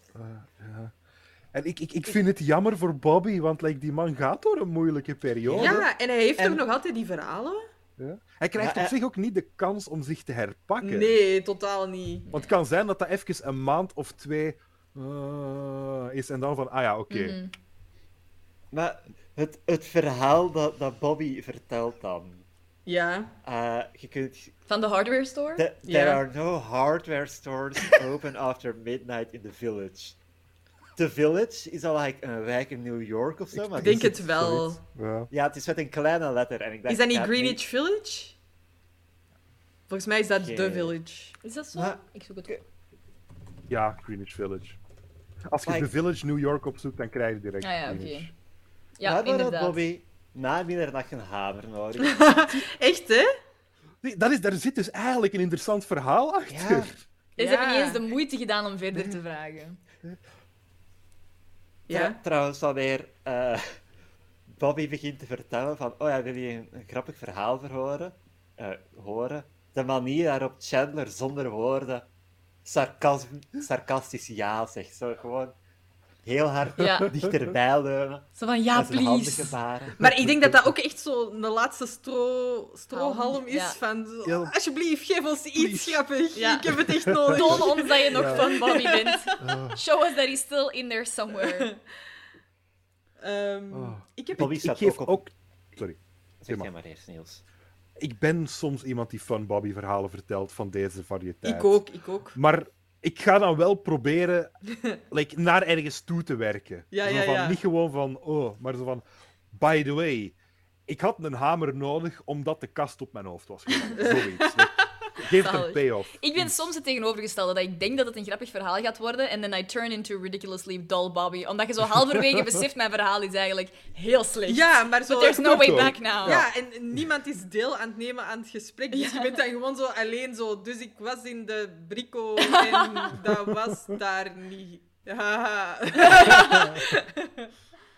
Speaker 4: En ik, ik, ik vind het jammer voor Bobby, want like, die man gaat door een moeilijke periode.
Speaker 1: Ja, en hij heeft
Speaker 3: Oh, En-
Speaker 1: toch nog altijd die verhalen?
Speaker 4: Ja. Hij krijgt
Speaker 3: Ja,
Speaker 4: op
Speaker 3: en-
Speaker 4: zich ook niet de kans om zich te herpakken.
Speaker 1: Nee, totaal niet.
Speaker 4: Want het kan zijn dat dat even een maand of twee eh, is en dan van, ah ja, oké.
Speaker 3: Maar het, het verhaal dat, dat Bobby vertelt dan.
Speaker 1: Ja.
Speaker 3: eh, je kunt,
Speaker 2: Van de hardware store?
Speaker 3: the-
Speaker 1: Ja.
Speaker 3: There are no hardware stores open after midnight in the village. The village is al like een wijk in New York of zo. maar
Speaker 1: Ik
Speaker 3: dit
Speaker 1: denk
Speaker 3: is-
Speaker 1: het wel.
Speaker 4: Ja.
Speaker 3: Ja, het is met een kleine letter. En ik dacht,
Speaker 1: Is dat niet
Speaker 3: ja, nee.
Speaker 1: Greenwich Village? Volgens mij is dat
Speaker 3: Geen
Speaker 1: The
Speaker 3: idee.
Speaker 1: Village.
Speaker 2: Is dat zo?
Speaker 3: Maar-
Speaker 2: Ik zoek het op.
Speaker 4: Ja, Greenwich Village. Als je
Speaker 3: Like-
Speaker 4: de Village New York opzoekt, dan krijg je direct
Speaker 2: Ah ja, oké.
Speaker 4: Greenwich.
Speaker 2: Ja,
Speaker 3: maar dan had
Speaker 2: inderdaad.
Speaker 3: Bobby na middernacht een hamer nodig.
Speaker 1: Echt, hè?
Speaker 4: Nee, dat is, daar zit dus eigenlijk een interessant verhaal achter.
Speaker 3: Ja.
Speaker 2: En ze
Speaker 1: Ja.
Speaker 2: hebben niet eens de moeite gedaan om verder te vragen.
Speaker 1: Ja.
Speaker 3: Tra- trouwens, wanneer eh, Bobby begint te vertellen van, oh ja, wil je een, een grappig verhaal verhoren? Eh, horen? De manier waarop Chandler zonder woorden sarcasm, sarcastisch ja zegt. Zo gewoon heel hard
Speaker 2: Ja.
Speaker 3: dichterbij leunen.
Speaker 2: Zo van, ja,
Speaker 3: met zijn handen
Speaker 2: please.
Speaker 3: gebaren.
Speaker 1: Maar ik denk dat dat ook echt zo'n laatste stro, strohalm
Speaker 2: Halm,
Speaker 1: is
Speaker 2: ja.
Speaker 1: van... zo,
Speaker 4: Ja.
Speaker 1: Alsjeblieft, geef ons iets
Speaker 4: Please.
Speaker 1: grappig.
Speaker 2: Ja.
Speaker 1: Ik heb het echt nodig.
Speaker 2: Toon ons dat je nog van Bobby bent.
Speaker 1: Oh.
Speaker 2: Show us that he's still in there somewhere.
Speaker 1: Ehm,
Speaker 4: Oh.
Speaker 1: ik heb
Speaker 3: Bobby
Speaker 4: Ik
Speaker 3: staat
Speaker 4: geef
Speaker 3: ook op...
Speaker 4: ook... Sorry.
Speaker 3: Zeg
Speaker 4: maar.
Speaker 3: jij maar eerst, Niels.
Speaker 4: Ik ben soms iemand die fun Bobby verhalen vertelt van deze variëteit.
Speaker 1: Ik ook, ik ook.
Speaker 4: Maar ik ga dan wel proberen like, naar ergens toe te werken.
Speaker 1: Ja,
Speaker 4: Zo
Speaker 1: ja,
Speaker 4: van,
Speaker 1: ja.
Speaker 4: Niet gewoon van, oh, maar zo van, by the way, ik had een hamer nodig omdat de kast op mijn hoofd was gevallen. Zoiets. Like, geef het een
Speaker 2: Zalig.
Speaker 4: payoff.
Speaker 2: Ik ben soms het tegenovergestelde, dat ik denk dat het een grappig verhaal gaat worden en then I turn into ridiculously dull Bobby. Omdat je zo halverwege beseft, mijn verhaal is eigenlijk heel slecht.
Speaker 1: Ja, maar
Speaker 2: But
Speaker 1: zo...
Speaker 2: there's no way
Speaker 4: ook.
Speaker 2: back now.
Speaker 1: Ja, en niemand is deel aan het nemen aan het gesprek. Dus je bent dan gewoon zo alleen zo. Dus ik was in de brico en dat was daar niet. Haha.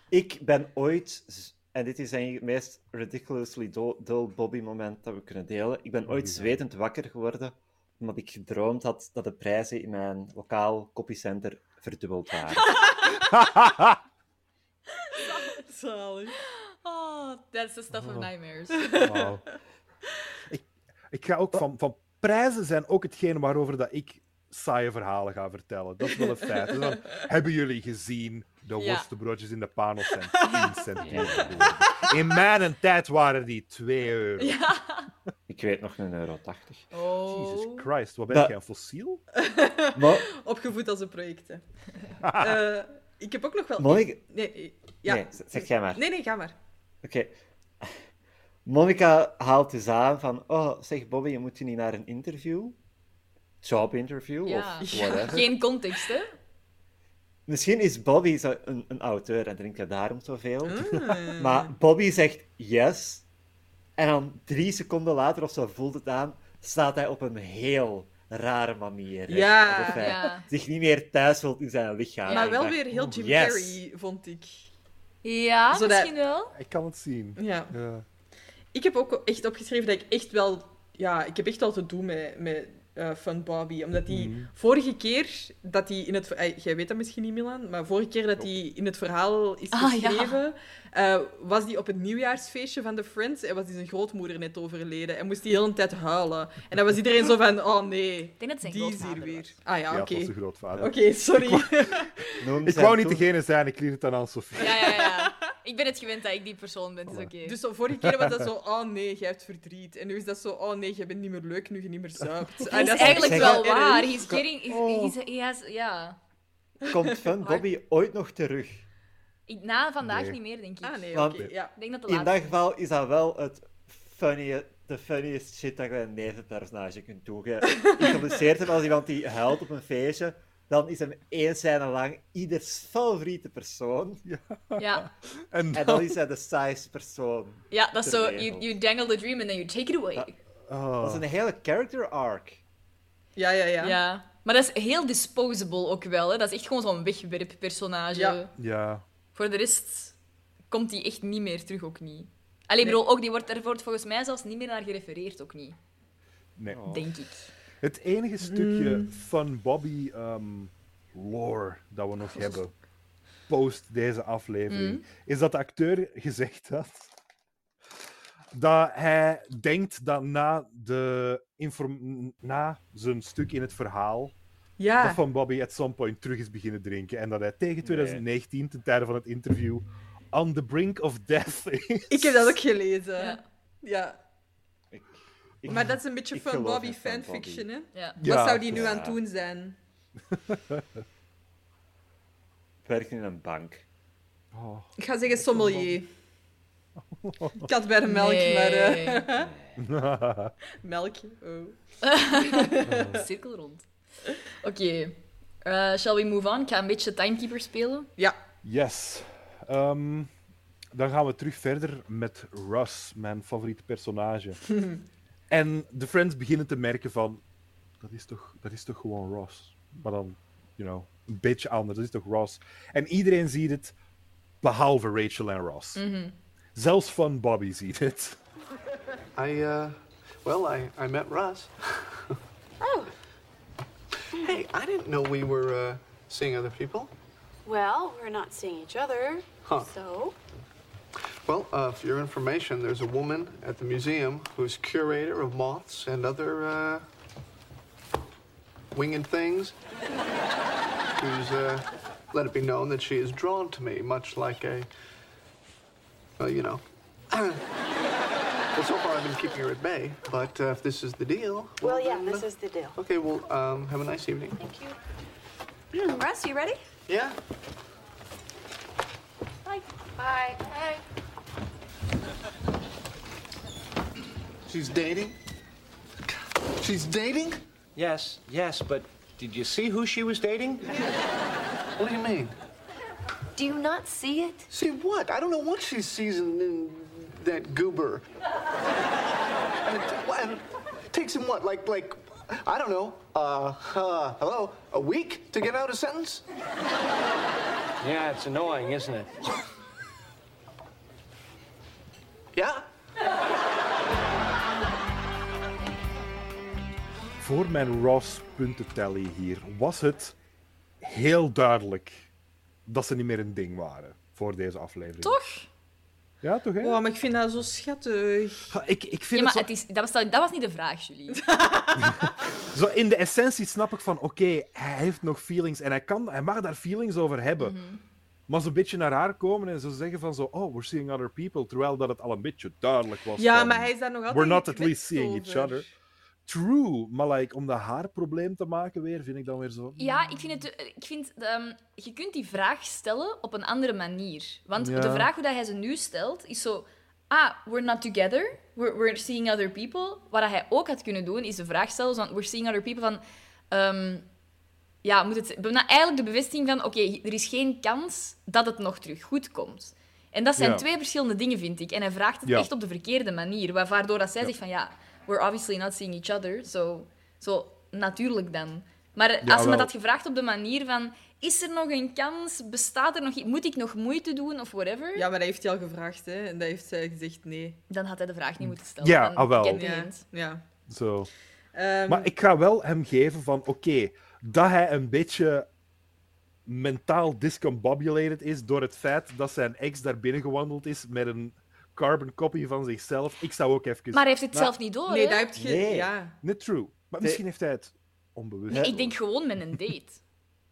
Speaker 3: Ik ben ooit, en dit is eigenlijk het meest ridiculously do- dull Bobby-moment dat we kunnen delen. Ik
Speaker 1: Oh,
Speaker 3: ben ooit zwetend wakker geworden omdat ik gedroomd had dat de prijzen in mijn lokaal copycenter verdubbeld waren.
Speaker 1: Zalig.
Speaker 2: Oh, that's the stuff of nightmares.
Speaker 4: Wauw. Ik, ik ga ook van, van prijzen zijn ook hetgeen waarover dat ik saaie verhalen ga vertellen. Dat is wel een feit. Dus dan, hebben jullie gezien de worstenbroodjes in de panos zijn 10 cent duur geworden. In mijn tijd waren die 2 euro.
Speaker 3: Ik weet nog een euro 80.
Speaker 4: Jesus
Speaker 2: Oh.
Speaker 4: Christ, wat ben
Speaker 3: Dat-
Speaker 4: jij, een fossiel?
Speaker 1: Oh.
Speaker 3: Maar,
Speaker 1: Opgevoed als een project. hè. Eh, ik heb ook nog wel.
Speaker 3: Monica...
Speaker 1: Nee, eh, ja.
Speaker 3: Nee, z- zeg jij maar.
Speaker 1: Nee, nee, ga maar.
Speaker 3: Oké. Monica haalt dus aan van, oh, zeg Bobby, je moet je niet naar een interview? Jobinterview
Speaker 2: Ja.
Speaker 3: of whatever.
Speaker 2: Geen context, hè?
Speaker 3: Misschien is Bobby zo een, een auteur en drinkt hij daarom zoveel.
Speaker 1: Ah.
Speaker 3: Maar Bobby zegt yes. En dan drie seconden later, of zo voelt het aan, staat hij op een heel rare manier. recht.
Speaker 1: Ja.
Speaker 3: Alsof hij
Speaker 2: Ja.
Speaker 3: zich niet meer thuis voelt in zijn lichaam.
Speaker 1: Maar
Speaker 3: Ik
Speaker 1: wel
Speaker 3: dacht,
Speaker 1: weer heel Jim
Speaker 3: Ah. yes.
Speaker 1: Carrey, vond ik.
Speaker 2: Ja,
Speaker 1: Zodat-
Speaker 2: misschien wel.
Speaker 4: Ik kan het zien.
Speaker 1: Ja.
Speaker 4: Ja.
Speaker 1: Ik heb ook echt opgeschreven dat ik echt wel... Ja, ik heb echt wel te doen met, met eh, Fun Bobby. Omdat die vorige keer dat hij in het... ver- eh, jij weet dat misschien niet, Milan. Maar vorige keer dat hij in het verhaal is
Speaker 2: Ah, ja.
Speaker 1: geschreven... eh, was hij op het nieuwjaarsfeestje van de Friends en was hij zijn grootmoeder net overleden. En moest hij heel een tijd huilen. En dan was iedereen zo van... Oh nee,
Speaker 2: denk dat zijn
Speaker 1: die is
Speaker 2: grootvader
Speaker 1: hier weer.
Speaker 2: was.
Speaker 1: Ah ja, oké.
Speaker 4: Ja, het was de
Speaker 1: Oké,
Speaker 4: grootvader.
Speaker 1: sorry.
Speaker 3: noemde
Speaker 4: Ik
Speaker 3: zijn
Speaker 4: wou niet
Speaker 3: toen-
Speaker 4: degene zijn, ik liet het aan Anne-Sophie.
Speaker 2: Ja, ja, ja. Ik ben het gewend dat ik die persoon ben, dus oké.
Speaker 1: Dus zo, vorige keer was dat zo, oh nee, jij hebt verdriet. En nu is dat zo, oh nee, jij bent niet meer leuk nu je niet meer zuipt. En
Speaker 2: dat is
Speaker 1: Ah, echt Oh.
Speaker 2: eigenlijk
Speaker 3: zeg-
Speaker 2: wel
Speaker 1: erg.
Speaker 2: waar. He's getting... He's, he's, he has- ja.
Speaker 3: Komt Fun Bobby ooit nog terug?
Speaker 2: Ik- Na vandaag
Speaker 4: Nee.
Speaker 2: niet meer, denk ik.
Speaker 1: Ah nee,
Speaker 3: Want-
Speaker 1: oké, ja.
Speaker 2: Ik denk dat de
Speaker 3: In
Speaker 2: laatste...
Speaker 3: dat geval is dat wel het funniest, de funniest shit dat je een nevenpersonage kunt doen. Je introduceert hem als iemand die huilt op een feestje. Dan is hem één scène lang ieders favoriete persoon.
Speaker 2: Ja.
Speaker 4: En
Speaker 3: En dan is hij de saaiste persoon.
Speaker 2: ja, dat is
Speaker 3: Ter
Speaker 2: zo...
Speaker 3: wereld.
Speaker 2: You, you dangle the dream and then you take it away.
Speaker 4: Oh.
Speaker 3: Dat is een hele character arc.
Speaker 1: Ja, ja, ja.
Speaker 2: Ja. Maar dat is heel disposable ook wel. Hè? Dat is echt gewoon zo'n wegwerppersonage.
Speaker 1: Ja.
Speaker 4: Ja.
Speaker 2: Voor de rest komt die echt niet meer terug, ook niet. Allee, bedoel, ook die wordt er wordt volgens mij zelfs niet meer naar gerefereerd, ook niet.
Speaker 4: Nee.
Speaker 2: Oh. Denk ik.
Speaker 4: Het enige stukje Fun Bobby ehm, lore dat we nog hebben post deze aflevering, is dat de acteur gezegd had dat hij denkt dat na, de inform- na zijn stuk in het verhaal
Speaker 1: Ja.
Speaker 4: dat Van Bobby at some point terug is beginnen drinken en dat hij tegen 2019, ten tijde van het interview, on the brink of death is.
Speaker 1: Ik heb dat ook gelezen.
Speaker 2: Ja.
Speaker 1: Ja.
Speaker 3: Ik-
Speaker 1: Maar dat is een beetje
Speaker 3: Ik
Speaker 1: Fun
Speaker 3: geloof
Speaker 1: Bobby
Speaker 3: in Fun Bobby.
Speaker 1: fanfiction, hè?
Speaker 2: Ja.
Speaker 4: Ja,
Speaker 1: Wat zou die nu
Speaker 4: ja.
Speaker 1: aan het doen zijn?
Speaker 3: werkt in een bank.
Speaker 4: Oh,
Speaker 1: Ik ga zeggen sommelier. Kat bij de melk, maar... eh, melk, oh.
Speaker 2: Cirkel rond. Oké. Eh, shall we move on? Ik ga een beetje Timekeeper spelen.
Speaker 1: Ja.
Speaker 4: Yes. Ehm, dan gaan we terug verder met Russ, mijn favoriete personage. en de friends beginnen te merken van... Dat is toch, dat is toch gewoon Ross? Maar dan, you know, een beetje anders. Dat is toch Ross? En iedereen ziet het, behalve Rachel en Ross. Zelfs Fun Bobby ziet het.
Speaker 5: I, uh, well, I, I met Russ. oh. Hey, I didn't know we were uh, seeing other people.
Speaker 7: Well, we're not seeing each other,
Speaker 5: Huh.
Speaker 7: so.
Speaker 5: Well, uh, for your information, there's a woman at the museum who's curator of moths and other uh, winged things. who's uh, let it be known that she is drawn to me, much like a. Well, you know. well, so far I've been keeping her at bay, but uh, if this is the deal.
Speaker 7: Well, yeah,
Speaker 5: then,
Speaker 7: this
Speaker 5: uh,
Speaker 7: is the deal.
Speaker 5: Okay, well, um, have a nice evening.
Speaker 7: Thank you. Russ, you ready?
Speaker 5: Yeah?
Speaker 7: Bye. Bye. Hey.
Speaker 5: She's dating? She's dating?
Speaker 9: Yes, yes, but did you see who she was dating?
Speaker 5: What do you mean?
Speaker 8: Do you not see it?
Speaker 5: See what? I don't know what she sees in, in that goober. and, it, and it takes him what, like, like, I don't know, uh, uh, hello, a week to get out a sentence?
Speaker 9: Yeah, it's annoying, isn't it?
Speaker 5: Yeah.
Speaker 4: Voor mijn Ross puntentelly hier was het heel duidelijk dat ze niet meer een ding waren voor deze aflevering.
Speaker 2: Toch?
Speaker 4: Ja, toch hè?
Speaker 1: Oh, maar ik vind dat zo schattig.
Speaker 4: Ha, Ik, ik vind
Speaker 2: Ja,
Speaker 4: het
Speaker 2: maar
Speaker 4: zo-
Speaker 2: het is, dat, was, dat was niet de vraag, Julie.
Speaker 4: Zo in de essentie snap ik van, oké, hij heeft nog feelings en hij, kan, hij mag daar feelings over hebben.
Speaker 1: Mhm.
Speaker 4: Maar zo'n beetje naar haar komen en zo zeggen van zo, oh, we're seeing other people, terwijl dat het al een beetje duidelijk was.
Speaker 1: Ja,
Speaker 4: van,
Speaker 1: maar hij is daar nog altijd
Speaker 4: We're not at
Speaker 1: gekwetst
Speaker 4: least seeing each
Speaker 1: over.
Speaker 4: other. True, maar like, om dat haar probleem te maken weer, vind ik dan weer zo...
Speaker 2: Ja, ik vind, het, ik vind ehm, je kunt die vraag stellen op een andere manier. Want
Speaker 4: Ja.
Speaker 2: de vraag hoe dat hij ze nu stelt, is zo... Ah, we're not together. We're, we're seeing other people. Wat hij ook had kunnen doen, is de vraag stellen van... We're seeing other people van... ehm, ja, moet het, nou, eigenlijk de bevestiging van... Oké, er is geen kans dat het nog terug goed komt. En dat zijn
Speaker 4: Ja.
Speaker 2: twee verschillende dingen, vind ik. En hij vraagt het
Speaker 4: Ja.
Speaker 2: echt op de verkeerde manier. wa- Waardoor dat zij
Speaker 4: Ja.
Speaker 2: zegt van... Ja, we're obviously not seeing each other. So, so natuurlijk dan. Maar als ze me
Speaker 4: wel.
Speaker 2: dat gevraagd op de manier van... Is er nog een kans? Bestaat er nog iets? Moet ik nog moeite doen? Of whatever?
Speaker 1: Ja, maar dat heeft hij al gevraagd, hè. En dat heeft zij gezegd nee.
Speaker 2: Dan had hij de vraag niet moeten stellen.
Speaker 4: Ja,
Speaker 2: Dan
Speaker 4: ah, wel.
Speaker 2: get the
Speaker 1: Ja.
Speaker 2: hint.
Speaker 1: ja.
Speaker 4: zo.
Speaker 1: Ehm,
Speaker 4: Maar ik ga wel hem geven van, oké, dat hij een beetje mentaal discombobulated is door het feit dat zijn ex daar binnen gewandeld is met een carbon copy van zichzelf. Ik zou ook even...
Speaker 2: Maar hij heeft het
Speaker 4: Nou,
Speaker 2: zelf niet door,
Speaker 1: Ehm, Nee,
Speaker 2: hè?
Speaker 1: dat heb je...
Speaker 3: Nee.
Speaker 1: Ja.
Speaker 4: Net true. Maar
Speaker 3: De-
Speaker 4: misschien heeft hij het onbewust.
Speaker 2: Ik denk gewoon met een date.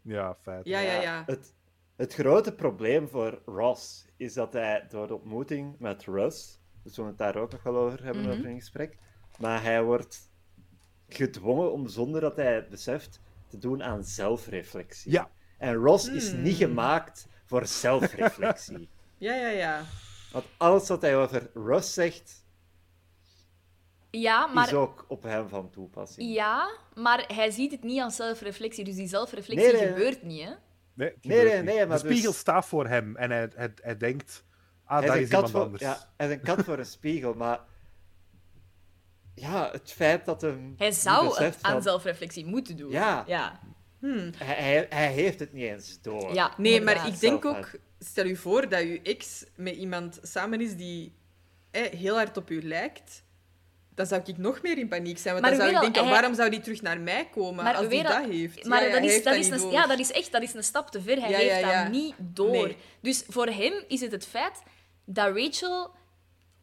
Speaker 4: Ja, feit.
Speaker 1: Ja, ja, ja.
Speaker 3: Het, het grote probleem voor Ross is dat hij door de ontmoeting met Russ, dus we het daar ook nog wel over hebben over
Speaker 2: Mhm.
Speaker 3: een gesprek, maar hij wordt gedwongen om zonder dat hij het beseft te doen aan zelfreflectie.
Speaker 4: Ja.
Speaker 3: En Ross is
Speaker 2: Hmm.
Speaker 3: niet gemaakt voor zelfreflectie.
Speaker 1: Ja, ja, ja.
Speaker 3: Want alles wat hij over Russ zegt,
Speaker 2: Ja,
Speaker 3: is
Speaker 2: maar...
Speaker 3: ook op hem van toepassing.
Speaker 2: Ja, maar hij ziet het niet als zelfreflectie. Dus die zelfreflectie
Speaker 3: Nee, nee.
Speaker 2: gebeurt niet, hè?
Speaker 4: Nee, het
Speaker 3: Nee,
Speaker 4: gebeurt
Speaker 3: nee,
Speaker 4: niet.
Speaker 3: nee, maar
Speaker 4: De
Speaker 3: dus-
Speaker 4: spiegel staat voor hem en hij, hij, hij denkt... Ah,
Speaker 3: Hij
Speaker 4: daar
Speaker 3: is,
Speaker 4: is
Speaker 3: een kat
Speaker 4: iemand
Speaker 3: voor,
Speaker 4: anders.
Speaker 3: ja, hij is een kat voor een spiegel, maar ja, het feit dat hem.
Speaker 2: Hij
Speaker 3: niet
Speaker 2: zou
Speaker 3: beseft
Speaker 2: het aan
Speaker 3: van-
Speaker 2: zelfreflectie moeten doen.
Speaker 3: Ja.
Speaker 2: Ja.
Speaker 3: hij, hij, hij heeft het niet eens door.
Speaker 2: ja
Speaker 1: Nee, maar
Speaker 2: inderdaad.
Speaker 1: ik denk
Speaker 3: Zelf
Speaker 1: ook, stel u voor dat uw ex met iemand samen is die eh, heel hard op u lijkt. Dan zou ik nog meer in paniek zijn. Want
Speaker 2: Maar
Speaker 1: dan
Speaker 2: u
Speaker 1: zou ik
Speaker 2: weet al,
Speaker 1: denken,
Speaker 2: hij-
Speaker 1: waarom zou die terug naar mij komen
Speaker 2: Maar
Speaker 1: als
Speaker 2: u
Speaker 1: die
Speaker 2: weet al-
Speaker 1: dat heeft?
Speaker 2: Maar
Speaker 1: Ja, ja,
Speaker 2: dat,
Speaker 1: hij
Speaker 2: is,
Speaker 1: heeft
Speaker 2: dat,
Speaker 1: dat
Speaker 2: is
Speaker 1: niet
Speaker 2: een,
Speaker 1: door.
Speaker 2: ja, dat is echt dat is een stap te ver. Hij
Speaker 1: Ja,
Speaker 2: heeft
Speaker 1: ja, ja.
Speaker 2: dat niet door.
Speaker 1: Nee.
Speaker 2: Dus voor hem is het het feit dat Rachel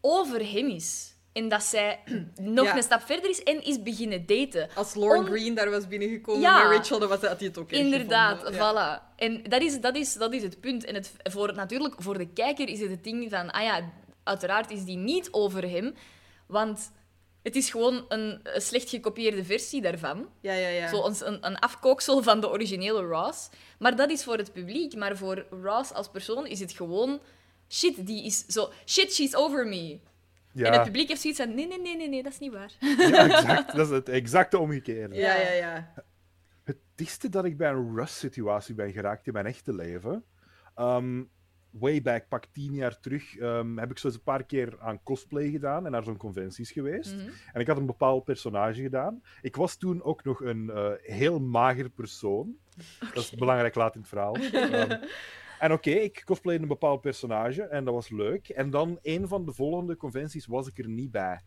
Speaker 2: over hem is. En dat zij nog
Speaker 1: Ja.
Speaker 2: een stap verder is en is beginnen daten.
Speaker 1: Als Lauren
Speaker 2: On-
Speaker 1: Green daar was binnengekomen
Speaker 2: Ja.
Speaker 1: met Rachel, dan was, had hij het ook echt
Speaker 2: Inderdaad,
Speaker 1: gevonden. Ja.
Speaker 2: voilà. En dat is, dat, is, dat is het punt. En het, voor, natuurlijk, voor de kijker is het het ding van... Ah ja, uiteraard is die niet over hem. Want het is gewoon een, een slecht gekopieerde versie daarvan.
Speaker 1: Ja, ja, ja.
Speaker 2: Zo een, een, een afkooksel van de originele Ross. Maar dat is voor het publiek. Maar voor Ross als persoon is het gewoon... Shit, die is zo... Shit, she's over me. En het
Speaker 4: Ja,
Speaker 2: publiek heeft zoiets van... Nee, nee, nee, nee, nee, dat is niet waar.
Speaker 4: ja, exact. Dat is het exacte omgekeerde.
Speaker 1: Ja, ja, ja.
Speaker 4: Het dichtste dat ik bij een Rust-situatie ben geraakt in mijn echte leven. Ehm way back, pak tien jaar terug, ehm, heb ik zo eens een paar keer aan cosplay gedaan en naar zo'n conventies geweest.
Speaker 2: Mhm.
Speaker 4: En ik had een bepaald personage gedaan. Ik was toen ook nog een eh, heel mager persoon. Dat is belangrijk laat in het verhaal. Ehm, en oké, ik cosplayde een bepaald personage en dat was leuk. En dan een van de volgende conventies was ik er niet bij.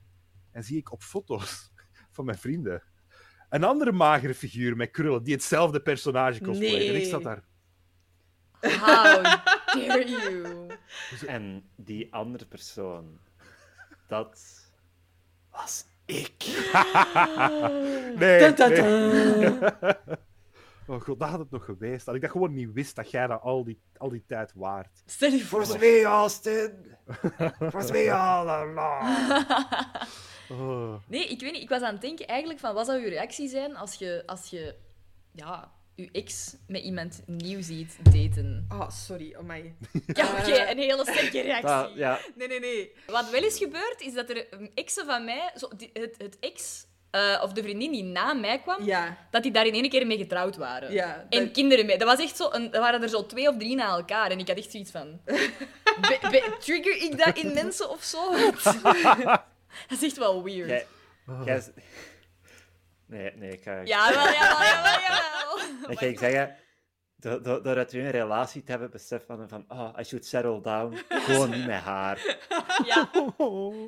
Speaker 4: En zie ik op foto's van mijn vrienden een andere magere figuur met krullen die hetzelfde personage cosplayde. En ik
Speaker 1: Nee.
Speaker 4: zat daar.
Speaker 2: How dare you.
Speaker 3: En die andere persoon, dat was ik.
Speaker 4: Nee,
Speaker 1: Dun, dun,
Speaker 4: nee.
Speaker 1: dun.
Speaker 4: Oh god, dat had het nog geweest. Dat ik dat gewoon niet wist dat jij dat al die, al die tijd waard.
Speaker 1: Stel je voor.
Speaker 3: was me, Austin. was me all along.
Speaker 4: Oh.
Speaker 2: Nee, ik weet niet. Ik was aan het denken eigenlijk van wat zou je reactie zijn als je, als je ja, je ex met iemand nieuw ziet daten.
Speaker 1: Oh, sorry, oh my.
Speaker 2: Ja, oké, een hele sterke reactie.
Speaker 3: Eh, Dat, ja,
Speaker 1: Nee, nee, nee.
Speaker 2: Wat wel is gebeurd, is dat er een exen van mij, zo, die- het, het ex eh, of de vriendin die na mij kwam,
Speaker 1: Ja,
Speaker 2: dat die daar in één keer mee getrouwd waren.
Speaker 1: ja.
Speaker 2: En
Speaker 1: dat-
Speaker 2: kinderen mee. Dat was echt zo een, er waren er zo twee of drie na elkaar. En ik had echt zoiets van... be- be- trigger ik dat in mensen of zo? dat is echt wel weird.
Speaker 3: jij... jij z- Nee, nee, ik ga...
Speaker 2: Ja, wel, jawel, jawel, jawel.
Speaker 3: Dan ging ik zeggen, do- do- doordat we een relatie te hebben, besef van, van oh, I should settle down. Gewoon niet met haar.
Speaker 2: Ja.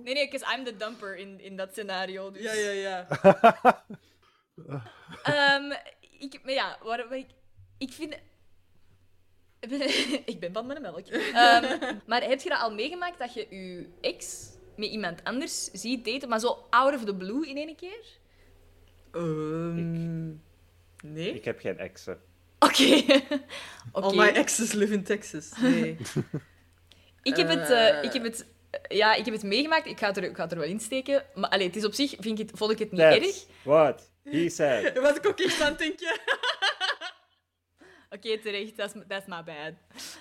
Speaker 2: Nee, nee, because I'm the dumper in, in dat scenario. Dus.
Speaker 1: Ja, ja, ja.
Speaker 2: Ehm, ik, maar ja, waarom ik... Ik vind... ik ben van mijn melk. Ehm, maar heb je dat al meegemaakt dat je je ex met iemand anders ziet daten, maar zo out of the blue in één keer?
Speaker 1: Ehm, nee.
Speaker 3: Ik heb geen exen.
Speaker 2: Oké. Oh Oké.
Speaker 1: All my exes live in Texas. Nee.
Speaker 2: Ik heb het,
Speaker 1: Eh.
Speaker 2: eh, ik heb het, eh, ja, ik heb het meegemaakt. Ik ga het er, ik ga het er wel insteken. Maar allee, het is op zich, vind ik het, vond ik het niet erg.
Speaker 3: That's what he said.
Speaker 1: Wat ik ook echt aan het denken.
Speaker 2: Oké, terecht. Dat is- dat is my bad.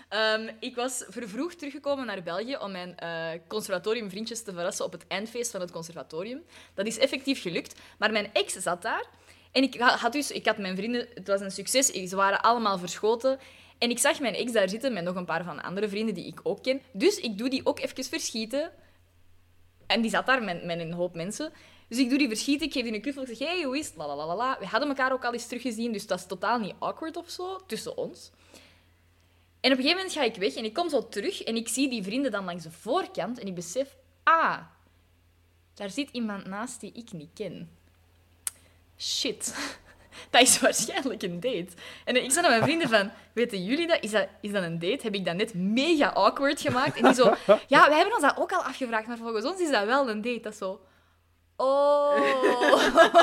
Speaker 2: Ehm, ik was vervroegd teruggekomen naar België om mijn eh, conservatoriumvriendjes te verrassen op het eindfeest van het conservatorium. Dat is effectief gelukt. Maar mijn ex zat daar. En ik ha- had dus... Ik had mijn vrienden... Het was een succes. ik- Ze waren allemaal verschoten. En ik zag mijn ex daar zitten met nog een paar van andere vrienden die ik ook ken. Dus ik doe die ook even verschieten. En die zat daar met, met een hoop mensen. Dus ik doe die verschieten, ik geef die een knuffel, ik zeg, hey, hoe is het? La, la, la, la, la. We hadden elkaar ook al eens teruggezien, dus dat is totaal niet awkward of zo, tussen ons. En op een gegeven moment ga ik weg en ik kom zo terug en ik zie die vrienden dan langs de voorkant en ik besef, ah, daar zit iemand naast die ik niet ken. Shit. Dat is waarschijnlijk een date. En ik zei aan mijn vrienden van, weten jullie dat? Is, dat? is dat een date? Heb ik dat net mega awkward gemaakt? En die zo, ja, wij hebben ons dat ook al afgevraagd, maar volgens ons is dat wel een date. Dat is zo,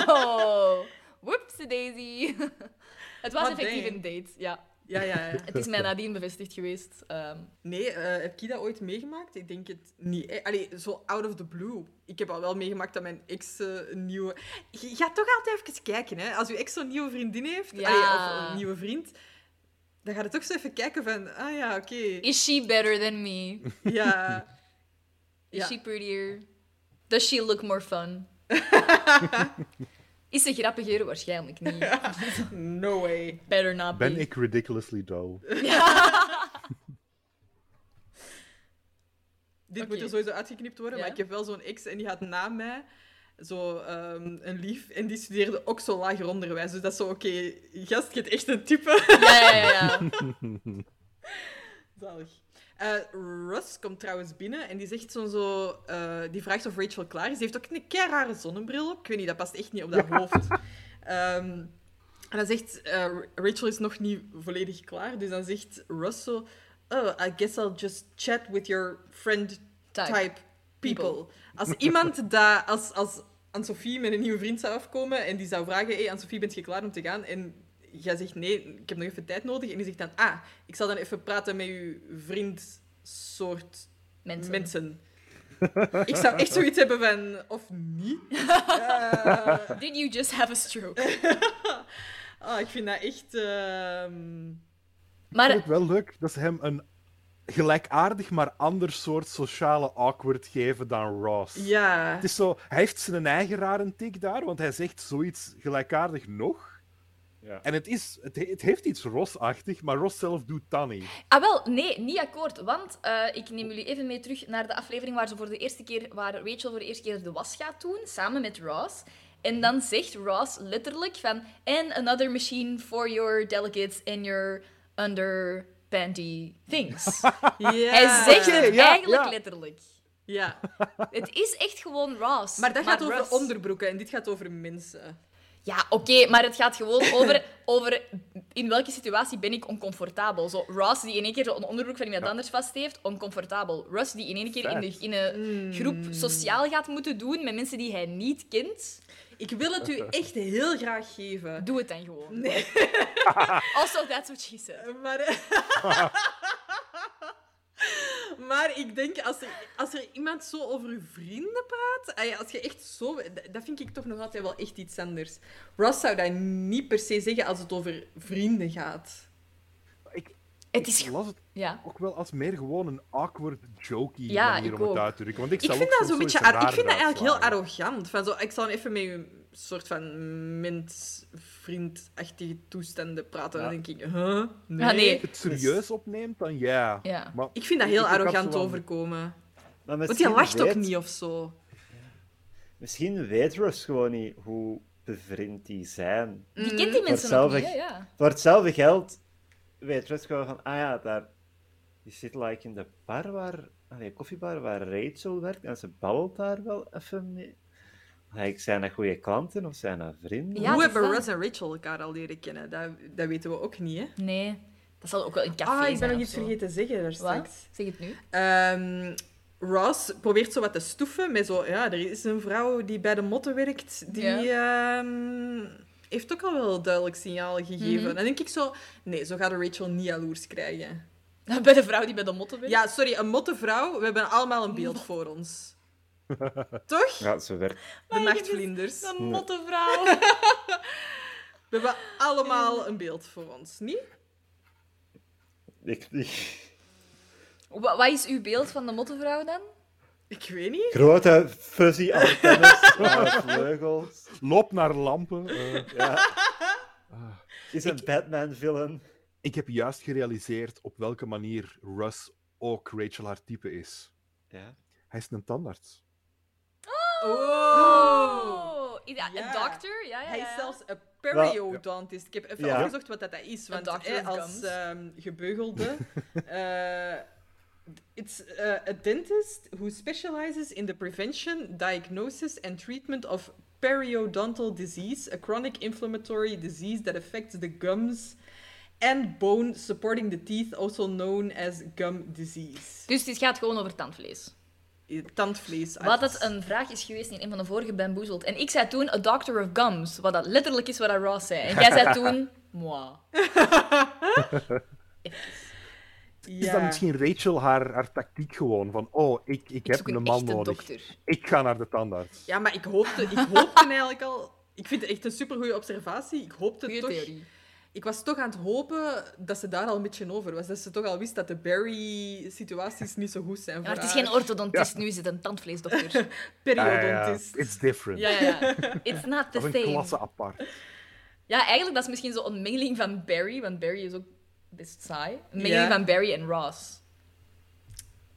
Speaker 2: oh, whoopsie daisy. Het was
Speaker 1: Wat
Speaker 2: effectief
Speaker 1: dang.
Speaker 2: een date, ja.
Speaker 1: Ja, ja, ja.
Speaker 2: Het is mij nadien bevestigd geweest. ehm.
Speaker 1: Nee, eh, heb je dat ooit meegemaakt? Ik denk het niet. eh. Allee, zo out of the blue. Ik heb al wel meegemaakt dat mijn ex eh, een nieuwe... Je gaat toch altijd even kijken, hè. Als je ex zo'n nieuwe vriendin heeft,
Speaker 2: Ja.
Speaker 1: allee, of een nieuwe vriend, dan gaat het toch zo even kijken van... Ah ja, oké.
Speaker 2: Is she better than me?
Speaker 1: Ja.
Speaker 2: Is
Speaker 1: Ja.
Speaker 2: she prettier? Does she look more fun? Is ze grappiger? Waarschijnlijk niet.
Speaker 1: No way.
Speaker 2: Better not
Speaker 4: Ben
Speaker 2: be.
Speaker 4: ik ridiculously dull?
Speaker 1: Dit
Speaker 2: Oké.
Speaker 1: moet er sowieso uitgeknipt worden,
Speaker 2: Ja.
Speaker 1: maar ik heb wel zo'n ex en die gaat na mij. zo ehm, een lief en die studeerde ook zo lager onderwijs. Dus dat is zo, oké, gast, je hebt echt een type.
Speaker 2: Ja, ja, ja. ja.
Speaker 1: Zalig. Eh, Russ komt trouwens binnen en die zegt zo, zo eh, die vraagt of Rachel klaar is. Die heeft ook een kei rare zonnebril op. Ik weet niet, dat past echt niet op dat hoofd. Ehm, en dan zegt eh, Rachel is nog niet volledig klaar. Dus dan zegt Russ zo, oh, I guess I'll just chat with your friend
Speaker 2: Type.
Speaker 1: type, people. Als iemand dat, als, als Anne-Sophie met een nieuwe vriend zou afkomen en die zou vragen, hey, Anne-Sophie, ben je klaar om te gaan? En jij zegt nee, ik heb nog even tijd nodig. En die zegt dan, ah, ik zal dan even praten met uw vriend soort
Speaker 2: Mensen.
Speaker 1: mensen. ik zou echt zoiets hebben van, of niet? Eh,
Speaker 2: Did you just have a stroke?
Speaker 1: ah, ik vind dat echt... ehm,
Speaker 4: Ik vind
Speaker 2: Maar
Speaker 4: het wel leuk dat ze hem een gelijkaardig, maar ander soort sociale awkward geven dan Ross.
Speaker 1: ja.
Speaker 4: Het is zo, hij heeft zijn eigen rare tik daar, want hij zegt zoiets gelijkaardig nog.
Speaker 3: Ja.
Speaker 4: En het, is, het, he- het heeft iets Ross-achtig, maar Ross zelf doet dat niet.
Speaker 2: Ah, wel, nee, niet akkoord. Want eh, ik neem jullie even mee terug naar de aflevering waar, ze voor de eerste keer, waar Rachel voor de eerste keer de was gaat doen, samen met Ross. En dan zegt Ross letterlijk van... And another machine for your delicates and your underpanty things.
Speaker 1: Ja.
Speaker 2: Hij zegt het
Speaker 4: ja,
Speaker 2: eigenlijk
Speaker 4: ja.
Speaker 2: letterlijk.
Speaker 1: Ja.
Speaker 2: Het is echt gewoon Ross.
Speaker 1: Maar dat gaat over
Speaker 2: Ross-
Speaker 1: onderbroeken en dit gaat over mensen.
Speaker 2: Ja, oké, maar het gaat gewoon over, over in welke situatie ben ik oncomfortabel. Zo, Ross die in één keer zo een onderbroek van iemand anders vast heeft, oncomfortabel. Russ die in één keer in, de, in
Speaker 1: Hmm.
Speaker 2: een groep sociaal gaat moeten doen met mensen die hij niet kent.
Speaker 1: Ik wil het u echt heel graag geven.
Speaker 2: Doe het dan gewoon. Also, that's what she said.
Speaker 1: Maar, maar ik denk, als er, als er iemand zo over uw vrienden praat, ay, als je echt zo... d- Dat vind ik toch nog altijd wel echt iets anders. Ross zou dat niet per se zeggen als het over vrienden gaat.
Speaker 4: Ik,
Speaker 2: Het is
Speaker 4: ik
Speaker 2: gewoon...
Speaker 4: las het
Speaker 2: Ja.
Speaker 4: ook wel als meer gewoon een awkward, jokey
Speaker 2: Ja,
Speaker 4: manier
Speaker 2: ik
Speaker 4: om het
Speaker 2: ook.
Speaker 4: uit te drukken. Want ik,
Speaker 1: Ik
Speaker 4: zou
Speaker 1: vind
Speaker 4: ook
Speaker 1: dat zo'n
Speaker 4: soms
Speaker 1: beetje...
Speaker 4: zoiets
Speaker 1: ar- Ik
Speaker 4: raar
Speaker 1: vind dat eigenlijk heel
Speaker 4: uitslagen.
Speaker 1: arrogant. Van zo, ik zal even met je soort van mens-vriendachtige toestanden praten.
Speaker 4: Ja.
Speaker 1: Dan denk ik, huh? Nee.
Speaker 2: Ja, nee.
Speaker 4: Als je het serieus opneemt, dan ja.
Speaker 2: Ja.
Speaker 4: Maar
Speaker 1: Ik vind dat
Speaker 4: ik
Speaker 1: heel
Speaker 4: heb zo
Speaker 1: arrogant
Speaker 4: wel-
Speaker 1: overkomen.
Speaker 3: Maar
Speaker 1: Want je
Speaker 3: misschien
Speaker 1: lacht ook
Speaker 3: weet-
Speaker 1: niet of zo.
Speaker 3: Misschien weet Russ gewoon niet hoe bevriend die zijn.
Speaker 2: Je kent die mensen nog
Speaker 3: Hetzelfde.
Speaker 2: niet, hè? Ja.
Speaker 3: Voor hetzelfde geld weet Russ gewoon van, ah ja, daar... Je zit like in de bar waar... Allee, koffiebar waar Rachel werkt en ze babbelt daar wel even mee. Like, zijn dat goede klanten of zijn dat vrienden?
Speaker 2: Ja, dat
Speaker 1: Hoe
Speaker 2: is
Speaker 1: hebben
Speaker 2: dat.
Speaker 1: Russ en Rachel elkaar al leren kennen? Dat, dat weten we ook niet, hè?
Speaker 2: Nee. Dat zal ook wel een café
Speaker 1: Ah, ik ben
Speaker 2: zijn
Speaker 1: nog
Speaker 2: of
Speaker 1: iets
Speaker 2: zo.
Speaker 1: vergeten te zeggen daar straks.
Speaker 2: Wat? Zeg het nu.
Speaker 1: Ehm, Ross probeert zo wat te stoeven met zo... Ja, er is een vrouw die bij de motten werkt. Die ehm, heeft ook al wel duidelijk signalen gegeven.
Speaker 2: Mhm.
Speaker 1: Dan denk ik zo... Nee, zo gaat Rachel niet jaloers krijgen.
Speaker 2: Bij de vrouw die bij de motten werkt.
Speaker 1: Ja, sorry, een mottenvrouw. We hebben allemaal een beeld voor ons. Toch?
Speaker 3: Ja, zo werkt.
Speaker 1: De nachtvlinders.
Speaker 2: De mottenvrouw.
Speaker 1: We hebben allemaal een beeld voor ons, niet?
Speaker 3: Ik, ik-
Speaker 2: Wa- Wat is uw beeld van de mottenvrouw dan?
Speaker 1: Ik weet niet.
Speaker 3: Grote fuzzy antennes, lange vleugels.
Speaker 4: Loop naar lampen. eh.
Speaker 3: Is een Batman-villain.
Speaker 4: Ik heb juist gerealiseerd op welke manier Russ ook Rachel haar type is.
Speaker 3: Ja.
Speaker 4: Hij is een tandarts.
Speaker 2: Oh! Ja,
Speaker 1: Ja.
Speaker 2: Een dokter? Ja, ja,
Speaker 1: Hij
Speaker 2: ja.
Speaker 1: is zelfs een periodontist. Ik heb even
Speaker 3: Ja.
Speaker 1: opgezocht wat dat dat is. Want
Speaker 2: doctor
Speaker 1: eh,
Speaker 2: of
Speaker 1: als
Speaker 2: gums.
Speaker 1: ehm, gebeugelde... eh, it's eh, a dentist who specializes in the prevention, diagnosis and treatment of periodontal disease, a chronic inflammatory disease that affects the gums and bone supporting the teeth, also known as gum disease. Eh,
Speaker 2: Dus het gaat gewoon over tandvlees.
Speaker 1: Tandvlees.
Speaker 2: Wat het een vraag is geweest in een van de vorige Bamboezeld. En ik zei toen, a doctor of gums. Wat dat letterlijk is wat dat Ross zei. En jij zei toen, moi.
Speaker 4: Is dat Dus misschien Rachel haar, haar tactiek gewoon? Van, oh, ik, ik
Speaker 2: Ik
Speaker 4: heb
Speaker 2: zoek
Speaker 4: een
Speaker 2: een
Speaker 4: man
Speaker 2: echte
Speaker 4: nodig.
Speaker 2: dokter.
Speaker 4: Ik ga naar de tandarts.
Speaker 1: Ja, maar ik hoopte, ik hoopte eigenlijk al. Ik vind het echt een supergoeie observatie. Ik hoopte
Speaker 2: Goeie
Speaker 1: toch.
Speaker 2: theorie.
Speaker 1: Ik was toch aan het hopen dat ze daar al een beetje over was. Dat ze toch al wist dat de Barry-situaties niet zo goed zijn.
Speaker 2: Ja, maar het is
Speaker 1: voor
Speaker 2: geen orthodontist, nu is het een tandvleesdokter.
Speaker 1: haar.
Speaker 4: Ah, ja,
Speaker 1: periodontist.
Speaker 4: It's different.
Speaker 2: ja, ja, ja. It's not the
Speaker 4: dat is een
Speaker 2: same.
Speaker 4: klasse apart.
Speaker 2: Ja, eigenlijk dat is misschien zo'n mengeling van Barry, want Barry is ook best saai. Een mengeling
Speaker 1: Ja.
Speaker 2: van Barry en Ross.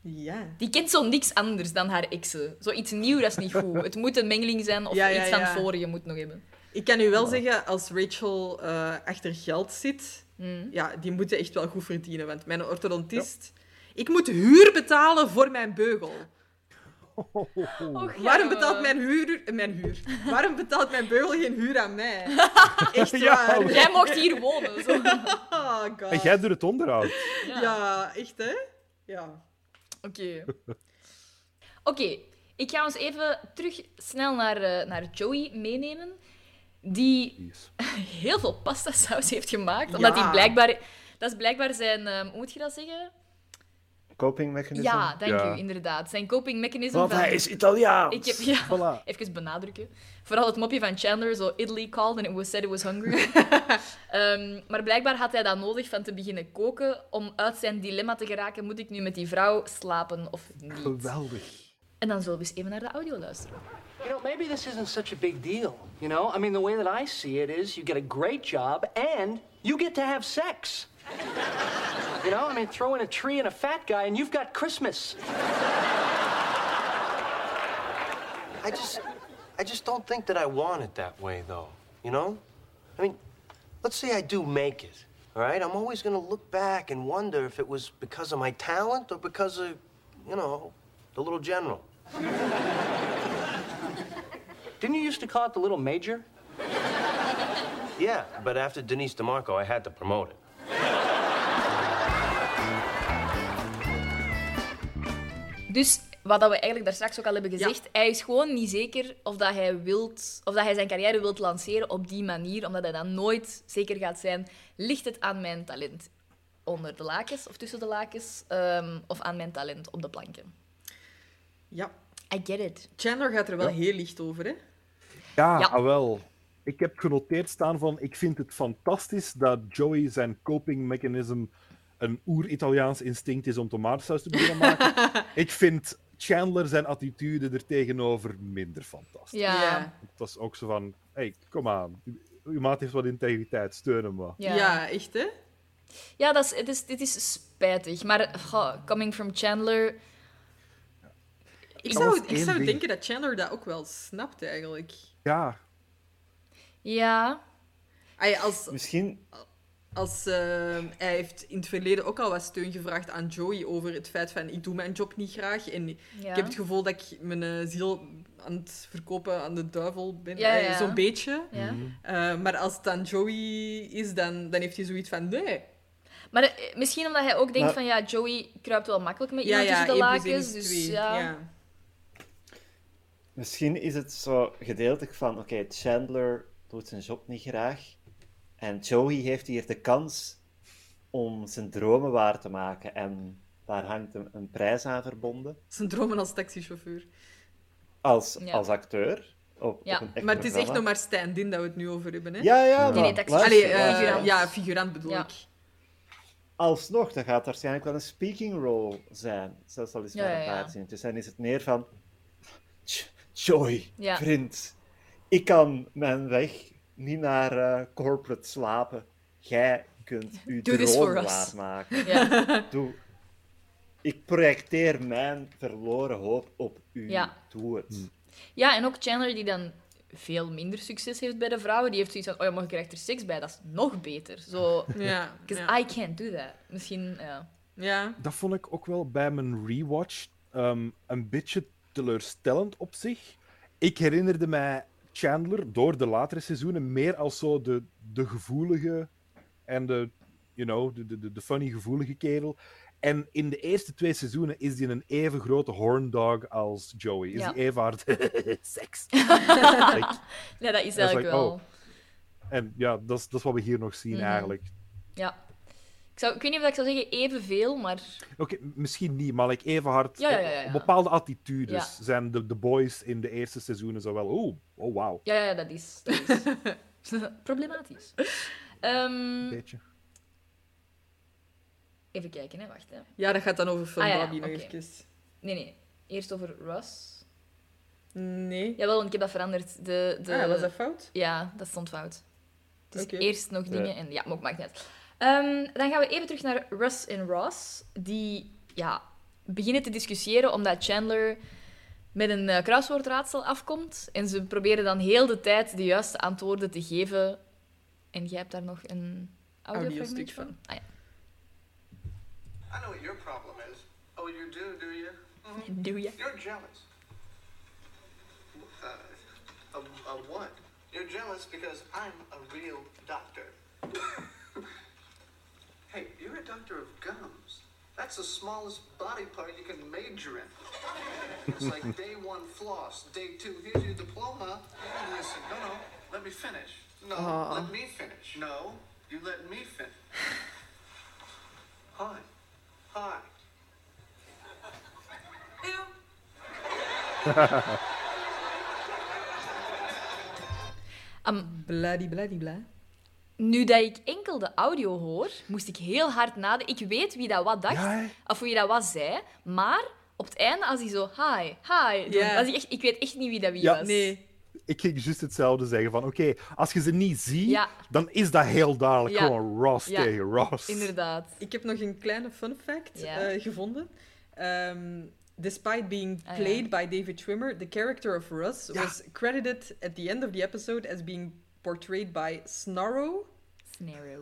Speaker 1: Ja.
Speaker 2: Die kent zo niks anders dan haar exen. Zoiets nieuw, dat is niet goed. Het moet een mengeling zijn of
Speaker 1: Ja, ja,
Speaker 2: iets van
Speaker 1: ja.
Speaker 2: het vorige moet nog hebben.
Speaker 1: Ik kan u wel zeggen, als Rachel eh, achter geld zit,
Speaker 2: Hmm.
Speaker 1: ja, die moeten echt wel goed verdienen. Want mijn orthodontist... Ik moet huur betalen voor mijn beugel. Waarom betaalt mijn huur... Mijn huur. Waarom betaalt mijn beugel geen huur aan mij? Echt
Speaker 4: Ja,
Speaker 1: waar.
Speaker 4: hoor.
Speaker 2: Jij mocht hier wonen. Zo. Oké.
Speaker 1: Oh,
Speaker 4: En
Speaker 1: god.
Speaker 4: jij doet het onderhoud.
Speaker 1: Ja. echt, hè? Ja.
Speaker 2: Oké, ik ga ons even terug snel naar, eh, naar Joey meenemen. Die
Speaker 4: Yes.
Speaker 2: heel veel pasta saus heeft gemaakt. Omdat
Speaker 1: Ja.
Speaker 2: hij blijkbaar... Dat is blijkbaar zijn... ehm, hoe moet je dat zeggen?
Speaker 3: Coping mechanism.
Speaker 2: Ja, dank
Speaker 4: Ja.
Speaker 2: u, inderdaad. Zijn coping mechanism
Speaker 3: Want
Speaker 2: van...
Speaker 3: hij is Italiaans.
Speaker 2: Ik heb... Ja,
Speaker 3: Ah.
Speaker 4: Voilà.
Speaker 2: even benadrukken. Vooral het mopje van Chandler, zo Italy called and it was said it was hungry. Ehm, maar blijkbaar had hij dat nodig van te beginnen koken om uit zijn dilemma te geraken. Moet ik nu met die vrouw slapen of niet?
Speaker 4: Geweldig.
Speaker 2: En dan zullen we eens even naar de audio luisteren.
Speaker 9: You know, maybe this isn't such a big deal. You know, I mean, the way that I see it is you get a great job and you get to have sex. You know, I mean, throw in a tree and a fat guy and you've got Christmas.
Speaker 10: I just, I just don't think that I want it that way, though. You know? I mean, let's say I do make it, all right? I'm always gonna look back and wonder if it was because of my talent or because of, you know, the little general.
Speaker 9: Didn't you used to call it the little major?
Speaker 10: Yeah, but after Denise DeMarco, I had to promote it.
Speaker 2: Dus wat dat we eigenlijk daar straks ook al hebben gezegd, hij is gewoon niet zeker of, dat hij wilt, of dat hij zijn carrière wilt lanceren op die manier, omdat hij dan nooit zeker gaat zijn, ligt het aan mijn talent onder de lakens of tussen de lakens, ehm, of aan mijn talent op de planken.
Speaker 1: Ja.
Speaker 2: I get it.
Speaker 1: Chandler gaat er wel heel licht over, hè?
Speaker 4: Ja,
Speaker 2: Ja.
Speaker 4: ah, wel. Ik heb genoteerd staan van, ik vind het fantastisch dat Joey zijn coping mechanism een oer-Italiaans instinct is om tomatensaus te beginnen maken. ik vind Chandler zijn attitude er tegenover minder fantastisch.
Speaker 2: Ja.
Speaker 1: Ja.
Speaker 2: Ja.
Speaker 4: Het was ook zo van, hey, kom aan. U- Uw maat heeft wat integriteit, steun hem wat.
Speaker 1: Ja,
Speaker 2: ja.
Speaker 1: echt, hè?
Speaker 2: dat is, het is, dit is spijtig. Maar goh, coming from Chandler...
Speaker 1: Ik
Speaker 4: Dat
Speaker 1: zou,
Speaker 4: was
Speaker 1: ik
Speaker 4: één
Speaker 1: zou
Speaker 4: ding.
Speaker 1: denken dat Chandler dat ook wel snapt, eigenlijk.
Speaker 4: Ja,
Speaker 2: Ja.
Speaker 1: Ay, als,
Speaker 3: Misschien,
Speaker 1: als, ehm, hij heeft in het verleden ook al wat steun gevraagd aan Joey over het feit van ik doe mijn job niet graag en
Speaker 2: ja.
Speaker 1: ik heb het gevoel dat ik mijn eh, ziel aan het verkopen aan de duivel ben.
Speaker 2: Ja,
Speaker 1: Ay,
Speaker 2: ja.
Speaker 1: Zo'n beetje.
Speaker 2: Ja.
Speaker 1: Eh, maar als het dan Joey is, dan, dan heeft hij zoiets van nee.
Speaker 2: Maar eh, misschien omdat hij ook denkt
Speaker 3: Maar-
Speaker 2: van, ja, Joey kruipt wel makkelijk met
Speaker 1: Ja,
Speaker 2: iemand
Speaker 1: ja,
Speaker 2: tussen de
Speaker 1: 1 plus 1
Speaker 2: lakens.
Speaker 1: is
Speaker 2: Dus
Speaker 1: 2.
Speaker 2: ja.
Speaker 1: ja.
Speaker 3: misschien is het zo gedeeltelijk van, oké, Chandler doet zijn job niet graag. En Joey heeft hier de kans om zijn dromen waar te maken. En daar hangt een, een prijs aan verbonden.
Speaker 1: Zijn dromen als taxichauffeur.
Speaker 3: Als,
Speaker 2: Ja.
Speaker 3: als acteur. Op,
Speaker 2: Ja,
Speaker 3: op een echt
Speaker 1: Maar het is echt
Speaker 3: programma.
Speaker 1: nog maar stand-in dat we het nu over hebben. Hè?
Speaker 3: Ja, ja,
Speaker 2: Nee,
Speaker 3: maar
Speaker 2: nee, dat is-
Speaker 3: luister,
Speaker 1: Allee,
Speaker 3: eh,
Speaker 1: eh,
Speaker 2: Figurant.
Speaker 1: ja, figurant bedoel
Speaker 2: Ja.
Speaker 1: ik.
Speaker 3: alsnog, dat gaat waarschijnlijk wel een speaking role zijn. Zelfs al is het
Speaker 2: Ja,
Speaker 3: maar een
Speaker 2: ja, ja.
Speaker 3: paar zinnetjes. En is het meer van... "Tj- Joy,
Speaker 2: Ja.
Speaker 3: vriend. Ik kan mijn weg niet naar eh, corporate slapen. Jij kunt uw
Speaker 2: Do this
Speaker 3: droom
Speaker 2: for us.
Speaker 3: waarmaken.
Speaker 2: ja.
Speaker 3: Doe. Ik projecteer mijn verloren hoop op u.
Speaker 2: Ja.
Speaker 3: Doe het.
Speaker 2: Ja, en ook Chandler die dan veel minder succes heeft bij de vrouwen, die heeft zoiets van, oh ja, maar je krijgt er seks bij, dat is nog beter. Zo,
Speaker 1: Ja,
Speaker 2: because
Speaker 1: ja.
Speaker 2: I can't do that. Misschien, ja.
Speaker 1: ja.
Speaker 4: dat vond ik ook wel bij mijn rewatch ehm, een beetje teleurstellend op zich. Ik herinnerde mij Chandler door de latere seizoenen meer als zo de, de gevoelige en de, you know, de, de- de, de funny gevoelige kerel. En in de eerste twee seizoenen is hij een even grote horndog als Joey. Is
Speaker 2: Ja.
Speaker 4: hij even hard seks.
Speaker 2: Ja, dat is
Speaker 4: Dat is
Speaker 2: eigenlijk
Speaker 4: like,
Speaker 2: wel...
Speaker 4: oh. En ja, dat is, dat is wat we hier nog zien
Speaker 2: Mhm.
Speaker 4: eigenlijk.
Speaker 2: Ja. Ik, zou, ik weet niet of ik zou zeggen evenveel, maar...
Speaker 4: Oké, misschien niet, maar like even hard.
Speaker 2: Ja, ja,
Speaker 4: op-
Speaker 2: ja, ja.
Speaker 4: op bepaalde attitudes zijn de, de boys in de eerste seizoenen zo wel. Oeh, oh wauw.
Speaker 2: Ja, ja, dat is, dat is problematisch. Ehm,
Speaker 4: Beetje.
Speaker 2: even kijken, hè. Wacht, hè.
Speaker 1: ja, dat gaat dan over Film
Speaker 2: Ah, ja,
Speaker 1: Bobby nog
Speaker 2: oké.
Speaker 1: even.
Speaker 2: Nee, nee. Eerst over Russ.
Speaker 1: Nee.
Speaker 2: Jawel, want ik heb dat veranderd. De, de...
Speaker 1: Ah, was dat fout?
Speaker 2: Ja, dat stond fout. Dus
Speaker 1: Oké.
Speaker 2: eerst nog
Speaker 3: Ja.
Speaker 2: dingen en ja, maar ook maakt niet uit. Ehm, dan gaan we even terug naar Russ en Ross, die ja, beginnen te discussiëren omdat Chandler met een eh, kruiswoordraadsel afkomt. En ze proberen dan heel de tijd de juiste antwoorden te geven. En jij hebt daar nog een audiofragment
Speaker 1: Audiostuk
Speaker 2: van? Ah, ja.
Speaker 5: I know what your problem is. Oh, you do, do you?
Speaker 2: Doe je?
Speaker 5: You're jealous. Uh, of, of what? You're jealous because I'm a real doctor. hey, you're a doctor of gums. That's the smallest body part you can major in. It's like day one floss, day two, here's your diploma. You listen, no, no, let me finish. No,
Speaker 1: Aw.
Speaker 5: let me finish. No, you let me finish. Hi. Hi.
Speaker 2: Am,
Speaker 1: Bladibladibla.
Speaker 2: nu dat ik enkel de audio hoor, moest ik heel hard nadenken. Ik weet wie dat wat dacht,
Speaker 4: Ja, hè?
Speaker 2: of wie dat wat zei. Maar op het einde, als hij zo hi, hi, doet,
Speaker 1: Ja.
Speaker 2: was hij echt, ik weet echt niet wie dat wie
Speaker 4: Ja.
Speaker 2: was.
Speaker 1: Nee.
Speaker 4: Ik ging juist hetzelfde zeggen van, oké, als je ze niet ziet,
Speaker 2: Ja.
Speaker 4: dan is dat heel duidelijk
Speaker 2: Ja.
Speaker 4: gewoon Ross
Speaker 2: Ja.
Speaker 4: tegen Ross.
Speaker 2: Inderdaad.
Speaker 1: Ik heb nog een kleine fun fact
Speaker 2: Ja.
Speaker 1: eh, gevonden. Ehm, despite being
Speaker 2: Ah, ja.
Speaker 1: played by David Schwimmer, the character of Russ was credited at the end of the episode as being portrayed by Snarrow.
Speaker 2: Snarrow.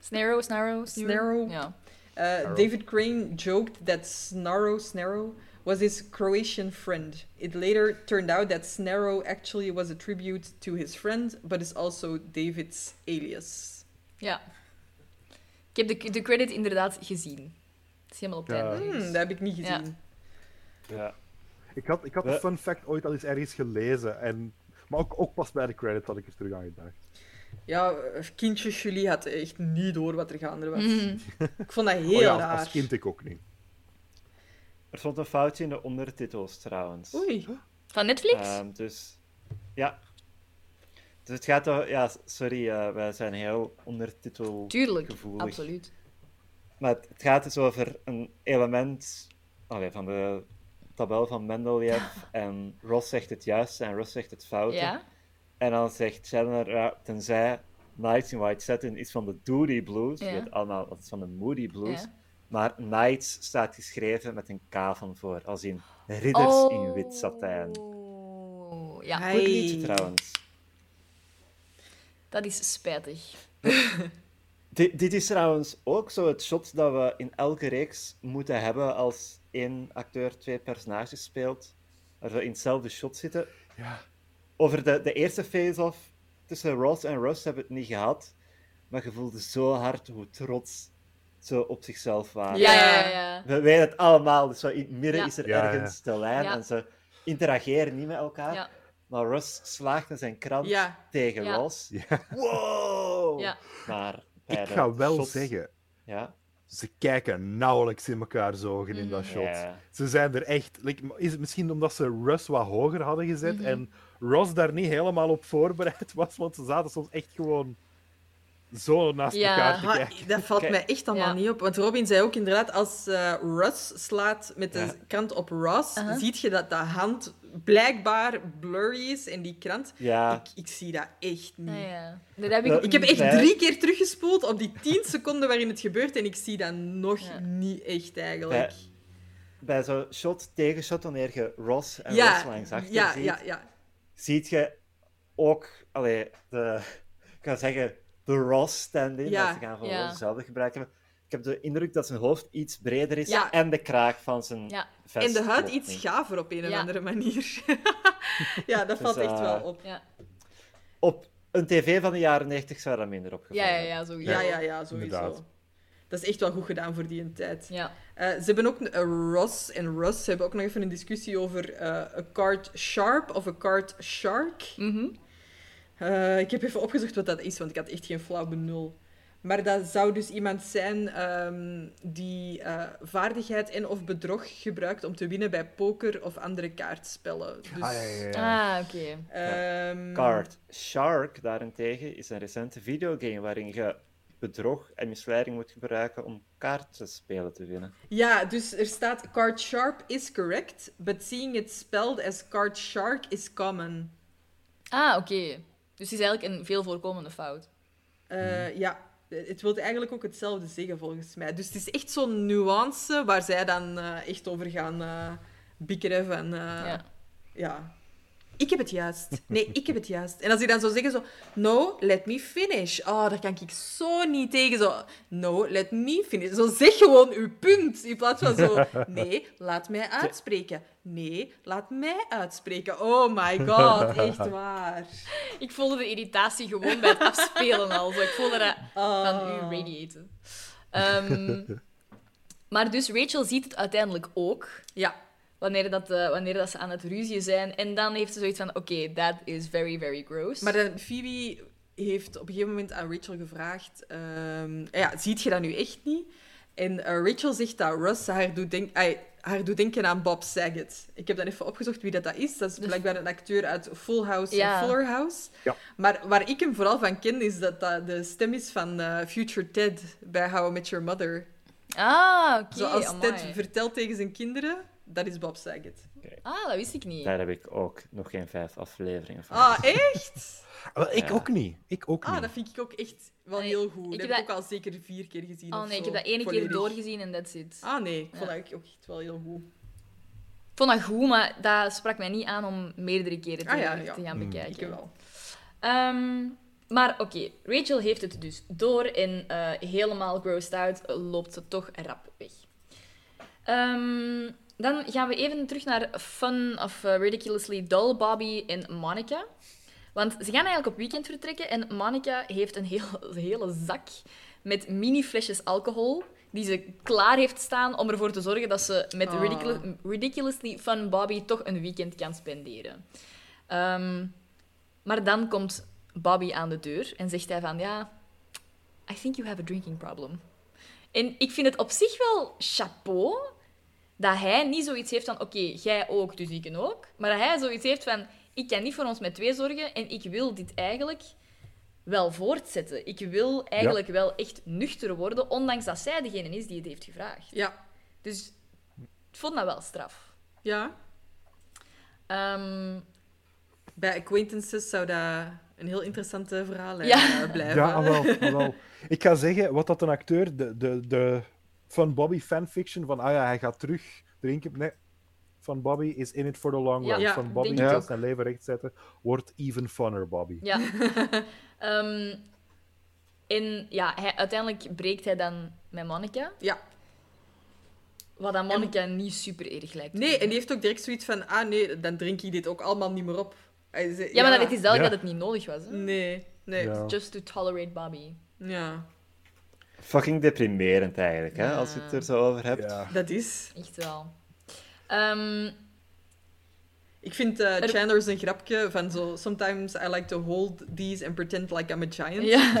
Speaker 2: Snarrow, snarrow,
Speaker 1: Snarrow.
Speaker 2: Ja.
Speaker 1: Uh, David Crane joked that Snarrow Snarrow was his Croatian friend. It later turned out that Snarrow actually was a tribute to his friend, but is also David's alias.
Speaker 2: ja. Ik heb de, de credit inderdaad gezien. Het is helemaal op tijd.
Speaker 4: Ja.
Speaker 1: Hmm, dat heb ik niet
Speaker 2: Ja.
Speaker 1: gezien.
Speaker 3: Ja.
Speaker 4: Ik had, ik had
Speaker 3: Ja.
Speaker 4: de fun fact ooit al eens ergens gelezen, en... maar ook, ook pas bij de credits had ik er terug aan gedacht.
Speaker 1: Ja, eh, kindjes, jullie hadden echt niet door wat er gaande was.
Speaker 2: Mhm.
Speaker 1: Ik vond dat heel
Speaker 4: Oh ja, als-
Speaker 1: raar.
Speaker 4: als kind ik ook niet.
Speaker 3: Er stond een foutje in de ondertitels trouwens.
Speaker 1: Oei.
Speaker 2: Van Netflix?
Speaker 3: Ehm, dus ja. Dus het gaat toch, ja, sorry, eh, wij zijn heel ondertitel.
Speaker 2: Tuurlijk,
Speaker 3: gevoelig.
Speaker 2: absoluut.
Speaker 3: Maar het het gaat dus over een element allee, van de tabel van Mendeleev. en Ross zegt het juiste en Ross zegt het foute.
Speaker 2: Ja?
Speaker 3: En dan zegt Chandler, ja, tenzij Nights in White Satin is van de Doody Blues.
Speaker 2: Ja.
Speaker 3: Je weet allemaal, dat is van de Moody Blues.
Speaker 2: Ja.
Speaker 3: Maar Nights staat geschreven met een K van voor, als in ridders in wit satijn.
Speaker 2: Oh, Ja,
Speaker 1: Hai.
Speaker 3: Goed liedje
Speaker 1: Hey.
Speaker 3: trouwens.
Speaker 2: dat is spijtig.
Speaker 3: Di- dit is trouwens ook zo het shot dat we in elke reeks moeten hebben als één acteur twee personages speelt. Dat we in hetzelfde shot zitten.
Speaker 4: Ja.
Speaker 3: Over de, de eerste face-off tussen Ross en Russ hebben we het niet gehad. Maar je voelde zo hard hoe trots ze op zichzelf waren.
Speaker 2: Ja, ja, ja. ja.
Speaker 3: We weten het allemaal. Dus zo in het midden
Speaker 2: Ja.
Speaker 3: is er
Speaker 4: Ja, ja.
Speaker 3: ergens de lijn
Speaker 2: Ja.
Speaker 3: en ze interageren niet met elkaar.
Speaker 2: Ja.
Speaker 3: Maar Russ slaagt met zijn krant
Speaker 1: Ja.
Speaker 3: tegen
Speaker 2: Ja.
Speaker 3: Ross.
Speaker 4: Ja.
Speaker 3: Wow!
Speaker 2: Ja.
Speaker 3: Maar bij
Speaker 4: Ik
Speaker 3: de
Speaker 4: ga wel
Speaker 3: shots-
Speaker 4: zeggen,
Speaker 3: Ja.
Speaker 4: ze kijken nauwelijks in elkaar zogen in dat shot.
Speaker 3: Ja.
Speaker 4: Ze zijn er echt. like, is het misschien omdat ze Russ wat hoger hadden gezet en Ross daar niet helemaal op voorbereid was, want ze zaten soms echt gewoon zo naast
Speaker 2: Ja.
Speaker 4: elkaar te
Speaker 1: Ah,
Speaker 4: kijken.
Speaker 1: dat valt
Speaker 3: Kijk.
Speaker 1: mij echt allemaal
Speaker 2: Ja.
Speaker 1: niet op. Want Robin zei ook inderdaad, als eh, Russ slaat met de
Speaker 3: Ja.
Speaker 1: krant op Ross,
Speaker 2: Uh-huh.
Speaker 1: ziet je dat dat hand blijkbaar blurry is in die krant.
Speaker 3: Ja.
Speaker 1: Ik, ik zie dat echt niet.
Speaker 2: Ah, ja. Dat heb ik
Speaker 3: Ja,
Speaker 1: Ik heb echt
Speaker 3: Nee.
Speaker 1: drie keer teruggespoeld op die tien seconden waarin het gebeurt en ik zie dat nog
Speaker 2: Ja.
Speaker 1: niet echt eigenlijk.
Speaker 3: Bij zo'n shot tegen shot, wanneer je Ross en
Speaker 1: ja,
Speaker 3: Ross langs achter
Speaker 1: ja,
Speaker 3: ziet,
Speaker 1: ja, ja.
Speaker 3: ziet je ook, allee, de, ik kan zeggen, de Ross stand-in,
Speaker 1: Ja,
Speaker 3: dat ze gaan van
Speaker 2: ja.
Speaker 3: hetzelfde gebruikt hebben. Ik heb de indruk dat zijn hoofd iets breder is
Speaker 1: Ja.
Speaker 3: en de kraag van zijn
Speaker 2: Ja.
Speaker 3: vest.
Speaker 1: en de huid
Speaker 3: klopt
Speaker 1: iets
Speaker 3: niet.
Speaker 1: gaver op een of
Speaker 2: Ja.
Speaker 1: andere manier. ja, dat valt echt
Speaker 3: eh,
Speaker 1: wel op.
Speaker 2: Ja,
Speaker 3: Op een tv van de jaren 90 zou dat minder opgevallen.
Speaker 2: ja, ja, ja sowieso.
Speaker 1: Ja, ja, ja, sowieso.
Speaker 4: inderdaad.
Speaker 1: Dat is echt wel goed gedaan voor die een tijd.
Speaker 2: Ja.
Speaker 1: Eh, ze hebben ook, eh, Ross en Russ hebben ook nog even een discussie over eh, a card sharp of a card shark.
Speaker 2: Mhm.
Speaker 1: Eh, ik heb even opgezocht wat dat is, want ik had echt geen flauw benul. Maar dat zou dus iemand zijn ehm, die eh, vaardigheid en of bedrog gebruikt om te winnen bij poker of andere kaartspellen. Dus,
Speaker 4: Ah, ja, ja, ja.
Speaker 2: Ah, oké.
Speaker 1: ehm,
Speaker 3: Card Shark daarentegen is een recente videogame waarin je bedrog en misleiding moet gebruiken om kaartenspelen te winnen.
Speaker 1: Ja, dus er staat card sharp is correct, but seeing it spelled as card shark is common.
Speaker 2: Ah, oké. Dus het is eigenlijk een veel voorkomende fout.
Speaker 1: Eh, Ja, het wilde eigenlijk ook hetzelfde zeggen, volgens mij. Dus het is echt zo'n nuance waar zij dan eh, echt over gaan eh bikkeren van... eh,
Speaker 2: Ja.
Speaker 1: ja. Ik heb het juist. Nee, ik heb het juist. En als die dan zo zeggen zo... No, let me finish. Oh, daar kan ik zo niet tegen. Zo, no, let me finish. Zo zeg gewoon uw punt. In plaats van zo... Nee, laat mij uitspreken. Nee, laat mij uitspreken. Oh my god, echt waar.
Speaker 2: Ik voelde de irritatie gewoon bij het afspelen al. Zo. Ik voelde dat van u radiaten. Ehm, maar dus Rachel ziet het uiteindelijk ook.
Speaker 1: Ja.
Speaker 2: Wanneer, dat, eh, wanneer dat ze aan het ruzie zijn. En dan heeft ze zoiets van, oké, that is very, very gross.
Speaker 1: Maar dan, Phoebe heeft op een gegeven moment aan Rachel gevraagd: ehm, ja, ziet je dat nu echt niet? En eh, Rachel zegt dat Russ haar doet, denk, ai, haar doet denken aan Bob Saget. Ik heb dan even opgezocht wie dat, dat is. Dat is blijkbaar een acteur uit Full House
Speaker 2: Dus- Ja.
Speaker 1: en Fuller House.
Speaker 4: Ja.
Speaker 1: Maar waar ik hem vooral van ken, is dat dat de stem is van eh, Future Ted bij How I Met Your Mother.
Speaker 2: ah, oké,
Speaker 1: Zoals Ted
Speaker 2: amai.
Speaker 1: vertelt tegen zijn kinderen, dat is Bob Saget.
Speaker 2: Ah, dat wist ik niet.
Speaker 3: Daar heb ik ook nog geen vijf afleveringen van.
Speaker 1: Ah, echt?
Speaker 4: Ah, Wel, ik
Speaker 3: Ja.
Speaker 4: ook niet. Ik ook
Speaker 1: Ah,
Speaker 4: niet.
Speaker 1: dat vind ik ook echt wel
Speaker 2: Nee,
Speaker 1: heel goed.
Speaker 2: ik
Speaker 1: Dat
Speaker 2: heb
Speaker 1: heb ik ook al zeker vier keer gezien.
Speaker 2: Oh
Speaker 1: of
Speaker 2: nee, ik
Speaker 1: zo,
Speaker 2: heb dat ene keer
Speaker 1: volledig.
Speaker 2: doorgezien en that's it.
Speaker 1: Ah nee, ik vond
Speaker 2: Ja.
Speaker 1: dat ook echt wel heel goed.
Speaker 2: Ik vond dat goed, maar dat sprak mij niet aan om meerdere keren te,
Speaker 1: Ah ja, ja.
Speaker 2: te gaan bekijken.
Speaker 1: Ik wel.
Speaker 2: Ehm, maar oké, Rachel heeft het dus door en eh, helemaal grossed out loopt ze toch rap weg. Ehm, dan gaan we even terug naar Fun of eh, Ridiculously Dull Bobby en Monica. Want ze gaan eigenlijk op weekend vertrekken en Monica heeft een heel, hele zak met mini flesjes alcohol die ze klaar heeft staan om ervoor te zorgen dat ze met
Speaker 1: Ah.
Speaker 2: Ridicul- Ridiculously Fun Bobby toch een weekend kan spenderen. Ehm, maar dan komt Bobby aan de deur en zegt hij van ja, I think you have a drinking problem. En ik vind het op zich wel chapeau dat hij niet zoiets heeft van oké, jij ook, dus ik ook. Maar dat hij zoiets heeft van ik kan niet voor ons met twee zorgen en ik wil dit eigenlijk wel voortzetten. Ik wil eigenlijk wel echt nuchter worden, ondanks dat zij degene is die het heeft gevraagd.
Speaker 1: Ja.
Speaker 2: Dus ik vond dat wel straf.
Speaker 1: ja.
Speaker 2: Ehm,
Speaker 1: Bij Acquaintances zou dat een heel interessante verhaal
Speaker 2: Ja.
Speaker 1: eh, blijven.
Speaker 4: Ja, ah, wel, ah, wel. Ik ga zeggen, wat dat een acteur, de, de, de van Bobby fanfiction, van ah ja, hij gaat terug drinken. Nee, van Bobby is in it for the long
Speaker 2: Ja,
Speaker 4: run.
Speaker 1: ja,
Speaker 4: van Bobby
Speaker 2: denk ik
Speaker 4: gaat
Speaker 2: ook.
Speaker 4: zijn leven rechtzetten, wordt even funner, Bobby.
Speaker 2: Ja. Ehm, en ja, hij, uiteindelijk breekt hij dan met Monica.
Speaker 1: Ja.
Speaker 2: Wat aan Monica niet super erg lijkt. te
Speaker 1: Nee, en
Speaker 2: vinden.
Speaker 1: die heeft ook direct zoiets van, ah nee, dan drink ik dit ook allemaal niet meer op. Hij zei-
Speaker 2: Ja, maar dan weet hij zelf
Speaker 4: Ja.
Speaker 2: dat het niet nodig was. Hè?
Speaker 1: Nee, nee. Ja.
Speaker 4: Ja.
Speaker 2: Just to tolerate Bobby.
Speaker 3: Fucking deprimerend eigenlijk, hè, als je het er zo over hebt.
Speaker 4: Ja.
Speaker 1: dat is.
Speaker 2: Echt wel. Ehm,
Speaker 1: Ik vind eh,
Speaker 2: Er-
Speaker 1: Chandler zijn grapje van zo... Sometimes I like to hold these and pretend like I'm a giant.
Speaker 2: ja.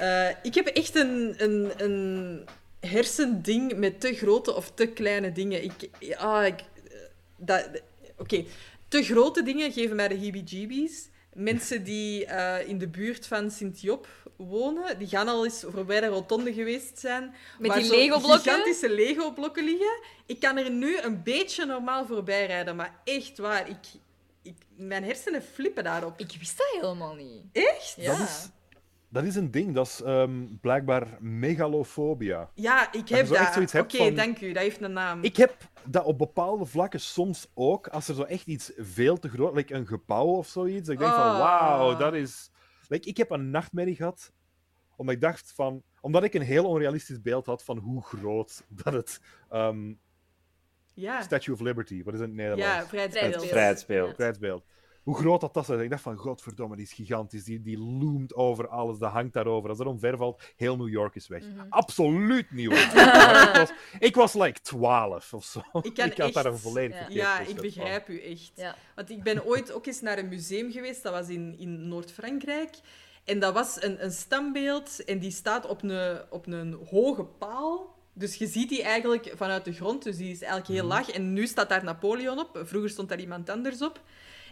Speaker 1: Eh, ik heb echt een, een, een hersending met te grote of te kleine dingen. Ik, ah, ik, eh, dat- Oké, te grote dingen geven mij de heebie-jeebies. Mensen die eh, in de buurt van Sint-Job wonen, die gaan al eens voorbij de rotonde geweest zijn.
Speaker 2: Met
Speaker 1: waar
Speaker 2: die
Speaker 1: zo
Speaker 2: Lego-blokken?
Speaker 1: gigantische Lego-blokken liggen. Ik kan er nu een beetje normaal voorbij rijden, maar echt waar, ik, ik, mijn hersenen flippen daarop.
Speaker 2: Ik wist dat helemaal niet.
Speaker 1: Echt?
Speaker 2: Ja.
Speaker 4: Dat, is, dat is een ding, dat is ehm, blijkbaar megalofobia.
Speaker 1: Ja, ik
Speaker 4: je
Speaker 1: heb
Speaker 4: zo echt
Speaker 1: dat.
Speaker 4: zoiets
Speaker 1: Oké,
Speaker 4: hebt van-
Speaker 1: dank u. Dat heeft een naam.
Speaker 4: Ik heb dat op bepaalde vlakken soms ook, als er zo echt iets veel te groot, like een gebouw of zoiets, dat ik denk van
Speaker 1: Ah.
Speaker 4: wauw, dat is... Like, ik heb een nachtmerrie gehad, omdat ik dacht van... Omdat ik een heel onrealistisch beeld had van hoe groot dat het ehm,
Speaker 1: Ja,
Speaker 4: Statue of Liberty, wat is het in het
Speaker 1: ja
Speaker 4: Nederlands?
Speaker 1: vrijheidsbeeld.
Speaker 2: Vrijheidsbeeld.
Speaker 3: Vrijheidsbeeld.
Speaker 4: Vrijheidsbeeld. Hoe groot dat was, dat is. ik dacht van, godverdomme, die is gigantisch. Die, die loomt over alles, dat hangt daarover. Als dat omver valt, heel New York is weg.
Speaker 1: Mhm.
Speaker 4: Absoluut niet waar. Maar ik, was, ik was like 12 of zo.
Speaker 1: Ik kan
Speaker 4: had
Speaker 1: echt-
Speaker 4: daar een volledig
Speaker 2: ja.
Speaker 4: verkeerd
Speaker 1: Ja, ik
Speaker 4: concept
Speaker 1: begrijp u echt.
Speaker 2: Ja.
Speaker 1: Want ik ben ooit ook eens naar een museum geweest, dat was in, in Noord-Frankrijk. En dat was een, een standbeeld en die staat op een, op een hoge paal. Dus je ziet die eigenlijk vanuit de grond, dus die is eigenlijk heel laag. En nu staat daar Napoleon op, vroeger stond daar iemand anders op.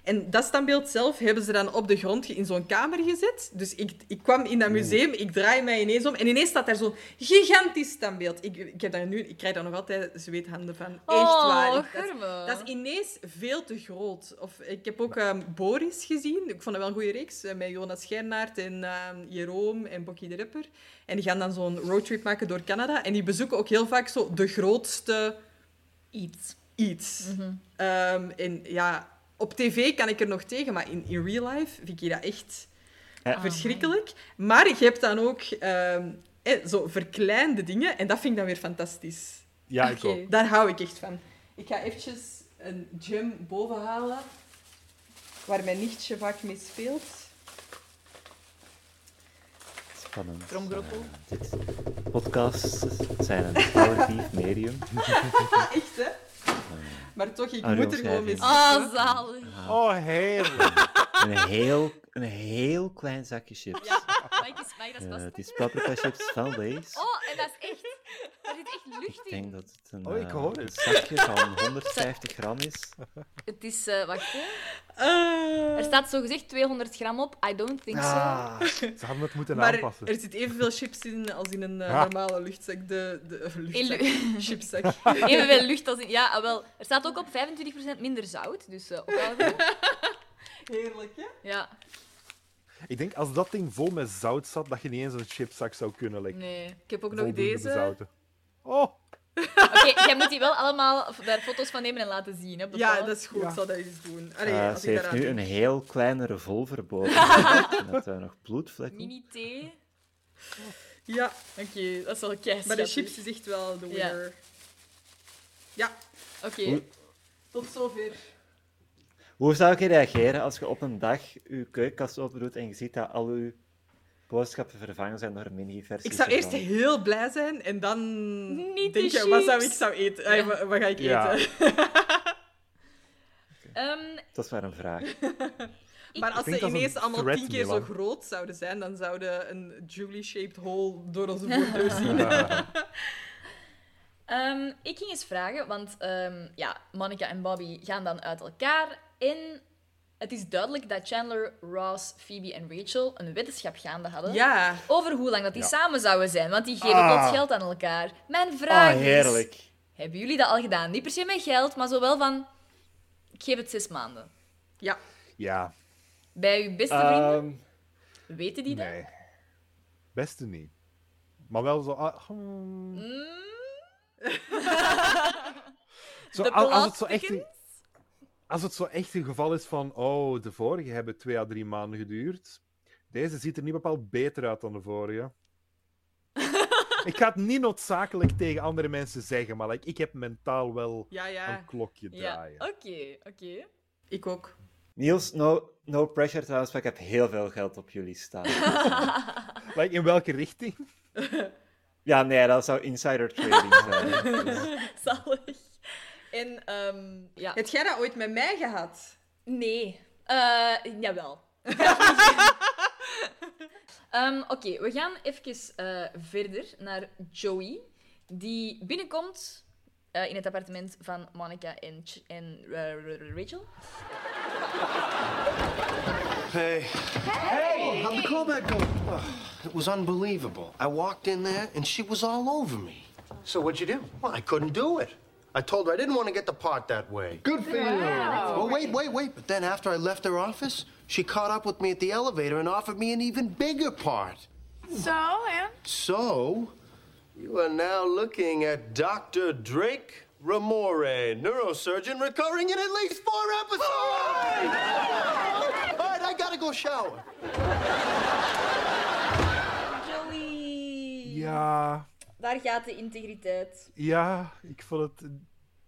Speaker 1: En dat standbeeld zelf hebben ze dan op de grond ge- in zo'n kamer gezet. Dus ik, ik kwam in dat museum, ik draai mij ineens om en ineens staat daar zo'n gigantisch standbeeld. Ik, ik, heb daar nu, ik krijg daar nog altijd zweethanden van. Echt
Speaker 2: Oh,
Speaker 1: waar. Ik- dat-
Speaker 2: Gerben.
Speaker 1: dat is ineens veel te groot. Of, ik heb ook ehm, Boris gezien. Ik vond dat wel een goede reeks. eh, Met Jonas Schernaert en ehm Jeroen en Bokkie de Ripper. En die gaan dan zo'n roadtrip maken door Canada. En die bezoeken ook heel vaak zo de grootste
Speaker 2: Iets. Mhm.
Speaker 1: iets. Ehm, en ja, op tv kan ik er nog tegen, maar in, in real life vind ik dat echt
Speaker 2: Ah,
Speaker 3: Ja.
Speaker 1: verschrikkelijk. Maar je hebt dan ook ehm, eh, zo verkleinde dingen. En dat vind ik dan weer fantastisch.
Speaker 4: Ja, ik
Speaker 2: Oké.
Speaker 4: ook.
Speaker 1: Daar hou ik echt van. Ik ga eventjes een gem boven halen waar mijn nichtje vaak mee speelt.
Speaker 3: Spannend.
Speaker 2: Tromgeroffel.
Speaker 3: Eh, dit podcasts zijn een auditief medium.
Speaker 1: Ah, echt hè? Maar toch, ik
Speaker 3: Ah,
Speaker 1: moet er
Speaker 3: Roos,
Speaker 1: gewoon
Speaker 3: jij
Speaker 1: mee
Speaker 3: vindt-
Speaker 2: Ah, zalig.
Speaker 4: Oh, heerlijk.
Speaker 3: Een heel, een heel klein zakje chips.
Speaker 2: Mag ik eens- mag ik dat
Speaker 3: Eh,
Speaker 2: vast-
Speaker 3: het is paprika chips van Lay's.
Speaker 8: Oh, en dat is echt. Er zit echt lucht
Speaker 3: Ik denk
Speaker 8: in.
Speaker 3: dat het een,
Speaker 4: Oh, ik
Speaker 3: eh,
Speaker 4: hoor
Speaker 3: een
Speaker 4: het.
Speaker 3: zakje van 150 gram is.
Speaker 2: Het is, eh, wacht hè.
Speaker 1: Ah.
Speaker 2: Er staat zogezegd 200 gram op. I don't think so.
Speaker 4: Ah, ze hadden het moeten
Speaker 1: Maar
Speaker 4: aanpassen.
Speaker 1: er zit evenveel chips in als in een eh,
Speaker 4: Ah.
Speaker 1: normale luchtzak. De, de, eh, luchtzak.
Speaker 2: Illu-
Speaker 1: Chipzak.
Speaker 2: Evenveel lucht als in... Ja, ah, wel. Er staat ook op 25% minder zout. Dus eh ophouden.
Speaker 1: Heerlijk, hè?
Speaker 2: Ja.
Speaker 4: Ik denk als dat ding vol met zout zat, dat je niet eens een chipzak zou kunnen like,
Speaker 2: Nee.
Speaker 1: Ik heb ook nog
Speaker 4: voldoende
Speaker 1: deze.
Speaker 4: bezouten. Oh,
Speaker 2: Oké, jij moet die wel allemaal f- daar foto's van nemen en laten zien. Hè, op de
Speaker 1: Ja,
Speaker 2: plaat.
Speaker 1: dat is goed. Ik zal dat eens doen. Allee,
Speaker 3: Eh,
Speaker 1: als
Speaker 3: ze
Speaker 1: ik
Speaker 3: heeft
Speaker 1: daaraan
Speaker 3: nu
Speaker 1: denk.
Speaker 3: een heel kleine revolver boven. haar. en dat er nog bloedvlekken.
Speaker 2: Mini T.
Speaker 1: Ja,
Speaker 2: Oké, dat is wel keis.
Speaker 1: maar de chips is echt wel de winner. Ja,
Speaker 2: Oké.
Speaker 3: Oei.
Speaker 1: tot zover.
Speaker 3: Hoe zou je reageren als je op een dag je keukenkast opendoet en je ziet dat al je boodschappen vervangen zijn door mini-versies?
Speaker 1: Ik zou eerst
Speaker 3: ervan?
Speaker 1: heel blij zijn en dan
Speaker 2: Niet
Speaker 1: denk
Speaker 2: de
Speaker 1: je, wat zou ik
Speaker 2: chips.
Speaker 1: zou eten? Ay, wat, wat ga ik
Speaker 4: Ja.
Speaker 1: eten?
Speaker 2: Ehm,
Speaker 3: Dat is maar een vraag.
Speaker 1: Maar als
Speaker 4: denk
Speaker 1: ze
Speaker 4: dat is een
Speaker 1: ineens allemaal
Speaker 4: threat,
Speaker 1: tien keer zo
Speaker 4: Milan.
Speaker 1: groot zouden zijn, dan zouden een Julie-shaped hole door onze voordeur zien.
Speaker 2: ehm, ik ging eens vragen, want ehm, ja, Monica en Bobby gaan dan uit elkaar. En het is duidelijk dat Chandler, Ross, Phoebe en Rachel een wetenschap gaande hadden.
Speaker 1: Ja.
Speaker 2: Over hoe lang dat die samen zouden zijn, want die geven
Speaker 4: Ah.
Speaker 2: plots geld aan elkaar. Mijn
Speaker 3: Ah,
Speaker 2: vraag is...
Speaker 3: heerlijk.
Speaker 2: Hebben jullie dat al gedaan? Niet per se met geld, maar zo wel van... Ik geef het zes maanden.
Speaker 1: Ja.
Speaker 4: ja,
Speaker 2: Bij uw beste vrienden,
Speaker 3: Ehm,
Speaker 2: weten die dat?
Speaker 4: nee. Beste niet. Maar wel zo... ah, hmm. Zo,
Speaker 2: De
Speaker 4: al- als, het zo echt een,
Speaker 2: plaatsbekend?
Speaker 4: als het zo echt een geval is van, oh, de vorige hebben twee à drie maanden geduurd. Deze ziet er niet bepaald beter uit dan de vorige. ik ga het niet noodzakelijk tegen andere mensen zeggen, maar like, ik heb mentaal wel
Speaker 1: Ja,
Speaker 4: een
Speaker 1: ja.
Speaker 4: klokje
Speaker 2: Ja,
Speaker 4: draaien.
Speaker 2: oké, oké.
Speaker 1: Ik ook.
Speaker 3: Niels, no, no pressure trouwens, maar ik heb heel veel geld op jullie staan.
Speaker 4: Like, in welke richting?
Speaker 3: ja, nee, dat zou insider trading zijn. Dus-
Speaker 2: Zalig. En, ehm, ja.
Speaker 1: Heb jij dat ooit met mij gehad?
Speaker 2: Nee. Eh, jawel. Ehm, Oké, we gaan even eh, verder naar Joey, die binnenkomt eh, in het appartement van Monica en, Ch- en eh, Rachel.
Speaker 10: Hey. Hey! How'd the callback go? Ugh, it was unbelievable. I walked in there and she was all over me.
Speaker 5: So what'd you do?
Speaker 10: Well, I couldn't do it. I told her I didn't want to get the part that way.
Speaker 5: Good for you.
Speaker 10: Well, wait, wait, wait. But then after I left her office, she caught up with me at the elevator and offered me an even bigger part.
Speaker 7: So, and?
Speaker 10: So, you are now looking at Dr. Drake Ramore, neurosurgeon recurring in at least four episodes. All right, I gotta go shower.
Speaker 2: Joey!
Speaker 4: Ja,
Speaker 2: Daar gaat de integriteit.
Speaker 4: ja, ik vond het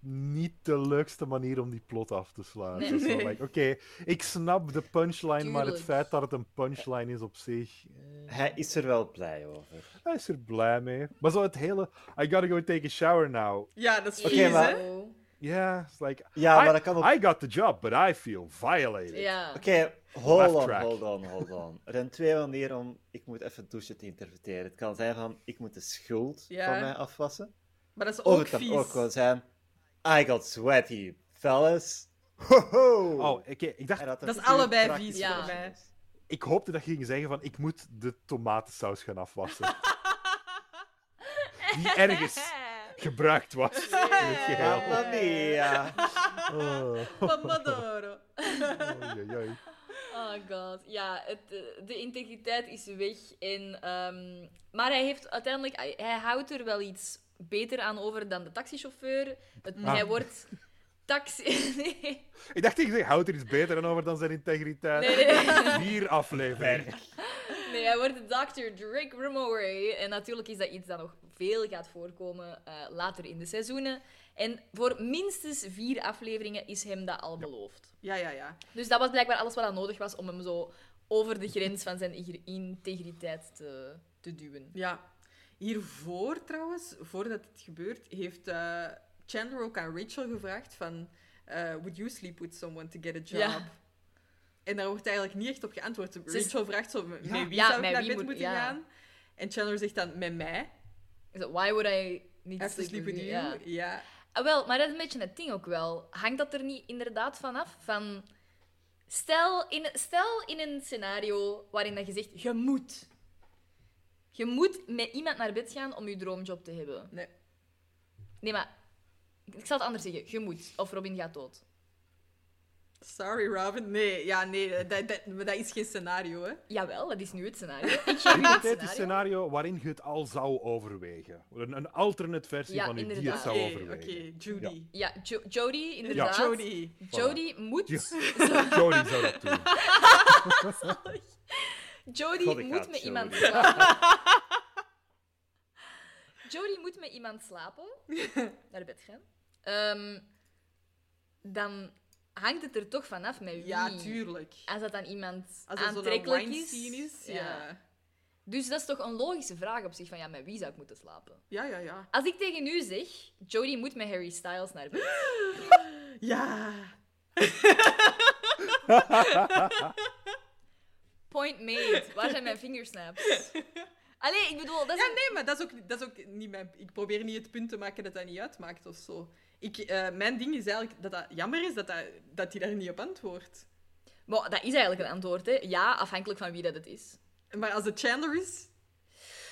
Speaker 4: niet de leukste manier om die plot af te sluiten. Zo, like, Oké, ik snap de punchline, maar het
Speaker 2: Tuurlijk.
Speaker 4: feit dat het een punchline is op zich...
Speaker 3: Hij is er wel blij over.
Speaker 4: Hij is er blij mee. Maar zo het hele... I gotta go take a shower now.
Speaker 1: Ja, dat is
Speaker 3: Oké,
Speaker 1: vies, hè?
Speaker 3: maar-
Speaker 2: Oh.
Speaker 4: Yeah, it's like...
Speaker 3: Ja,
Speaker 4: I,
Speaker 3: maar dat kan ook-
Speaker 4: I got the job, but I feel violated.
Speaker 2: Ja.
Speaker 3: Oké, hold
Speaker 4: Laugh
Speaker 3: on,
Speaker 4: track.
Speaker 3: hold on, hold on. Er zijn twee manieren om ik moet even douchen te interpreteren. Het kan zijn van ik moet de schuld
Speaker 1: Ja.
Speaker 3: van mij afwassen.
Speaker 1: Maar dat is
Speaker 3: Of
Speaker 1: ook
Speaker 3: het kan
Speaker 1: vies.
Speaker 3: ook wel zijn I got sweaty, fellas.
Speaker 4: Oh, oké. Ik dacht...
Speaker 3: had een
Speaker 1: Dat is
Speaker 3: puur
Speaker 1: allebei
Speaker 3: praktische
Speaker 1: vies
Speaker 2: Ja.
Speaker 1: voor mij.
Speaker 4: Ik hoopte dat je ging zeggen van ik moet de tomatensaus gaan afwassen. Die ergens gebruikt was in het geheel.
Speaker 3: Mamma mia.
Speaker 2: Pomodoro.
Speaker 4: Oei, oei, oei.
Speaker 2: Oh god, ja, het, eh, de integriteit is weg. En, ehm, maar hij heeft uiteindelijk, hij, hij houdt er wel iets beter aan over dan de taxichauffeur. Het,
Speaker 4: Ah.
Speaker 2: Hij wordt taxi. Nee,
Speaker 4: Ik dacht, ik zeg, houd er iets beter aan over dan zijn integriteit.
Speaker 2: nee, nee.
Speaker 4: Vier afleveringen.
Speaker 2: Nee, hij wordt Dr. Drake Ramore. En natuurlijk is dat iets dat nog veel gaat voorkomen eh, later in de seizoenen. En voor minstens vier afleveringen is hem dat al beloofd.
Speaker 1: Ja, ja, ja.
Speaker 2: Dus dat was blijkbaar alles wat aan nodig was om hem zo over de grens van zijn ig- integriteit te, te duwen.
Speaker 1: Ja. Hiervoor trouwens, voordat het gebeurt, heeft eh, Chandler ook aan Rachel gevraagd van... eh, Would you sleep with someone to get a job?
Speaker 2: Ja.
Speaker 1: En daar wordt eigenlijk niet echt op geantwoord.
Speaker 2: is-
Speaker 1: Rachel vraagt zo, met met wie
Speaker 2: Ja,
Speaker 1: zou ik
Speaker 2: met
Speaker 1: naar
Speaker 2: wie
Speaker 1: bed
Speaker 2: moet-
Speaker 1: moeten
Speaker 2: ja.
Speaker 1: gaan? En Chandler zegt dan, met mij.
Speaker 2: Is dat, why would I niet
Speaker 1: I have to sleep with you. Ja.
Speaker 2: Ah, wel, maar dat is een beetje het ding ook wel. Hangt dat er niet inderdaad vanaf? Van, stel, in, stel in een scenario waarin dat je zegt, je moet. Je moet met iemand naar bed gaan om je droomjob te hebben.
Speaker 1: Nee.
Speaker 2: Nee, maar ik zal het anders zeggen. Je moet. Of Robin gaat dood.
Speaker 1: Sorry, Robin. Nee, ja, nee, dat, dat, maar dat is geen scenario, hè.
Speaker 2: Jawel, dat is nu het scenario. Ik geef u het
Speaker 4: Hypothetisch
Speaker 2: scenario.
Speaker 4: scenario waarin je het al zou overwegen. Een, een alternate versie
Speaker 2: Ja,
Speaker 4: van u die het
Speaker 2: inderdaad.
Speaker 4: zou
Speaker 1: Oké,
Speaker 4: overwegen.
Speaker 1: Oké, Judy.
Speaker 2: Ja, jo Jodie, inderdaad.
Speaker 1: Jodie.
Speaker 2: Jodie moet...
Speaker 4: Jo- Jodie zou dat doen.
Speaker 2: Jodie
Speaker 3: God, ik
Speaker 2: moet
Speaker 3: haat
Speaker 2: met
Speaker 3: Jodie.
Speaker 2: iemand slapen. Jodie moet met iemand slapen. Naar bed gaan. Ehm, dan hangt het er toch vanaf met wie.
Speaker 1: Ja, tuurlijk.
Speaker 2: Als dat dan iemand
Speaker 1: Als dat zo'n
Speaker 2: aantrekkelijk
Speaker 1: wine
Speaker 2: is.
Speaker 1: scene is, ja.
Speaker 2: Dus dat is toch een logische vraag op zich van ja, met wie zou ik moeten slapen?
Speaker 1: Ja, ja, ja.
Speaker 2: Als ik tegen u zeg, Jodie moet met Harry Styles naar bed.
Speaker 1: Ja.
Speaker 2: Point made. Waar zijn mijn vingersnaps? Allee, ik bedoel, dat is
Speaker 1: Ja,
Speaker 2: een-
Speaker 1: nee, maar dat is ook, dat is ook niet mijn... Ik probeer niet het punt te maken dat dat niet uitmaakt of zo. Ik, eh, mijn ding is eigenlijk dat dat jammer is dat hij dat hij daar niet op antwoordt.
Speaker 2: Maar dat is eigenlijk een antwoord, hè. Ja, afhankelijk van wie dat het is.
Speaker 1: Maar als het Chandler is,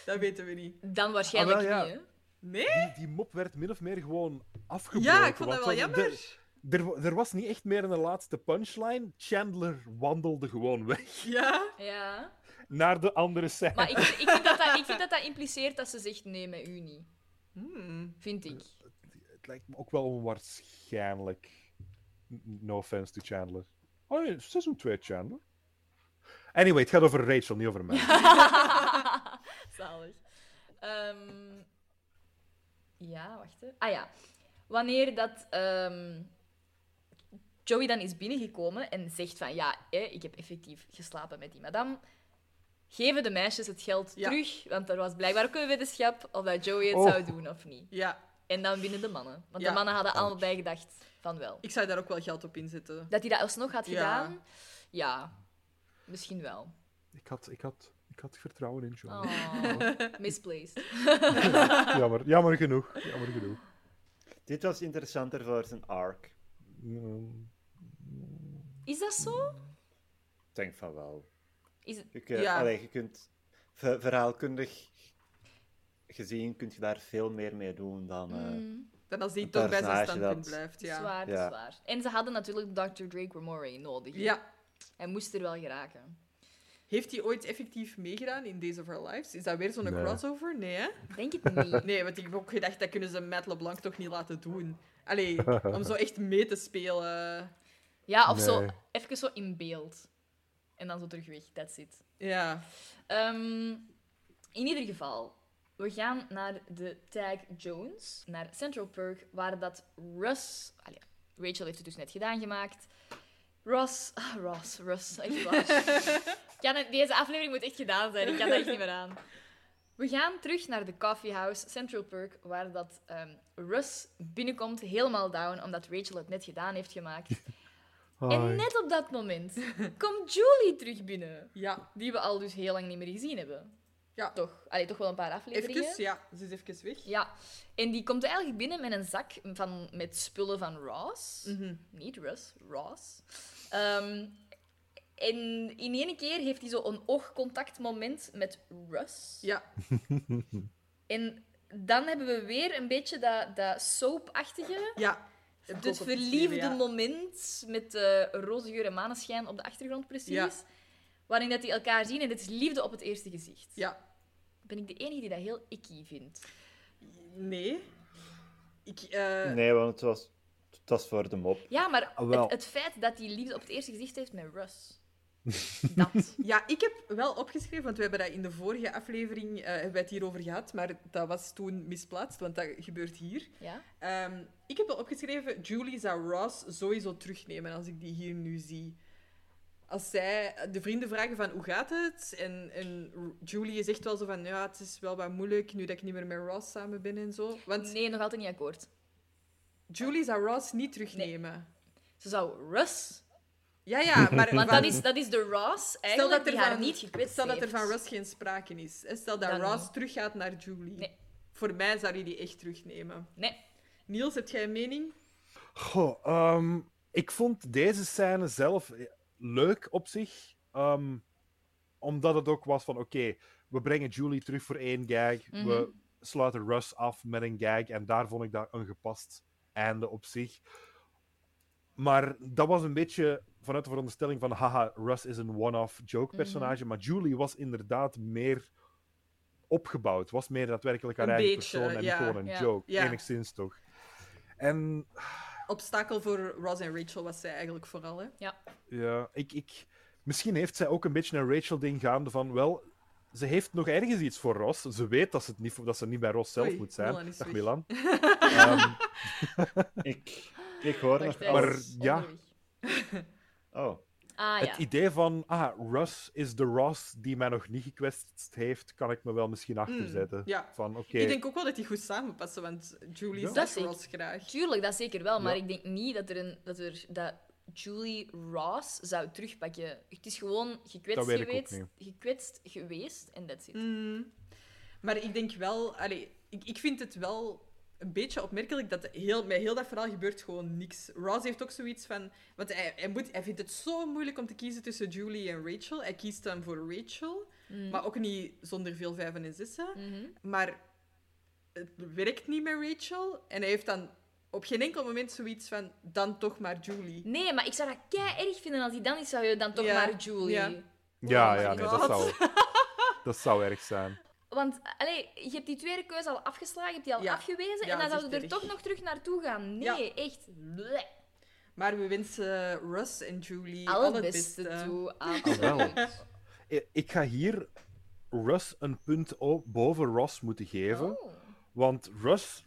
Speaker 1: dat weten we niet.
Speaker 2: Dan waarschijnlijk
Speaker 4: Ah, wel, ja.
Speaker 2: niet, hè.
Speaker 1: Nee?
Speaker 4: Die mop werd min of meer gewoon afgebroken.
Speaker 1: Ja, ik vond dat wel
Speaker 4: want
Speaker 1: jammer.
Speaker 4: Er, er, wa- er was niet echt meer een laatste punchline. Chandler wandelde gewoon weg
Speaker 1: Ja.
Speaker 2: Ja.
Speaker 4: naar de andere scène.
Speaker 2: Maar ik, ik, vind dat dat, ik vind dat dat impliceert dat ze zegt nee met u niet.
Speaker 1: Hmm.
Speaker 2: Vind ik.
Speaker 4: Het lijkt me ook wel onwaarschijnlijk. N- No offense to Chandler. Oh nee, seizoen 2 Chandler. Anyway, het gaat over Rachel, niet over mij.
Speaker 2: Zalig. Ehm, ja, wacht. Hè. Ah ja. Wanneer dat ehm, Joey dan is binnengekomen en zegt van ja, hè, ik heb effectief geslapen met die madame. Geven de meisjes het geld
Speaker 1: Ja.
Speaker 2: terug, want er was blijkbaar ook een wetenschap of dat Joey het
Speaker 4: Oh.
Speaker 2: zou doen of niet.
Speaker 1: Ja.
Speaker 2: En dan winnen de mannen. Want
Speaker 1: Ja.
Speaker 2: de mannen hadden allemaal bijgedacht van wel.
Speaker 1: Ik zou daar ook wel geld op inzetten.
Speaker 2: Dat hij dat alsnog had
Speaker 1: Ja.
Speaker 2: gedaan? Ja, misschien wel.
Speaker 4: Ik had, ik, had, ik had vertrouwen in John.
Speaker 2: Oh, misplaced.
Speaker 4: Jammer, jammer genoeg. Jammer genoeg.
Speaker 3: Dit was interessanter voor zijn arc. Ik
Speaker 4: Mm,
Speaker 2: Is dat zo?
Speaker 3: denk van wel.
Speaker 2: Is het...
Speaker 3: Je, kunt-
Speaker 1: Ja.
Speaker 3: allee, je kunt ver- verhaalkundig gezien kun je daar veel meer mee doen dan. eh,
Speaker 1: Dan als die
Speaker 3: Een
Speaker 1: toch bij zijn
Speaker 3: personage
Speaker 1: standpunt
Speaker 3: dat-
Speaker 1: blijft. Ja.
Speaker 2: Zwaar, dat
Speaker 3: Ja.
Speaker 2: is waar. En ze hadden natuurlijk Dr. Drake Ramore nodig. hè.
Speaker 1: ja.
Speaker 2: Hij moest er wel geraken.
Speaker 1: Heeft hij ooit effectief meegedaan in Days of Our Lives? Is dat weer zo'n
Speaker 4: Nee.
Speaker 1: crossover? Nee, hè?
Speaker 2: Ik Denk het niet.
Speaker 1: Nee, want ik heb ook gedacht, dat kunnen ze Matt LeBlanc toch niet laten doen. Allee, om zo echt mee te spelen.
Speaker 2: Ja, of zo
Speaker 4: Nee.
Speaker 2: even zo in beeld. En dan zo terug weg. That's it.
Speaker 1: Ja.
Speaker 2: Ehm, in ieder geval, we gaan naar de Tag Jones, naar Central Perk, waar dat Russ. Allee, Rachel heeft het dus net gedaan gemaakt. Ross, ah, Ross, Russ, echt waar. Ik kan het- deze aflevering moet echt gedaan zijn, ik kan dat echt niet meer aan. We gaan terug naar de coffeehouse Central Perk, waar dat ehm Russ binnenkomt, helemaal down, omdat Rachel het net gedaan heeft gemaakt. En net op dat moment komt Julie terug binnen
Speaker 1: Ja.
Speaker 2: die we al dus heel lang niet meer gezien hebben.
Speaker 1: Ja.
Speaker 2: Toch, allee, toch wel een paar afleveringen.
Speaker 1: Even, ja. Ze is even weg.
Speaker 2: Ja, en die komt eigenlijk binnen met een zak van, met spullen van Ross.
Speaker 1: Mhm.
Speaker 2: Niet Russ, Ross. Ehm, en in één keer heeft hij zo een oogcontactmoment met Russ.
Speaker 1: Ja.
Speaker 2: En dan hebben we weer een beetje dat, dat soapachtige.
Speaker 1: Ja. Heb ik
Speaker 2: Het
Speaker 1: ook opgeschreven,
Speaker 2: verliefde
Speaker 1: ja.
Speaker 2: moment met eh roze geur en maneschijn op de achtergrond, precies.
Speaker 1: Ja.
Speaker 2: Waarin dat die elkaar zien en het is liefde op het eerste gezicht.
Speaker 1: Ja.
Speaker 2: Ben ik de enige die dat heel icky vindt?
Speaker 1: Nee. Ik, eh,
Speaker 3: Nee, want het was, het was voor de mop.
Speaker 2: Ja, maar
Speaker 3: Ah, wel.
Speaker 2: het, het feit dat hij liefde op het eerste gezicht heeft met Russ.
Speaker 1: Ja, ik heb wel opgeschreven, want we hebben dat in de vorige aflevering eh, hebben wij het hierover gehad, maar dat was toen misplaatst, want dat gebeurt hier.
Speaker 2: Ja?
Speaker 1: Ehm, ik heb wel opgeschreven, Julie zou Ross sowieso terugnemen als ik die hier nu zie. Als zij de vrienden vragen van hoe gaat het? En, en Julie zegt wel zo van, ja, het is wel wat moeilijk nu dat ik niet meer met Ross samen ben en zo. Want
Speaker 2: Nee, nog altijd niet akkoord.
Speaker 1: Julie zou Ross niet terugnemen.
Speaker 2: Ze zou Russ...
Speaker 1: Ja, ja, maar...
Speaker 2: Want
Speaker 1: van-
Speaker 2: dat is, dat is de Ross
Speaker 1: Stel
Speaker 2: eigenlijk
Speaker 1: dat,
Speaker 2: die
Speaker 1: er
Speaker 2: haar
Speaker 1: van,
Speaker 2: niet gekwetst
Speaker 1: stel dat er
Speaker 2: heeft.
Speaker 1: van Ross geen sprake is. hè. Stel dat
Speaker 2: Dan
Speaker 1: Ross
Speaker 2: niet.
Speaker 1: teruggaat naar Julie.
Speaker 2: Nee.
Speaker 1: Voor mij zou hij die echt terugnemen.
Speaker 2: Nee.
Speaker 1: Niels, heb jij een mening?
Speaker 4: Goh, ehm, ik vond deze scène zelf leuk op zich. ehm, omdat het ook was van, oké, we brengen Julie terug voor één gag.
Speaker 2: Mhm.
Speaker 4: We sluiten Russ af met een gag. En daar vond ik dat een gepast einde op zich. Maar dat was een beetje vanuit de veronderstelling van, haha, Russ is een one-off
Speaker 1: Mhm.
Speaker 4: joke personage. Maar Julie was inderdaad meer opgebouwd. Was meer daadwerkelijk haar
Speaker 1: Een
Speaker 4: eigen
Speaker 1: beetje,
Speaker 4: persoon en
Speaker 1: ja,
Speaker 4: gewoon een
Speaker 2: ja,
Speaker 4: joke.
Speaker 1: ja.
Speaker 4: Enigszins toch. En
Speaker 1: Obstakel voor Ross en Rachel was zij eigenlijk vooral. Hè?
Speaker 2: Ja.
Speaker 4: Ja, ik, ik... Misschien heeft zij ook een beetje een Rachel-ding gaande van, wel, ze heeft nog ergens iets voor Ross. Ze weet dat ze, het niet, dat ze niet bij Ross zelf
Speaker 1: Oei,
Speaker 4: moet zijn.
Speaker 1: Milan is
Speaker 4: Dag
Speaker 1: weg. Ah,
Speaker 4: Milan. Ehm,
Speaker 3: Ik, ik hoor
Speaker 2: Wacht,
Speaker 3: nog
Speaker 2: hij
Speaker 4: maar
Speaker 3: maar...
Speaker 2: is
Speaker 4: ja.
Speaker 2: onderweg.
Speaker 3: Oh,
Speaker 2: Ah ja.
Speaker 4: Het idee van, ah, Ross is de Ross die mij nog niet gekwetst heeft, kan ik me wel misschien achterzetten.
Speaker 1: Hmm, ja.
Speaker 4: Van, oké,
Speaker 1: Ik denk ook wel dat die goed samenpassen, want Julie
Speaker 4: Ja.
Speaker 1: zegt
Speaker 2: Dat
Speaker 1: Ross graag.
Speaker 2: Tuurlijk, dat zeker wel. Maar
Speaker 4: Ja.
Speaker 2: ik denk niet dat, er een, dat, er, dat Julie Ross zou terugpakken. Het is gewoon gekwetst,
Speaker 4: Dat weet ik ook
Speaker 2: geweest,
Speaker 4: niet.
Speaker 2: gekwetst geweest en dat zit.
Speaker 1: Mm. Maar ik denk wel... Allee, ik, ik vind het wel een beetje opmerkelijk dat heel, met heel dat verhaal gebeurt gewoon niks. Ross heeft ook zoiets van... Want hij, hij, moet, hij vindt het zo moeilijk om te kiezen tussen Julie en Rachel. Hij kiest dan voor Rachel.
Speaker 2: Mm.
Speaker 1: Maar ook niet zonder veel vijven en zessen.
Speaker 2: Mhm.
Speaker 1: Maar het werkt niet met Rachel. En hij heeft dan op geen enkel moment zoiets van... Dan toch maar Julie.
Speaker 2: Nee, maar ik zou dat kei erg vinden als hij dan is, zou je dan toch
Speaker 1: Ja,
Speaker 2: maar Julie.
Speaker 1: ja.
Speaker 4: ja,
Speaker 2: my
Speaker 4: ja, nee,
Speaker 2: God.
Speaker 4: dat zou, dat zou erg zijn.
Speaker 2: Want allee, je hebt die tweede keuze al afgeslagen, je hebt die al
Speaker 1: Ja.
Speaker 2: afgewezen.
Speaker 1: Ja,
Speaker 2: en dan
Speaker 1: dat is
Speaker 2: zouden we er
Speaker 1: echt
Speaker 2: toch
Speaker 1: erg.
Speaker 2: nog terug naartoe gaan. Nee, echt. bleh.
Speaker 1: Maar we wensen Russ en Julie
Speaker 2: Al
Speaker 1: al
Speaker 2: het beste toe. absoluut.
Speaker 4: I- Ik ga hier Russ een punt o- boven Ross moeten geven.
Speaker 2: Oh.
Speaker 4: Want Russ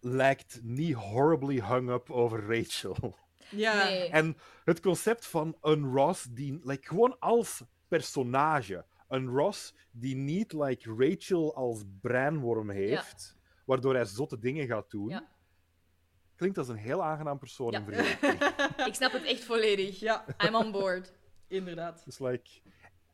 Speaker 4: lijkt niet horribly hung up over Rachel.
Speaker 1: Ja.
Speaker 2: Nee.
Speaker 4: En het concept van een Ross die, like, gewoon als personage, een Ross die niet like Rachel als breinworm heeft, waardoor hij zotte dingen gaat doen,
Speaker 2: Ja.
Speaker 4: klinkt als een heel aangenaam persoon
Speaker 2: Ja.
Speaker 4: in vergelijking.
Speaker 2: Ik snap het echt volledig.
Speaker 1: Ja,
Speaker 2: I'm on board.
Speaker 1: inderdaad.
Speaker 4: Dus, like...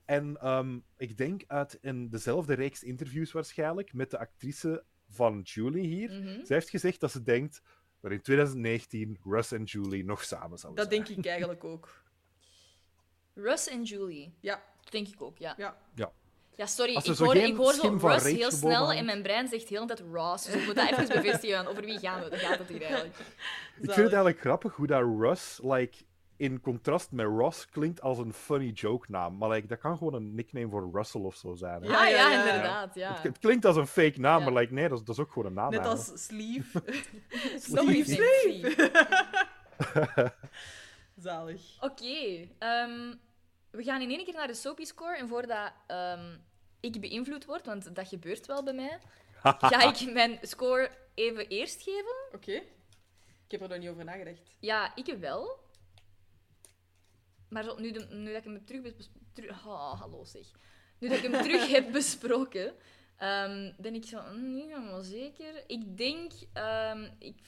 Speaker 4: En ehm, ik denk uit een, dezelfde reeks interviews waarschijnlijk met de actrice van Julie hier.
Speaker 2: Mhm.
Speaker 4: Zij heeft gezegd dat ze denkt dat in 2019 Russ en Julie nog samen zouden
Speaker 1: Dat
Speaker 4: zijn.
Speaker 1: denk ik eigenlijk ook.
Speaker 2: Russ en Julie.
Speaker 1: Ja,
Speaker 2: Dat denk ik ook, ja.
Speaker 1: ja.
Speaker 4: Ja.
Speaker 2: Ja, sorry, ik
Speaker 4: Als er zo
Speaker 2: hoor,
Speaker 4: geen
Speaker 2: ik hoor zo
Speaker 4: schim van
Speaker 2: Ross heel
Speaker 4: Rachel
Speaker 2: snel
Speaker 4: bovenhangt.
Speaker 2: en mijn brein zegt heel de tijd Ross. Dus ik moet dat even bevestigen. want Over wie gaan we? Daar gaat het hier eigenlijk.
Speaker 4: Ik vind
Speaker 1: Zalig.
Speaker 4: het eigenlijk grappig hoe dat Russ, like, in contrast met Ross, klinkt als een funny joke naam. Maar like, dat kan gewoon een nickname voor Russell of zo zijn. hè.
Speaker 2: Ja,
Speaker 1: Ja,
Speaker 2: Ah, ja,
Speaker 1: ja, ja.
Speaker 2: inderdaad. Ja.
Speaker 4: Het, het klinkt als een fake naam,
Speaker 2: Ja.
Speaker 4: maar like, nee, dat is, dat is ook gewoon een naam.
Speaker 1: Net
Speaker 4: eigenlijk.
Speaker 1: als Sleeve.
Speaker 2: Sorry,
Speaker 1: Sleeve.
Speaker 2: Nancy.
Speaker 1: Zalig.
Speaker 2: Oké, ehm, we gaan in één keer naar de soapy score. En voordat ehm, ik beïnvloed word, want dat gebeurt wel bij mij, ga ik mijn score even eerst geven.
Speaker 1: Oké. Ik heb er nog niet over nagedacht.
Speaker 2: Ja, ik wel. Maar zo, nu, de- nu dat ik hem terug... bes- teru- Ah, hallo zeg. Nu dat ik hem terug heb besproken, ehm, ben ik zo mm, niet helemaal zeker. Ik denk... ehm, ik,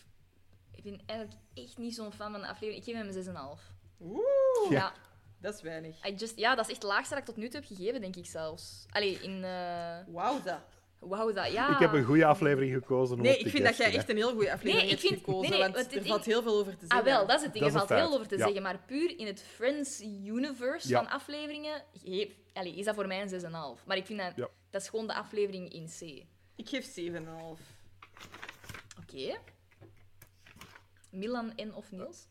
Speaker 2: ik ben eigenlijk echt niet zo'n fan van de aflevering. Ik geef hem een 6,5.
Speaker 1: Oeh.
Speaker 2: Ja.
Speaker 1: Dat is weinig.
Speaker 2: I just, ja, dat is echt het laagste dat ik tot nu toe heb gegeven, denk ik zelfs. Allee, in... eh
Speaker 1: Wauw, dat.
Speaker 2: Wauw, dat, ja.
Speaker 4: Ik heb een goede aflevering gekozen. om op
Speaker 1: Ah. Nee, ik
Speaker 4: te
Speaker 1: vind dat jij
Speaker 4: guesten, hè.
Speaker 1: echt een heel goede aflevering
Speaker 2: Nee, ik
Speaker 1: hebt
Speaker 2: vind-
Speaker 1: gekozen,
Speaker 2: nee, nee,
Speaker 1: want
Speaker 2: want
Speaker 1: er
Speaker 2: ik-
Speaker 1: valt heel veel over te zeggen.
Speaker 2: Ah, wel, dat is het ding.
Speaker 4: Dat
Speaker 2: Er
Speaker 4: is
Speaker 2: valt
Speaker 4: een
Speaker 2: heel
Speaker 4: feit,
Speaker 2: veel over te
Speaker 4: ja.
Speaker 2: zeggen. Maar puur in het Friends universe
Speaker 4: Ja.
Speaker 2: van afleveringen geef- allee, is dat voor mij een 6,5. Maar ik vind dat...
Speaker 4: Ja.
Speaker 2: Dat is gewoon de aflevering in C.
Speaker 1: Ik geef 7,5.
Speaker 2: Oké. Milan en of Niels?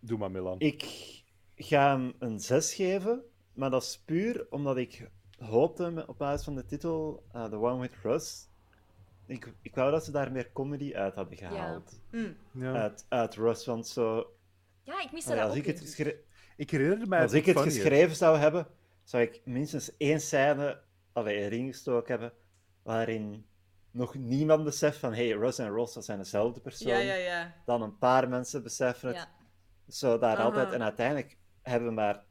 Speaker 4: Doe maar, Milan.
Speaker 3: Ik ga hem een 6 geven, maar dat is puur omdat ik hoopte met- op basis van de titel eh, The One with Russ. Ik, ik wou dat ze daar meer comedy uit hadden gehaald.
Speaker 4: Ja.
Speaker 3: Uit, uit Russ, want zo.
Speaker 2: Ja, ik mis
Speaker 3: Allee,
Speaker 2: dat
Speaker 3: als,
Speaker 2: ook
Speaker 3: Ah, ik het,
Speaker 2: in.
Speaker 3: geschre-
Speaker 4: Ik herinner mij
Speaker 3: als ik het
Speaker 4: van je.
Speaker 3: geschreven zou hebben, zou ik minstens één scène allee, erin gestoken hebben waarin nog niemand beseft van hey, Russ en Ross dat zijn dezelfde persoon.
Speaker 1: Ja, ja, ja.
Speaker 3: Dan een paar mensen beseffen het.
Speaker 2: Ja.
Speaker 3: Zo daar
Speaker 1: Aha.
Speaker 3: altijd. En uiteindelijk hebben we maar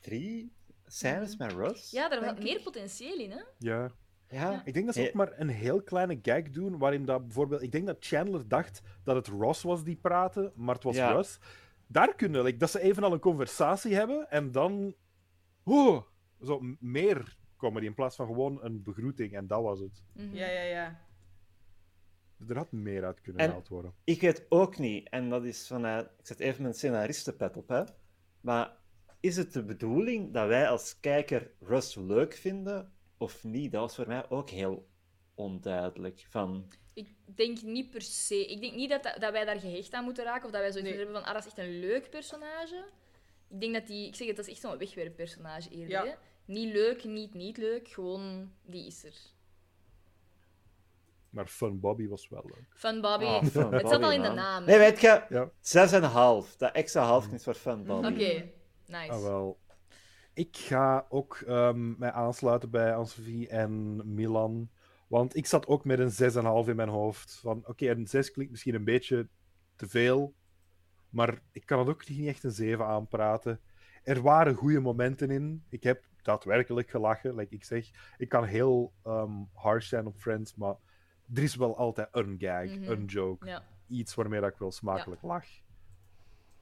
Speaker 3: drie scènes met Russ.
Speaker 2: Mhm. ja, daar had meer potentieel in, hè?
Speaker 4: Ja.
Speaker 3: Ja.
Speaker 4: Ik denk dat ze ook
Speaker 3: Ja.
Speaker 4: maar een heel kleine gag doen, waarin dat bijvoorbeeld... Ik denk dat Chandler dacht dat het Ross was die praatte, maar het was
Speaker 3: Ja.
Speaker 4: Russ. Daar kunnen... like, dat ze even al een conversatie hebben en dan... Oh, zo m- meer comedy, in plaats van gewoon een begroeting. En dat was het.
Speaker 2: Mhm.
Speaker 1: Ja, ja, ja.
Speaker 4: Er had meer uit kunnen
Speaker 3: En-
Speaker 4: gehaald worden.
Speaker 3: Ik weet ook niet, en dat is vanuit... Ik zet even mijn scenaristenpet op, hè. Maar is het de bedoeling dat wij als kijker Russ leuk vinden of niet? Dat was voor mij ook heel onduidelijk. Van...
Speaker 2: Ik denk niet per se. Ik denk niet dat, dat, dat wij daar gehecht aan moeten raken. Of dat wij zoiets
Speaker 1: Nee.
Speaker 2: moeten hebben van, ah, dat is echt een leuk personage. Ik denk dat die... Ik zeg het, dat is echt zo'n wegwerppersonage eerder,
Speaker 1: Ja.
Speaker 2: hè? Niet leuk, niet niet leuk. Gewoon, die is er.
Speaker 4: Maar Fun Bobby was wel eh, leuk.
Speaker 2: Fun Bobby.
Speaker 3: Ah,
Speaker 2: het
Speaker 3: Fun
Speaker 2: zat al
Speaker 3: Bobby,
Speaker 2: in de
Speaker 3: man.
Speaker 2: naam.
Speaker 3: Nee,
Speaker 2: hè.
Speaker 3: weet je,
Speaker 4: Ja.
Speaker 3: 6,5. Dat extra halfknit voor Fun Bobby.
Speaker 2: Oké, nice.
Speaker 4: Ah, wel. Ik ga ook ehm, mij aansluiten bij Ansofie en Milan. Want ik zat ook met een 6,5 in mijn hoofd. Van oké, een 6 klinkt misschien een beetje te veel. Maar ik kan het ook niet echt een 7 aanpraten. Er waren goede momenten in. Ik heb daadwerkelijk gelachen. Like ik zeg, ik kan heel ehm, harsh zijn op Friends. Maar er is wel altijd een gag,
Speaker 2: Mhm.
Speaker 4: een joke
Speaker 2: Ja.
Speaker 4: iets waarmee dat ik wel smakelijk lach.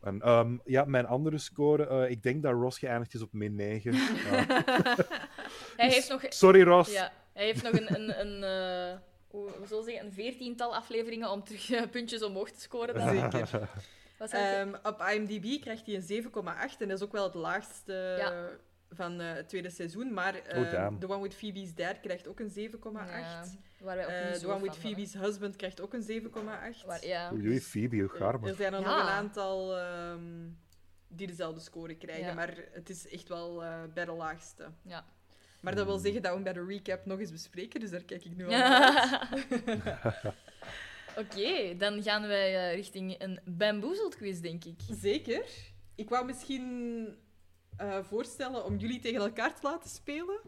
Speaker 4: En, ehm, ja, mijn andere score, eh, ik denk dat Ross geëindigd is op min 9. Ja.
Speaker 2: Hij heeft nog...
Speaker 4: Sorry, Ross.
Speaker 2: Ja, hij heeft nog een... een, een eh, hoe, hoe zal ik zeggen? Een veertiental afleveringen om terug eh, puntjes omhoog te scoren. Dat
Speaker 1: Zeker.
Speaker 2: was eigenlijk...
Speaker 1: Ehm, op IMDb krijgt hij een 7,8 en dat is ook wel het laagste
Speaker 2: Ja.
Speaker 1: van eh, het tweede seizoen. Maar ehm,
Speaker 4: Oh, damn.
Speaker 1: The One with Phoebe's Dad krijgt ook een 7,8.
Speaker 2: Ja,
Speaker 1: Eh
Speaker 2: waar wij ook niet
Speaker 1: The
Speaker 2: zo
Speaker 1: One
Speaker 2: fan
Speaker 1: with
Speaker 2: van waren.
Speaker 1: Phoebe's Husband krijgt ook een 7,8.
Speaker 2: Waar- ja.
Speaker 4: Oei, oei, Phoebe, hoe gaar,
Speaker 1: Er
Speaker 4: maar.
Speaker 1: zijn er
Speaker 2: Ja.
Speaker 1: nog een aantal ehm, die dezelfde score krijgen,
Speaker 2: Ja.
Speaker 1: maar het is echt wel eh, bij de laagste.
Speaker 2: Ja.
Speaker 1: Maar dat wil zeggen dat we hem bij de recap nog eens bespreken, dus daar kijk ik nu al naar uit.
Speaker 2: Oké, dan gaan wij eh, richting een bamboezeld quiz, denk ik.
Speaker 1: Zeker. Ik wou misschien eh, voorstellen om jullie tegen elkaar te laten spelen.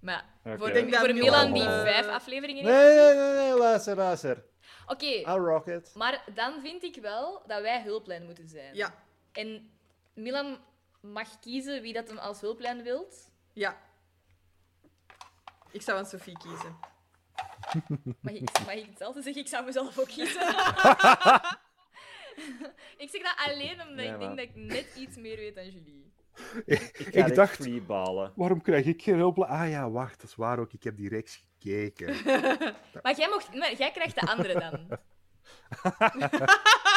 Speaker 2: Maar
Speaker 3: Oké.
Speaker 2: voor,
Speaker 3: Ik denk
Speaker 1: dat
Speaker 2: voor
Speaker 1: Milan,
Speaker 2: Milan die
Speaker 1: eh,
Speaker 2: vijf afleveringen heeft.
Speaker 3: Nee, nee, nee, nee, luister, luister.
Speaker 2: Oké,
Speaker 3: I'll rock it.
Speaker 2: maar dan vind ik wel dat wij hulplijn moeten zijn.
Speaker 1: Ja,
Speaker 2: En Milan mag kiezen wie dat hem als hulplijn wilt.
Speaker 1: ja. Ik zou aan Sophie kiezen.
Speaker 2: Mag ik, mag ik hetzelfde zeggen? Ik zou mezelf ook kiezen. ik zeg dat alleen omdat
Speaker 3: Ja,
Speaker 2: ik denk
Speaker 3: maar-
Speaker 2: dat ik net iets meer weet dan jullie.
Speaker 3: Ik,
Speaker 4: Ik dacht,
Speaker 3: freeballen.
Speaker 4: waarom krijg ik geen hulp? Ah ja, wacht, dat is waar ook. Ik heb die reeks gekeken.
Speaker 2: Maar jij, mocht, maar jij krijgt de andere dan.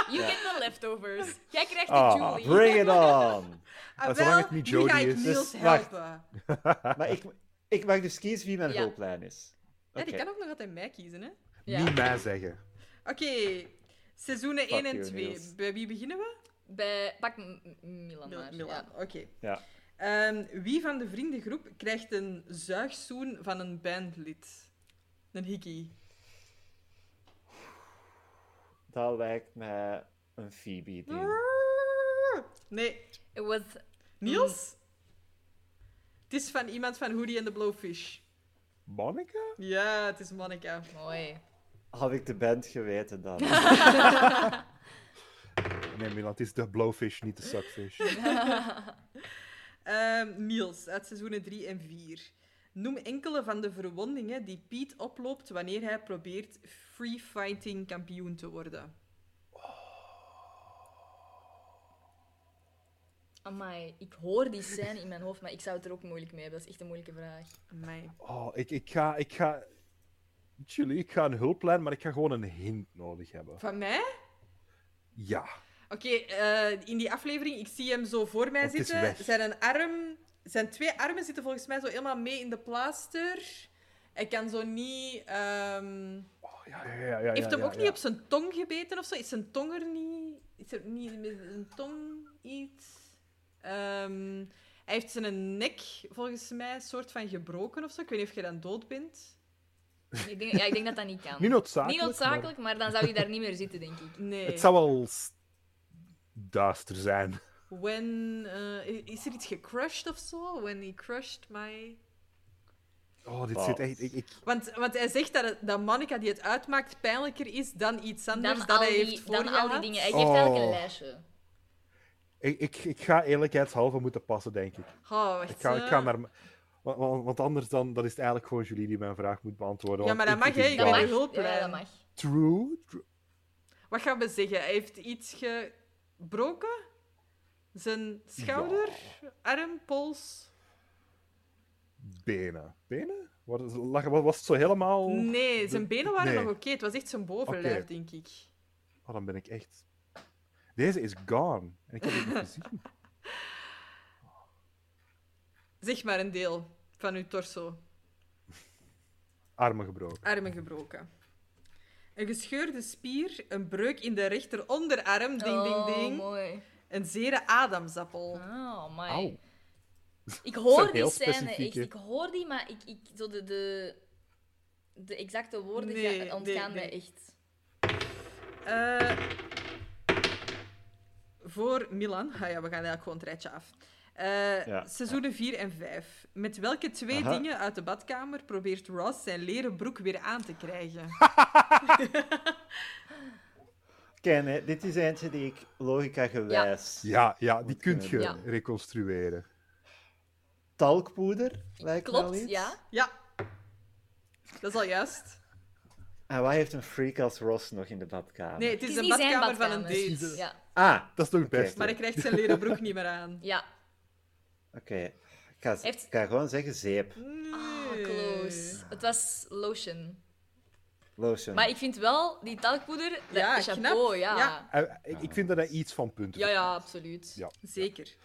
Speaker 2: You get the leftovers. Jij krijgt de
Speaker 4: Ah,
Speaker 2: Julie.
Speaker 3: Bring it on!
Speaker 1: Ah,
Speaker 4: zolang
Speaker 1: wel,
Speaker 4: het niet
Speaker 1: nu ga
Speaker 4: Jodie
Speaker 1: ik
Speaker 4: is.
Speaker 1: Niels
Speaker 3: Dus, wacht.
Speaker 1: helpen.
Speaker 3: Maar ik, ik mag dus kiezen wie mijn
Speaker 2: Ja.
Speaker 3: hulplijn is.
Speaker 1: Ja,
Speaker 3: Oké.
Speaker 1: die kan ook nog altijd mij kiezen, hè.
Speaker 2: Ja.
Speaker 4: Niet mij zeggen.
Speaker 1: Oké, seizoenen 1 en
Speaker 3: you,
Speaker 1: 2.
Speaker 3: Niels.
Speaker 1: Bij wie beginnen we?
Speaker 2: Bij, pak M- M- Milan
Speaker 1: Mil-
Speaker 2: maar.
Speaker 1: Milan,
Speaker 2: Ja.
Speaker 1: oké.
Speaker 3: Ja.
Speaker 1: Ehm, wie van de vriendengroep krijgt een zuigzoen van een bandlid? Een hickey.
Speaker 3: Dat lijkt mij een Phoebe-ding.
Speaker 1: Nee,
Speaker 2: It was...
Speaker 1: Niels? Het is van iemand van Hoodie en de Blowfish.
Speaker 4: Monica?
Speaker 1: Ja, het is Monica.
Speaker 2: Mooi.
Speaker 3: Had ik de band geweten dan.
Speaker 4: Nee, Milan, het is de blowfish, niet de suckfish.
Speaker 1: Ehm, Niels, uit seizoenen 3 en 4. Noem enkele van de verwondingen die Piet oploopt wanneer hij probeert free fighting kampioen te worden.
Speaker 2: Amai, ik hoor die scène in mijn hoofd, maar ik zou het er ook moeilijk mee hebben. Dat is echt een moeilijke vraag.
Speaker 1: Amai.
Speaker 4: Oh, ik, ik ga... Ik ga... Jullie, ik ga een hulplijn, maar ik ga gewoon een hint nodig hebben.
Speaker 1: Van mij?
Speaker 4: Ja.
Speaker 1: Oké, eh, in die aflevering, ik zie hem zo voor mij
Speaker 4: Oh, Het is
Speaker 1: zitten.
Speaker 4: weg.
Speaker 1: Zijn, een arm, zijn twee armen zitten volgens mij zo helemaal mee in de plaaster. Hij kan zo niet... ehm,
Speaker 4: Ja, ja, ja, ja,
Speaker 1: Heeft hem
Speaker 4: ja,
Speaker 1: ook
Speaker 4: ja.
Speaker 1: niet op zijn tong gebeten of zo? Is zijn tong er niet? Is er niet met zijn tong iets? Ehm, hij heeft zijn nek volgens mij soort van gebroken of zo. Ik weet niet of je dan dood bent.
Speaker 2: Ik denk, ja, ik denk dat dat niet kan.
Speaker 4: Niet noodzakelijk,
Speaker 2: Niet noodzakelijk, maar... dan zou je daar niet meer zitten, denk ik.
Speaker 1: Nee.
Speaker 4: Het zou wel s- duister zijn.
Speaker 1: When, eh, is er iets gecrushed of zo? When he crushed my...
Speaker 4: Oh, dit
Speaker 3: Oh.
Speaker 4: zit echt... Ik, ik-
Speaker 1: Want, want hij zegt dat, het- dat Monica die het uitmaakt pijnlijker is dan iets anders
Speaker 2: Dan
Speaker 1: dat
Speaker 2: al,
Speaker 1: hij
Speaker 2: die,
Speaker 1: heeft
Speaker 2: dan al die
Speaker 1: voorgehad. Oh.
Speaker 2: dingen. Hij geeft eigenlijk een lijstje.
Speaker 4: ik, ik, ik ga eerlijkheidshalve moeten passen, denk ik.
Speaker 1: Oh, wacht,
Speaker 4: Ik ga, ik
Speaker 1: eh.
Speaker 4: ga naar... m- wa- wa- Want anders dan, dan is het eigenlijk gewoon jullie die mijn vraag moet beantwoorden.
Speaker 1: Ja,
Speaker 4: want
Speaker 1: maar dat mag,
Speaker 4: ik-
Speaker 1: hè.
Speaker 4: het is
Speaker 1: Ik
Speaker 4: bang.
Speaker 1: ben de hulplijn.
Speaker 2: Ja, dat mag.
Speaker 4: True, true.
Speaker 1: Wat gaan we zeggen? Hij heeft iets gebroken? Zijn schouder, arm, pols?
Speaker 4: Benen. Benen? Wat is- lag- wat Was het zo helemaal...
Speaker 1: Nee, zijn benen waren
Speaker 4: Nee.
Speaker 1: nog oké. Het was echt zijn bovenlijf,
Speaker 4: Oké.
Speaker 1: denk ik.
Speaker 4: Oh, dan ben ik echt... Deze is gone. En ik heb het niet gezien.
Speaker 1: Zeg maar een deel van uw torso.
Speaker 4: Armen gebroken.
Speaker 1: Armen gebroken. Een gescheurde spier, een breuk in de rechter onderarm, ding, ding,
Speaker 2: Oh,
Speaker 1: ding.
Speaker 2: mooi.
Speaker 1: Een zere adamsappel.
Speaker 2: Oh, my.
Speaker 4: Au.
Speaker 2: Ik
Speaker 4: is
Speaker 2: hoor
Speaker 4: een
Speaker 2: die
Speaker 4: heel
Speaker 2: scène,
Speaker 4: specifiek,
Speaker 2: echt.
Speaker 4: hè.
Speaker 2: Ik hoor die, maar ik, ik, zo de, de, de exacte woorden
Speaker 1: Nee,
Speaker 2: ga- ontgaan
Speaker 1: nee,
Speaker 2: mij
Speaker 1: nee.
Speaker 2: echt.
Speaker 1: Eh, voor Milan, ah ja, we gaan eigenlijk gewoon het rijtje af. Eh,
Speaker 3: Ja.
Speaker 1: Seizoenen 4 en 5. Met welke twee
Speaker 3: Aha.
Speaker 1: dingen uit de badkamer probeert Ross zijn leren broek weer aan te krijgen?
Speaker 3: Ken, hè, dit is eentje die ik logica gewijs.
Speaker 4: Ja, ja, die
Speaker 3: Moet
Speaker 4: kun je
Speaker 3: kunnen.
Speaker 2: Ja.
Speaker 4: reconstrueren.
Speaker 3: Talkpoeder, lijkt me wel
Speaker 2: Klopt,
Speaker 3: iets.
Speaker 2: ja.
Speaker 1: ja, dat is al juist.
Speaker 3: En waar heeft een freak als Ross nog in de badkamer?
Speaker 1: Nee, het is,
Speaker 2: Het is
Speaker 1: een
Speaker 2: niet zijn
Speaker 1: badkamer, van een
Speaker 2: badkamer.
Speaker 1: date.
Speaker 2: Ja,
Speaker 3: Ah,
Speaker 4: Dat is toch het
Speaker 3: Oké.
Speaker 4: beste?
Speaker 1: Maar hij krijgt zijn leren broek niet meer aan.
Speaker 2: ja.
Speaker 3: oké. Ik, ga-
Speaker 2: Heeft-
Speaker 3: ik ga gewoon zeggen zeep.
Speaker 2: Ah,
Speaker 1: Eh.
Speaker 2: close. Het was lotion.
Speaker 3: Lotion.
Speaker 2: Maar ik vind wel, die talkpoeder, dat
Speaker 1: Ja,
Speaker 2: chapeau,
Speaker 1: knap.
Speaker 2: Ja.
Speaker 1: Ja.
Speaker 2: Ja.
Speaker 4: Eh, Ik, ik vind dat hij iets van punten
Speaker 2: ja,
Speaker 4: verdient.
Speaker 2: absoluut.
Speaker 4: Ja.
Speaker 1: Zeker.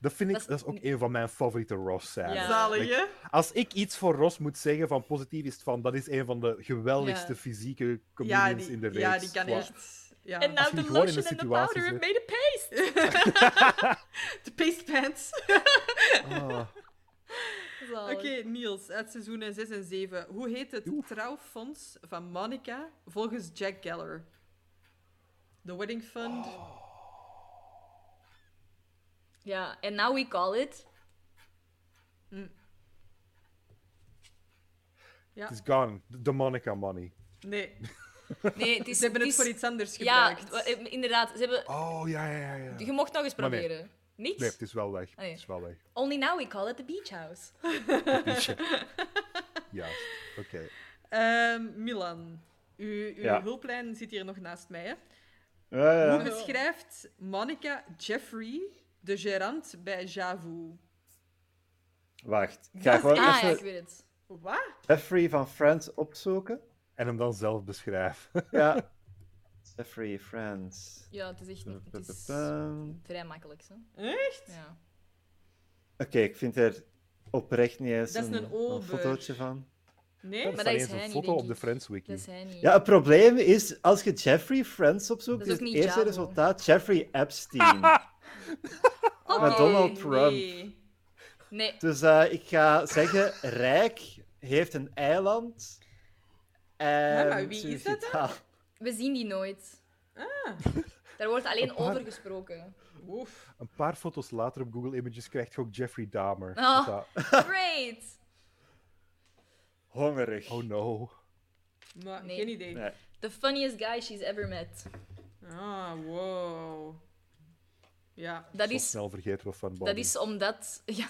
Speaker 4: Dat vind ik,
Speaker 2: Dat
Speaker 4: dat
Speaker 2: is-
Speaker 4: is, ook een van mijn favoriete Ross-scènes.
Speaker 2: Ja.
Speaker 1: Zalig, hè?
Speaker 4: Als ik iets voor Ross moet zeggen van positief, is het van dat is een van de geweldigste
Speaker 2: Ja.
Speaker 4: fysieke comedians
Speaker 1: Ja, die,
Speaker 4: in de reeks.
Speaker 1: ja, die kan
Speaker 4: Qua-
Speaker 1: echt... Ja.
Speaker 2: En nou
Speaker 4: je
Speaker 2: de
Speaker 4: gewoon in
Speaker 2: lotion
Speaker 4: een
Speaker 2: en de
Speaker 4: situatie
Speaker 2: powder
Speaker 4: zit-
Speaker 2: and made a paste.
Speaker 1: de paste pants.
Speaker 3: Oh,
Speaker 1: Oké,
Speaker 2: Zalig.
Speaker 1: Niels, uit seizoenen 6 en 7. Hoe heet het trouwfonds van Monica volgens Jack Geller? The Wedding Fund.
Speaker 2: Oh. Ja, en now we call it.
Speaker 1: Ja.
Speaker 4: Het is gone. De de Monica money.
Speaker 1: Nee,
Speaker 2: Nee, het is...
Speaker 1: ze hebben het
Speaker 2: is-
Speaker 1: voor iets anders
Speaker 2: Ja,
Speaker 1: gebruikt.
Speaker 2: het- inderdaad. Ze hebben...
Speaker 4: Oh, ja, ja, ja. ja.
Speaker 2: Je mocht nog eens
Speaker 4: Maar nee.
Speaker 2: proberen. Niks?
Speaker 4: Nee, het is wel weg.
Speaker 2: Ah, ja.
Speaker 4: Het is wel weg.
Speaker 2: Only now we call it the beach house.
Speaker 4: Juist. Oké.
Speaker 1: Ehm, Milan, uw, uw
Speaker 3: Ja.
Speaker 1: hulplijn zit hier nog naast mij. Hè?
Speaker 3: ja, ja.
Speaker 1: Hoe beschrijft Monica Jeffrey, de gerant bij Javu?
Speaker 3: Wacht. Ik ga gewoon
Speaker 2: Ah, ja, ik
Speaker 3: even
Speaker 2: weet het.
Speaker 1: Wat?
Speaker 3: Jeffrey van Friends opzoeken.
Speaker 4: En hem dan zelf beschrijven.
Speaker 3: Ja. Jeffrey, Friends.
Speaker 2: Ja, het is echt... niet- Het is
Speaker 3: Pum.
Speaker 2: vrij makkelijk, zo.
Speaker 1: Echt?
Speaker 2: Ja.
Speaker 3: Oké, ik vind er oprecht niet eens
Speaker 1: Dat is
Speaker 3: een,
Speaker 1: een ober.
Speaker 3: fotootje van.
Speaker 1: Nee?
Speaker 4: Er
Speaker 2: dat
Speaker 4: staat
Speaker 2: is
Speaker 4: eens
Speaker 2: hij
Speaker 4: een
Speaker 2: niet,
Speaker 4: foto
Speaker 2: denk
Speaker 4: op de
Speaker 2: ik.
Speaker 4: Friends Wiki.
Speaker 2: Dat is hij niet.
Speaker 3: Ja, het probleem is, als je Jeffrey Friends opzoekt,
Speaker 2: Dat
Speaker 3: is,
Speaker 2: is ook
Speaker 3: het
Speaker 2: niet
Speaker 3: eerste
Speaker 2: Javo.
Speaker 3: resultaat Jeffrey Epstein. Maar Donald Trump.
Speaker 1: Oh, Nee.
Speaker 2: Nee.
Speaker 3: Dus eh, ik ga zeggen, Rijk heeft een eiland. En
Speaker 1: Ja, maar wie is dat dan?
Speaker 3: suicidaal.
Speaker 2: We zien die nooit. Ah. Daar wordt alleen
Speaker 4: paar-
Speaker 2: over gesproken.
Speaker 1: Oef.
Speaker 4: Een paar foto's later op Google Images krijgt je ook Jeffrey Dahmer.
Speaker 2: Oh.
Speaker 4: Dat-
Speaker 2: Great!
Speaker 3: Hongerig.
Speaker 4: oh no.
Speaker 1: Maar
Speaker 2: Nee.
Speaker 1: geen idee.
Speaker 3: Nee.
Speaker 2: The funniest guy she's ever met.
Speaker 1: Ah, wow. Ja,
Speaker 2: Dat
Speaker 4: Zo
Speaker 2: is,
Speaker 4: snel vergeten we van Bonnie.
Speaker 2: dat is omdat... Ja,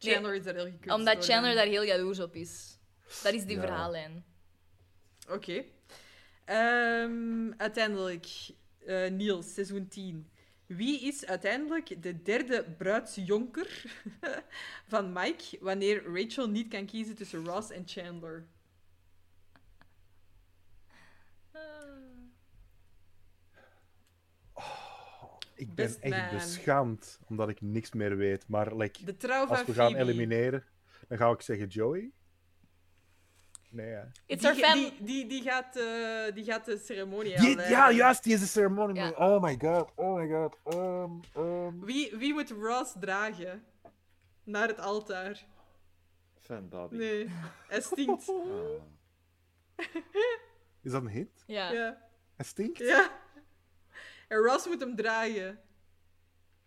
Speaker 2: nee,
Speaker 1: Chandler is daar heel gekund door,
Speaker 2: omdat Chandler
Speaker 1: hè.
Speaker 2: daar heel jaloers op is. Dat is die
Speaker 4: Ja.
Speaker 2: verhaallijn.
Speaker 1: Oké. Ehm, uiteindelijk, eh, Niels, seizoen 10. Wie is uiteindelijk de derde bruidsjonker van Mike wanneer Rachel niet kan kiezen tussen Ross en Chandler?
Speaker 2: Ah.
Speaker 4: Ik ben
Speaker 1: Best
Speaker 4: echt
Speaker 1: man.
Speaker 4: beschaamd omdat ik niks meer weet. Maar like,
Speaker 1: De trouw van
Speaker 4: als we gaan
Speaker 1: Phoebe.
Speaker 4: elimineren, dan ga ik zeggen Joey. Nee, hè.
Speaker 2: It's
Speaker 1: die,
Speaker 2: our fam-
Speaker 1: Die, die, die gaat, eh, die gaat de ceremonie
Speaker 4: Die-
Speaker 1: aanleiden.
Speaker 4: ja, juist, die is de ceremonie.
Speaker 2: Ja.
Speaker 4: Oh my god, oh my god. ehm, ehm.
Speaker 1: Wie, wie moet Ross dragen? Naar het altaar.
Speaker 3: Van Bobby.
Speaker 1: Nee, hij stinkt.
Speaker 3: Ah.
Speaker 4: Is dat een hint?
Speaker 2: Ja.
Speaker 1: Ja.
Speaker 4: Hij stinkt?
Speaker 1: ja. En Ross moet hem dragen.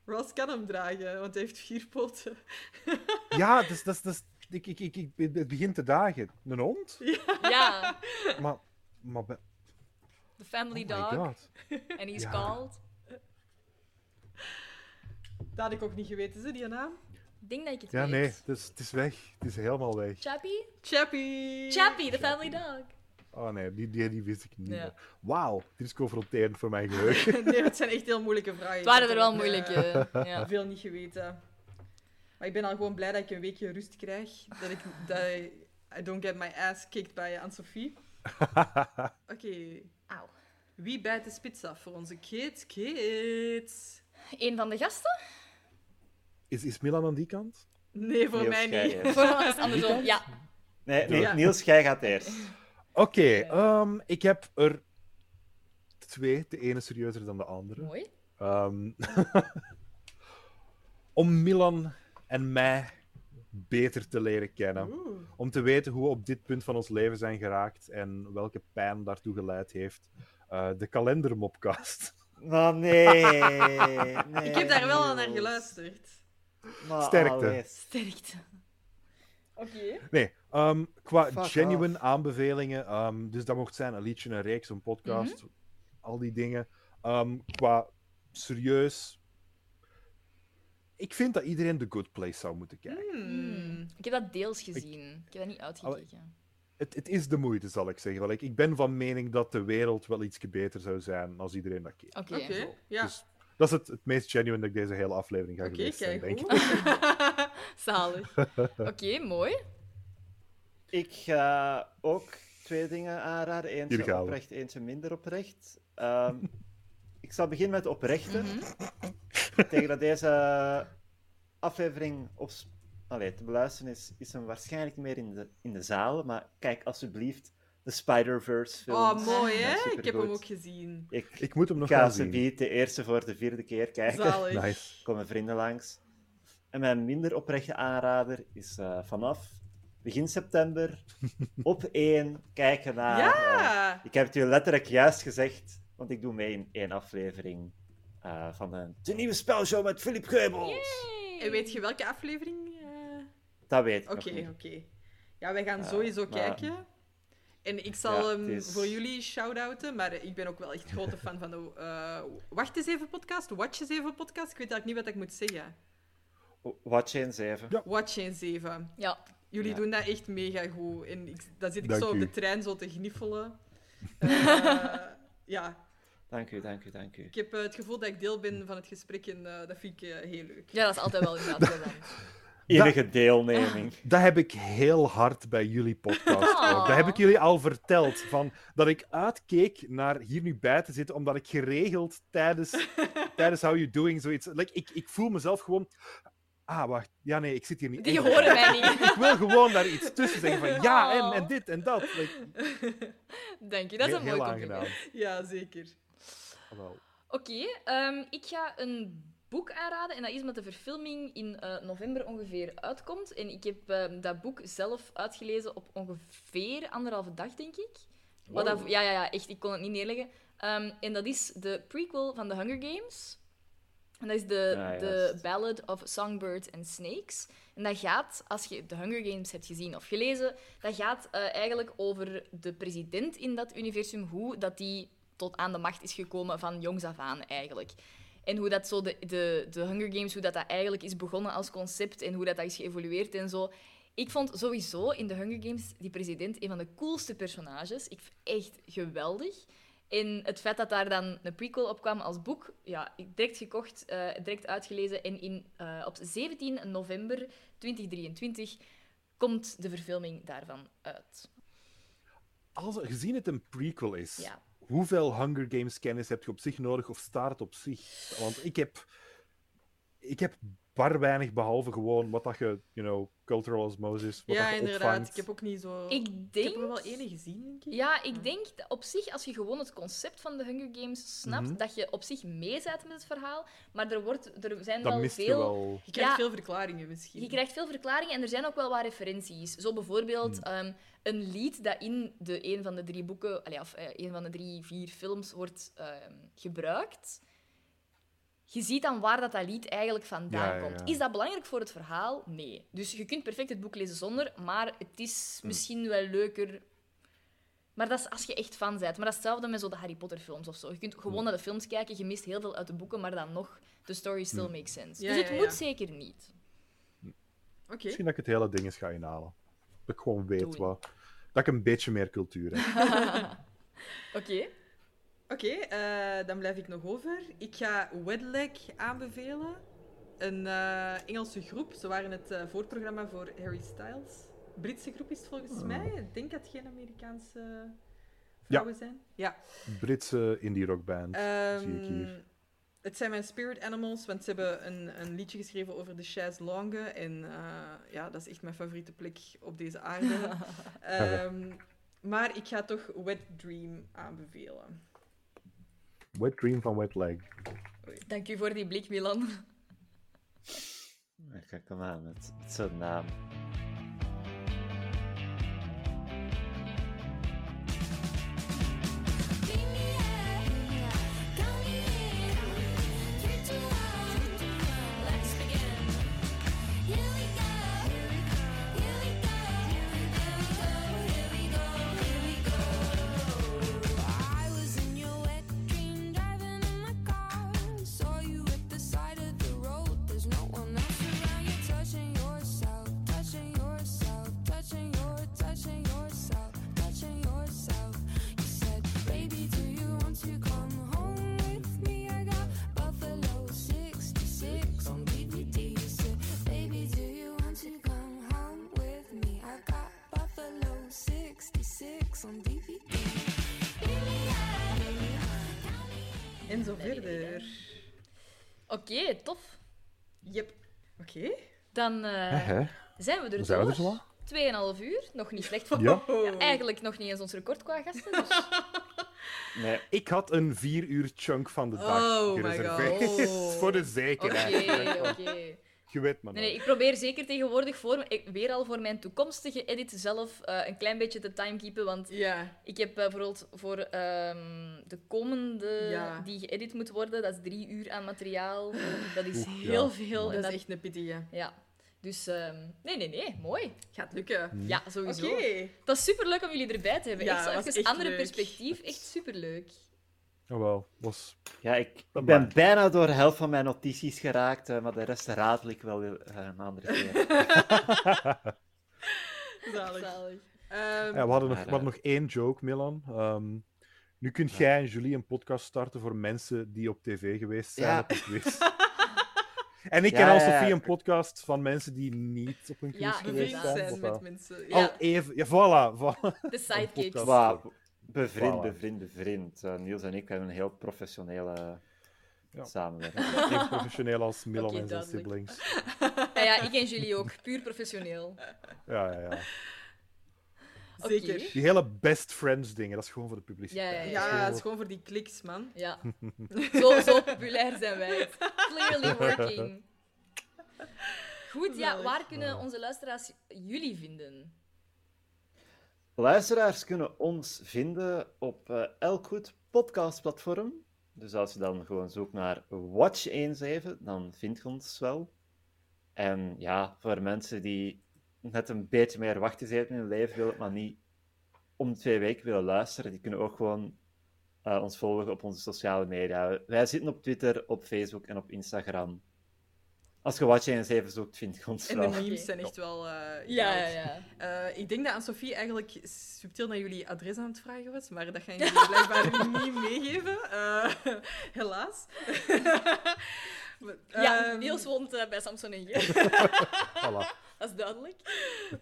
Speaker 1: Ross kan hem dragen, want hij heeft vier poten.
Speaker 4: Ja, dus, dat is- dat is- ik, ik, ik, ik, het begint te dagen. Een hond?
Speaker 2: Ja,
Speaker 4: Maar, maar be-
Speaker 2: the family
Speaker 4: oh my
Speaker 2: dog.
Speaker 4: god.
Speaker 2: En he's
Speaker 4: Ja.
Speaker 2: called.
Speaker 1: Dat had ik ook niet geweten, ze, die naam.
Speaker 2: Ik denk dat ik het
Speaker 4: Ja,
Speaker 2: weet.
Speaker 4: nee, het is, het is weg. Het is helemaal weg.
Speaker 2: Chappie?
Speaker 1: Chappie!
Speaker 2: Chappie, the family dog.
Speaker 4: Oh nee, die, die, die wist ik niet
Speaker 2: Ja.
Speaker 4: meer. Wauw, dit is confronterend voor mijn geheugen.
Speaker 1: Nee, het zijn echt heel moeilijke vragen.
Speaker 2: Het waren er wel
Speaker 1: Ik heb
Speaker 2: moeilijke.
Speaker 1: eh,
Speaker 2: Ja.
Speaker 1: Veel niet geweten. Maar ik ben al gewoon blij dat ik een weekje rust krijg. Dat ik... Dat I- I don't get my ass kicked by Anne-Sophie. Oké.
Speaker 2: Auw.
Speaker 1: Wie bijt de spits af voor onze kids? Kids!
Speaker 2: Een van de gasten?
Speaker 4: Is, is Milan aan die kant?
Speaker 1: Nee, voor
Speaker 3: Niels,
Speaker 1: mij
Speaker 3: jij
Speaker 1: niet.
Speaker 3: eerst.
Speaker 2: Voor hem was het andersom. Ja.
Speaker 3: Nee, nee
Speaker 1: Ja.
Speaker 3: Niels, jij gaat eerst.
Speaker 4: Oké, ehm, ik heb er twee. De ene serieuzer dan de andere.
Speaker 2: Mooi.
Speaker 4: Ehm, om Milan en mij beter te leren kennen. Om te weten hoe we op dit punt van ons leven zijn geraakt en welke pijn daartoe geleid heeft. Eh, de kalendermopcast.
Speaker 3: Oh nee, nee.
Speaker 1: Ik heb daar wel al naar
Speaker 3: Niels.
Speaker 1: geluisterd.
Speaker 3: Maar
Speaker 4: Sterkte.
Speaker 3: alles.
Speaker 2: Sterkte.
Speaker 1: Oké.
Speaker 4: Nee, ehm, qua
Speaker 3: Fuck
Speaker 4: genuine aanbevelingen. ehm, dus dat mocht zijn een liedje, een reeks, een podcast,
Speaker 1: Mhm.
Speaker 4: al die dingen. Ehm, qua serieus. Ik vind dat iedereen The Good Place zou moeten kijken.
Speaker 1: Mm.
Speaker 2: Hmm. Ik heb dat deels gezien. Ik heb dat niet uitgekeken.
Speaker 4: Het, het is de moeite, zal ik zeggen. Want ik- ik ben van mening dat de wereld wel iets beter zou zijn als iedereen dat keek.
Speaker 2: Oké.
Speaker 1: Oké, ja.
Speaker 4: Dus dat is het, het meest genuine dat ik deze hele aflevering ga
Speaker 1: Oké,
Speaker 4: geweest zijn,
Speaker 1: kijk.
Speaker 4: denk ik.
Speaker 1: oeh.
Speaker 2: Zalig. Oké, mooi.
Speaker 3: Ik ga ook twee dingen aanraden.
Speaker 4: Hier gaan
Speaker 3: Eentje
Speaker 4: we.
Speaker 3: oprecht, eentje minder oprecht. Ehm, ik zal beginnen met oprechte.
Speaker 1: Mhm.
Speaker 3: Tegen dat deze aflevering op... Allee, te beluisteren is, is hem waarschijnlijk niet meer in de, in de zaal. Maar kijk alsjeblieft de Spider-Verse films.
Speaker 1: Oh, mooi
Speaker 3: Ja,
Speaker 1: hè? ik heb hem
Speaker 3: supergoed.
Speaker 1: ook gezien.
Speaker 3: Ik,
Speaker 4: Ik moet hem nog
Speaker 3: ga
Speaker 4: gaan zien.
Speaker 3: alsjeblieft de eerste voor de vierde keer kijken.
Speaker 1: Zalig.
Speaker 4: Nice.
Speaker 3: komen vrienden langs. En mijn minder oprechte aanrader is eh, vanaf begin september op 1 kijken naar. eh,
Speaker 1: Ja!
Speaker 3: ik heb het u letterlijk juist gezegd, want ik doe mee in één aflevering eh, van de, de nieuwe spelshow met Philip Geubels.
Speaker 2: Hey.
Speaker 1: En weet je welke aflevering? eh?
Speaker 3: Dat weet ik.
Speaker 1: Oké,
Speaker 3: nog niet.
Speaker 1: oké. Ja, wij gaan sowieso
Speaker 3: maar-
Speaker 1: kijken. En ik zal
Speaker 3: Ja,
Speaker 1: hem
Speaker 3: het is-
Speaker 1: voor jullie shout-outen, maar ik ben ook wel echt grote fan van de eh, Wacht eens even podcast, Watch eens even podcast. Ik weet eigenlijk niet wat ik moet zeggen.
Speaker 3: O- Watch 1 7.
Speaker 4: Ja.
Speaker 1: Watch eens even.
Speaker 2: Ja.
Speaker 1: Jullie
Speaker 3: Ja.
Speaker 1: doen dat echt mega goed. En ik, dan zit ik
Speaker 4: Dank
Speaker 1: zo op
Speaker 4: u.
Speaker 1: de trein zo te gniffelen. Eh, ja,
Speaker 3: Dank u, dank u, dank u.
Speaker 1: ik heb eh, het gevoel dat ik deel ben van het gesprek en eh, dat vind ik eh, heel leuk.
Speaker 2: ja, dat is altijd wel inderdaad plezant.
Speaker 3: Enige deelneming.
Speaker 4: Dat heb ik heel hard bij jullie podcast.
Speaker 2: Oh.
Speaker 4: ook. Dat heb ik jullie al verteld. Van, dat ik uitkeek naar hier nu bij te zitten, omdat ik geregeld tijdens, tijdens How You Doing zoiets. Like, ik, ik voel mezelf gewoon. Ah, wacht. Ja, nee, ik zit hier niet.
Speaker 2: Die
Speaker 4: echt.
Speaker 2: horen mij niet.
Speaker 4: Ik wil gewoon daar iets tussen zeggen van ja
Speaker 2: Oh.
Speaker 4: en, en dit en dat. Like,
Speaker 2: Dank je, dat is
Speaker 4: heel,
Speaker 2: een mooi
Speaker 4: heel
Speaker 2: compliment.
Speaker 4: aangenaam.
Speaker 1: Ja, zeker.
Speaker 4: Wel,
Speaker 2: Oké, ehm, ik ga een boek aanraden. En dat is omdat de verfilming in eh, november ongeveer uitkomt. En ik heb ehm, dat boek zelf uitgelezen op ongeveer anderhalve dag, denk ik. Wat dat, ja, ja, ja, echt. Ik kon het niet neerleggen. Ehm, en dat is de prequel van The Hunger Games. En dat is de,
Speaker 3: Ah,
Speaker 2: de
Speaker 3: juist.
Speaker 2: Ballad of Songbirds and Snakes. En dat gaat, als je The Hunger Games hebt gezien of gelezen, dat gaat eh, eigenlijk over de president in dat universum, hoe dat die tot aan de macht is gekomen van jongs af aan eigenlijk. En hoe dat zo de, de, de Hunger Games, hoe dat, dat eigenlijk is begonnen als concept en hoe dat, dat is geëvolueerd en zo. Ik vond sowieso in de Hunger Games die president een van de coolste personages. Ik vind echt geweldig. En het feit dat daar dan een prequel op kwam als boek, ja, ik direct gekocht, eh, direct uitgelezen. En in, eh, op 17 november 2023 komt de verfilming daarvan uit.
Speaker 4: Als, gezien het een prequel is,
Speaker 2: Ja.
Speaker 4: hoeveel Hunger Games kennis heb je op zich nodig of staat het op zich? Want ik heb, ik heb bar weinig behalve gewoon wat dat je, you know, cultural osmosis, wat
Speaker 1: Ja,
Speaker 4: dat je
Speaker 1: inderdaad.
Speaker 4: opvangt.
Speaker 1: Ik heb ook niet zo...
Speaker 2: Ik
Speaker 1: Oh, Ik
Speaker 2: denk...
Speaker 1: heb er wel ene gezien, denk ik.
Speaker 2: Ja, ik denk dat op zich, als je gewoon het concept van de Hunger Games snapt,
Speaker 4: Mhm.
Speaker 2: dat je op zich meezet met het verhaal. Maar er, wordt, er zijn
Speaker 4: Dan
Speaker 2: wel
Speaker 4: mist je
Speaker 2: veel...
Speaker 4: wel...
Speaker 1: Je krijgt
Speaker 2: Ja.
Speaker 1: veel verklaringen misschien.
Speaker 2: Je krijgt veel verklaringen en er zijn ook wel wat referenties. Zo bijvoorbeeld
Speaker 4: Hmm.
Speaker 2: ehm, een lied dat in de, een van de drie boeken, allee, of eh, een van de drie, vier films wordt ehm, gebruikt. Je ziet dan waar dat, dat lied eigenlijk vandaan
Speaker 4: Ja, ja, ja.
Speaker 2: komt. Is dat belangrijk voor het verhaal? Nee. Dus je kunt perfect het boek lezen zonder, maar het is
Speaker 4: Hmm.
Speaker 2: misschien wel leuker. Maar dat is als je echt fan bent. Maar dat is hetzelfde met zo de Harry Potter films of zo. Je kunt
Speaker 4: Hmm.
Speaker 2: gewoon naar de films kijken, je mist heel veel uit de boeken, maar dan nog, de story still
Speaker 4: Hmm.
Speaker 2: makes sense.
Speaker 1: Ja,
Speaker 2: dus het
Speaker 1: ja, ja.
Speaker 2: moet zeker niet.
Speaker 1: Oké.
Speaker 4: Misschien dat ik het hele ding eens ga inhalen. Dat ik gewoon weet
Speaker 2: Doei.
Speaker 4: wat... Dat ik een beetje meer cultuur heb.
Speaker 2: Oké.
Speaker 1: Oké, eh, dan blijf ik nog over. Ik ga Wedleg aanbevelen. Een eh, Engelse groep. Ze waren het eh, voorprogramma voor Harry Styles. Britse groep is het volgens
Speaker 4: Ah.
Speaker 1: mij. Ik denk dat het geen Amerikaanse vrouwen zijn. Ja.
Speaker 4: Britse indie rockband, zie ik
Speaker 1: Ehm,
Speaker 4: hier.
Speaker 1: Het zijn mijn spirit animals, want ze hebben een, een liedje geschreven over de Chaise Longue. En eh, ja, dat is echt mijn favoriete plek op deze aarde. Ehm, maar ik ga toch Wet Dream aanbevelen.
Speaker 4: Wet Dream van Wet Leg.
Speaker 2: Dank u voor die blik, Milan.
Speaker 1: Ah.
Speaker 3: Kijk, kom aan, het, het is zo'n naam.
Speaker 1: En zo verder.
Speaker 2: Oké, tof.
Speaker 1: Yep. Oké.
Speaker 2: Dan eh,
Speaker 4: Hè?
Speaker 2: zijn we er
Speaker 4: Zijn we er
Speaker 2: door.
Speaker 4: zo?
Speaker 2: Tweeënhalf uur, nog niet slecht voor.
Speaker 4: Ja.
Speaker 1: Oh.
Speaker 2: Eigenlijk nog niet eens ons record qua gasten. dus-
Speaker 3: Nee,
Speaker 4: Ik had een vier uur chunk van de dag
Speaker 1: Oh my
Speaker 4: gereserveerd.
Speaker 1: God. Oh.
Speaker 4: Voor de
Speaker 2: Oké,
Speaker 4: zekerheid.
Speaker 2: oké.
Speaker 4: Je weet maar
Speaker 2: Nee, nee,
Speaker 4: nooit.
Speaker 2: ik probeer zeker tegenwoordig voor, ik- weer al voor mijn toekomstige edit zelf eh, een klein beetje te timekeepen. Want
Speaker 1: Ja.
Speaker 2: ik heb eh, bijvoorbeeld voor ehm, de komende
Speaker 1: Ja.
Speaker 2: die geëdit moet worden, dat is drie uur aan materiaal. Dat is
Speaker 4: Oeh,
Speaker 2: heel
Speaker 4: ja.
Speaker 2: veel.
Speaker 1: Dat
Speaker 2: en
Speaker 1: is
Speaker 2: dat-
Speaker 1: echt een pity, hè.
Speaker 2: Ja. Dus ehm, nee, nee, nee, mooi.
Speaker 1: Gaat lukken.
Speaker 2: Ja,
Speaker 1: Oké.
Speaker 2: sowieso. Het was super leuk om jullie erbij te hebben.
Speaker 1: Ja,
Speaker 2: echt zo
Speaker 1: was
Speaker 2: even
Speaker 1: echt
Speaker 2: andere
Speaker 1: leuk.
Speaker 2: perspectief. Echt superleuk.
Speaker 4: Oh, wel. Was...
Speaker 3: ja, ik
Speaker 4: Dat
Speaker 3: ben
Speaker 4: maakt.
Speaker 3: bijna door de helft van mijn notities geraakt, eh, maar de rest raadel ik wel weer, eh, een andere keer.
Speaker 1: Zalig.
Speaker 2: Zalig.
Speaker 1: Ehm,
Speaker 4: Ja, we, hadden nog, we
Speaker 3: Maar,
Speaker 4: hadden nog één joke, Milan. Ehm, nu kunt jij en Julie een podcast starten voor mensen die op tv geweest zijn
Speaker 3: Ja.
Speaker 4: op een quiz. En ik
Speaker 3: Ja,
Speaker 4: ken al
Speaker 3: ja, ja.
Speaker 4: Sophie een podcast van mensen die niet op een quiz
Speaker 2: Ja,
Speaker 4: geweest
Speaker 1: bevriend
Speaker 2: inderdaad.
Speaker 4: zijn.
Speaker 1: zijn
Speaker 4: of
Speaker 1: met
Speaker 4: wel.
Speaker 1: mensen.
Speaker 2: Ja.
Speaker 4: Al even... Ja, voilà. voilà.
Speaker 2: De
Speaker 4: podcast.
Speaker 2: sidekicks.
Speaker 3: Wauw, bevriend,
Speaker 4: Voilà.
Speaker 3: bevriend, bevriend. Eh, Niels en ik hebben een heel professionele
Speaker 4: Ja.
Speaker 3: samenwerking.
Speaker 4: Even professioneel als Milan
Speaker 2: Oké,
Speaker 4: en zijn
Speaker 2: duidelijk.
Speaker 4: siblings.
Speaker 2: Ja, Ah ja, ik en jullie ook. Puur professioneel.
Speaker 4: Ja, ja, ja.
Speaker 2: Oké.
Speaker 1: Zeker.
Speaker 4: Die hele best friends dingen, dat is gewoon voor de publiciteit.
Speaker 2: Ja, ja,
Speaker 1: Ja, het is gewoon voor die kliks, man.
Speaker 2: Ja. Zo, zo populair zijn wij. Clearly working. Goed, ja.
Speaker 1: Zalig.
Speaker 2: Waar kunnen onze luisteraars jullie vinden?
Speaker 3: Luisteraars kunnen ons vinden op eh, elk goed podcastplatform. Dus als je dan gewoon zoekt naar Watch17, dan vindt je ons wel. En ja, voor mensen die net een beetje meer wachttijd in hun leven willen, maar niet om twee weken willen luisteren, die kunnen ook gewoon eh, ons volgen op onze sociale media. Wij zitten op Twitter, op Facebook en op Instagram. Als je Watje eens even zoekt, vind je ons
Speaker 1: En
Speaker 3: wel.
Speaker 1: de memes zijn echt wel... eh,
Speaker 2: Ja,
Speaker 1: goud.
Speaker 2: ja,
Speaker 1: Eh, ik denk dat Anne-Sophie eigenlijk subtiel naar jullie adres aan het vragen was, maar dat gaan jullie blijkbaar niet meegeven. Eh, helaas. Maar,
Speaker 2: Ja,
Speaker 1: ehm,
Speaker 2: Niels woont eh, bij Samson en Gert. Dat is duidelijk.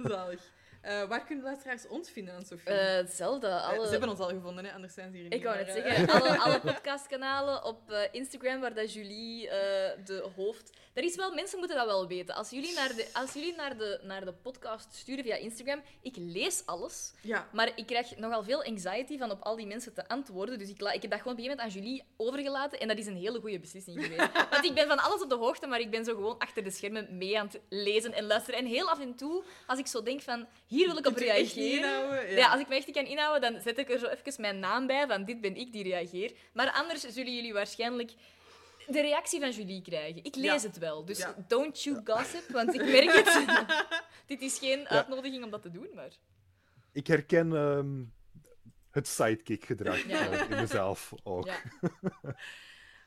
Speaker 1: Zalig. Eh, waar kunnen luisteraars ons vinden, Anne-Sophie?
Speaker 2: Eh, hetzelfde.
Speaker 1: Eh,
Speaker 2: Alle...
Speaker 1: Ze hebben ons al gevonden, hè? anders zijn ze hier niet.
Speaker 2: Ik wou
Speaker 1: maar,
Speaker 2: net
Speaker 1: eh,
Speaker 2: zeggen, alle, alle podcastkanalen op eh, Instagram, waar dat Julie eh, de hoofd... Er is wel, mensen moeten dat wel weten. Als jullie, naar de, als jullie naar, de, naar de podcast sturen via Instagram, ik lees alles,
Speaker 1: Ja,
Speaker 2: maar ik krijg nogal veel anxiety van op al die mensen te antwoorden. Dus ik, la- ik heb dat gewoon op een gegeven moment aan Julie overgelaten en dat is een hele goede beslissing geweest. Want ik ben van alles op de hoogte, maar ik ben zo gewoon achter de schermen mee aan het lezen en luisteren. En heel af en toe, als ik zo denk van, hier wil ik op
Speaker 1: kunt u echt niet
Speaker 2: reageren...
Speaker 1: inhouden?
Speaker 2: Ja. als ik me echt niet kan inhouden, dan zet ik er zo even mijn naam bij, van dit ben ik die reageer. Maar anders zullen jullie waarschijnlijk de reactie van Julie krijgen. Ik lees
Speaker 1: Ja.
Speaker 2: het wel, dus
Speaker 1: Ja.
Speaker 2: don't you gossip, want ik merk het. dit is geen uitnodiging om dat te doen, maar...
Speaker 4: Ik herken ehm, het sidekick-gedrag
Speaker 2: Ja.
Speaker 4: eh, in mezelf ook.
Speaker 2: Ja.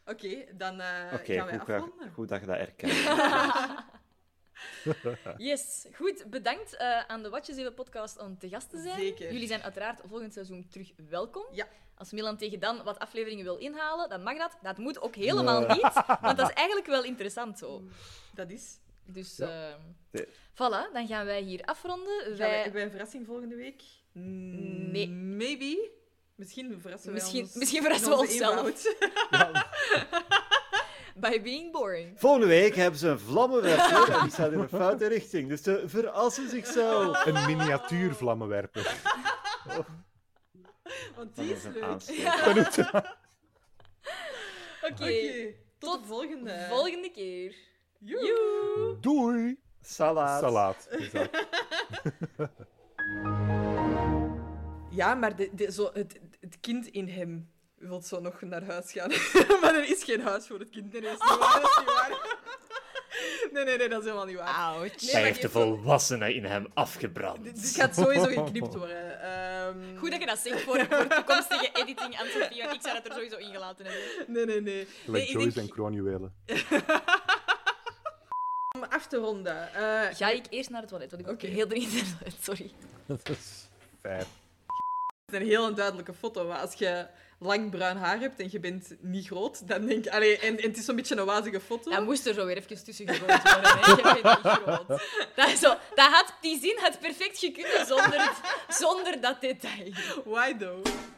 Speaker 1: Oké, dan eh,
Speaker 3: Oké,
Speaker 1: gaan wij
Speaker 3: goed, dat-
Speaker 1: afronden.
Speaker 3: goed dat je dat erkent.
Speaker 2: Yes, goed. Bedankt eh, aan de Watjes Even podcast om te gast te zijn.
Speaker 1: Zeker.
Speaker 2: Jullie zijn uiteraard volgend seizoen terug welkom.
Speaker 1: Ja.
Speaker 2: Als Milan tegen dan wat afleveringen wil inhalen, dan mag dat. Dat moet ook helemaal niet, want dat is eigenlijk wel interessant zo.
Speaker 1: Dat is.
Speaker 2: Dus eh,
Speaker 3: Nee.
Speaker 2: voilà, dan gaan wij hier afronden.
Speaker 1: Gaan wij...
Speaker 2: Wij-
Speaker 1: hebben wij een verrassing volgende week? Mm,
Speaker 2: Nee.
Speaker 1: Maybe. Misschien verrassen we
Speaker 2: Misschien-
Speaker 1: ons.
Speaker 2: misschien verrassen
Speaker 1: in
Speaker 2: we
Speaker 1: onze
Speaker 2: onszelf.
Speaker 1: inhoud.
Speaker 2: By being boring.
Speaker 3: Volgende week hebben ze een vlammenwerper en die staat in een foute richting. Dus ze verrassen zichzelf.
Speaker 4: Een miniatuur vlammenwerper.
Speaker 1: Want
Speaker 3: Dat
Speaker 1: die is
Speaker 3: is een
Speaker 1: leuk. Oké,
Speaker 3: aansteek.
Speaker 2: Oké,
Speaker 1: tot,
Speaker 2: Tot
Speaker 1: de volgende.
Speaker 2: volgende keer.
Speaker 1: Joe.
Speaker 4: Doei!
Speaker 3: Salaat.
Speaker 4: Salaat. is dat.
Speaker 1: Ja, maar de, de, zo, het, het kind in hem wil zo nog naar huis gaan. maar er is geen huis voor het kind. Nee, nee, dat is niet waar. Dat is niet waar. nee, nee, nee, dat is helemaal niet waar.
Speaker 2: Ouch.
Speaker 1: Nee, maar die heeft zo-
Speaker 3: volwassene in hem afgebrand.
Speaker 1: Dit, dit gaat sowieso geknipt worden. Ehm,
Speaker 2: Dus Goed dat je dat zegt voor, voor toekomstige editing, Anne-Sophie, want ik zou dat er sowieso ingelaten hebben.
Speaker 1: Nee, nee, nee. nee
Speaker 4: Like
Speaker 1: ik
Speaker 4: Joey
Speaker 1: denk-
Speaker 4: zijn kroonjuwelen.
Speaker 1: Om af te ronden. eh,
Speaker 2: Ga ik eerst naar het toilet, want ik
Speaker 1: Oké.
Speaker 2: ben heel dringend naar het toilet, sorry.
Speaker 4: Dat is fair.
Speaker 1: Het is een heel duidelijke foto, maar als je lang bruin haar hebt en je bent niet groot, dan denk ik... Allee, en, en het is zo'n beetje een wazige foto.
Speaker 2: Dat moest er zo weer even tussen gegooid worden. Hè. Ik heb het niet groot. Dat, is zo, dat had, die zin had perfect gekund zonder, zonder dat detail.
Speaker 1: Why though?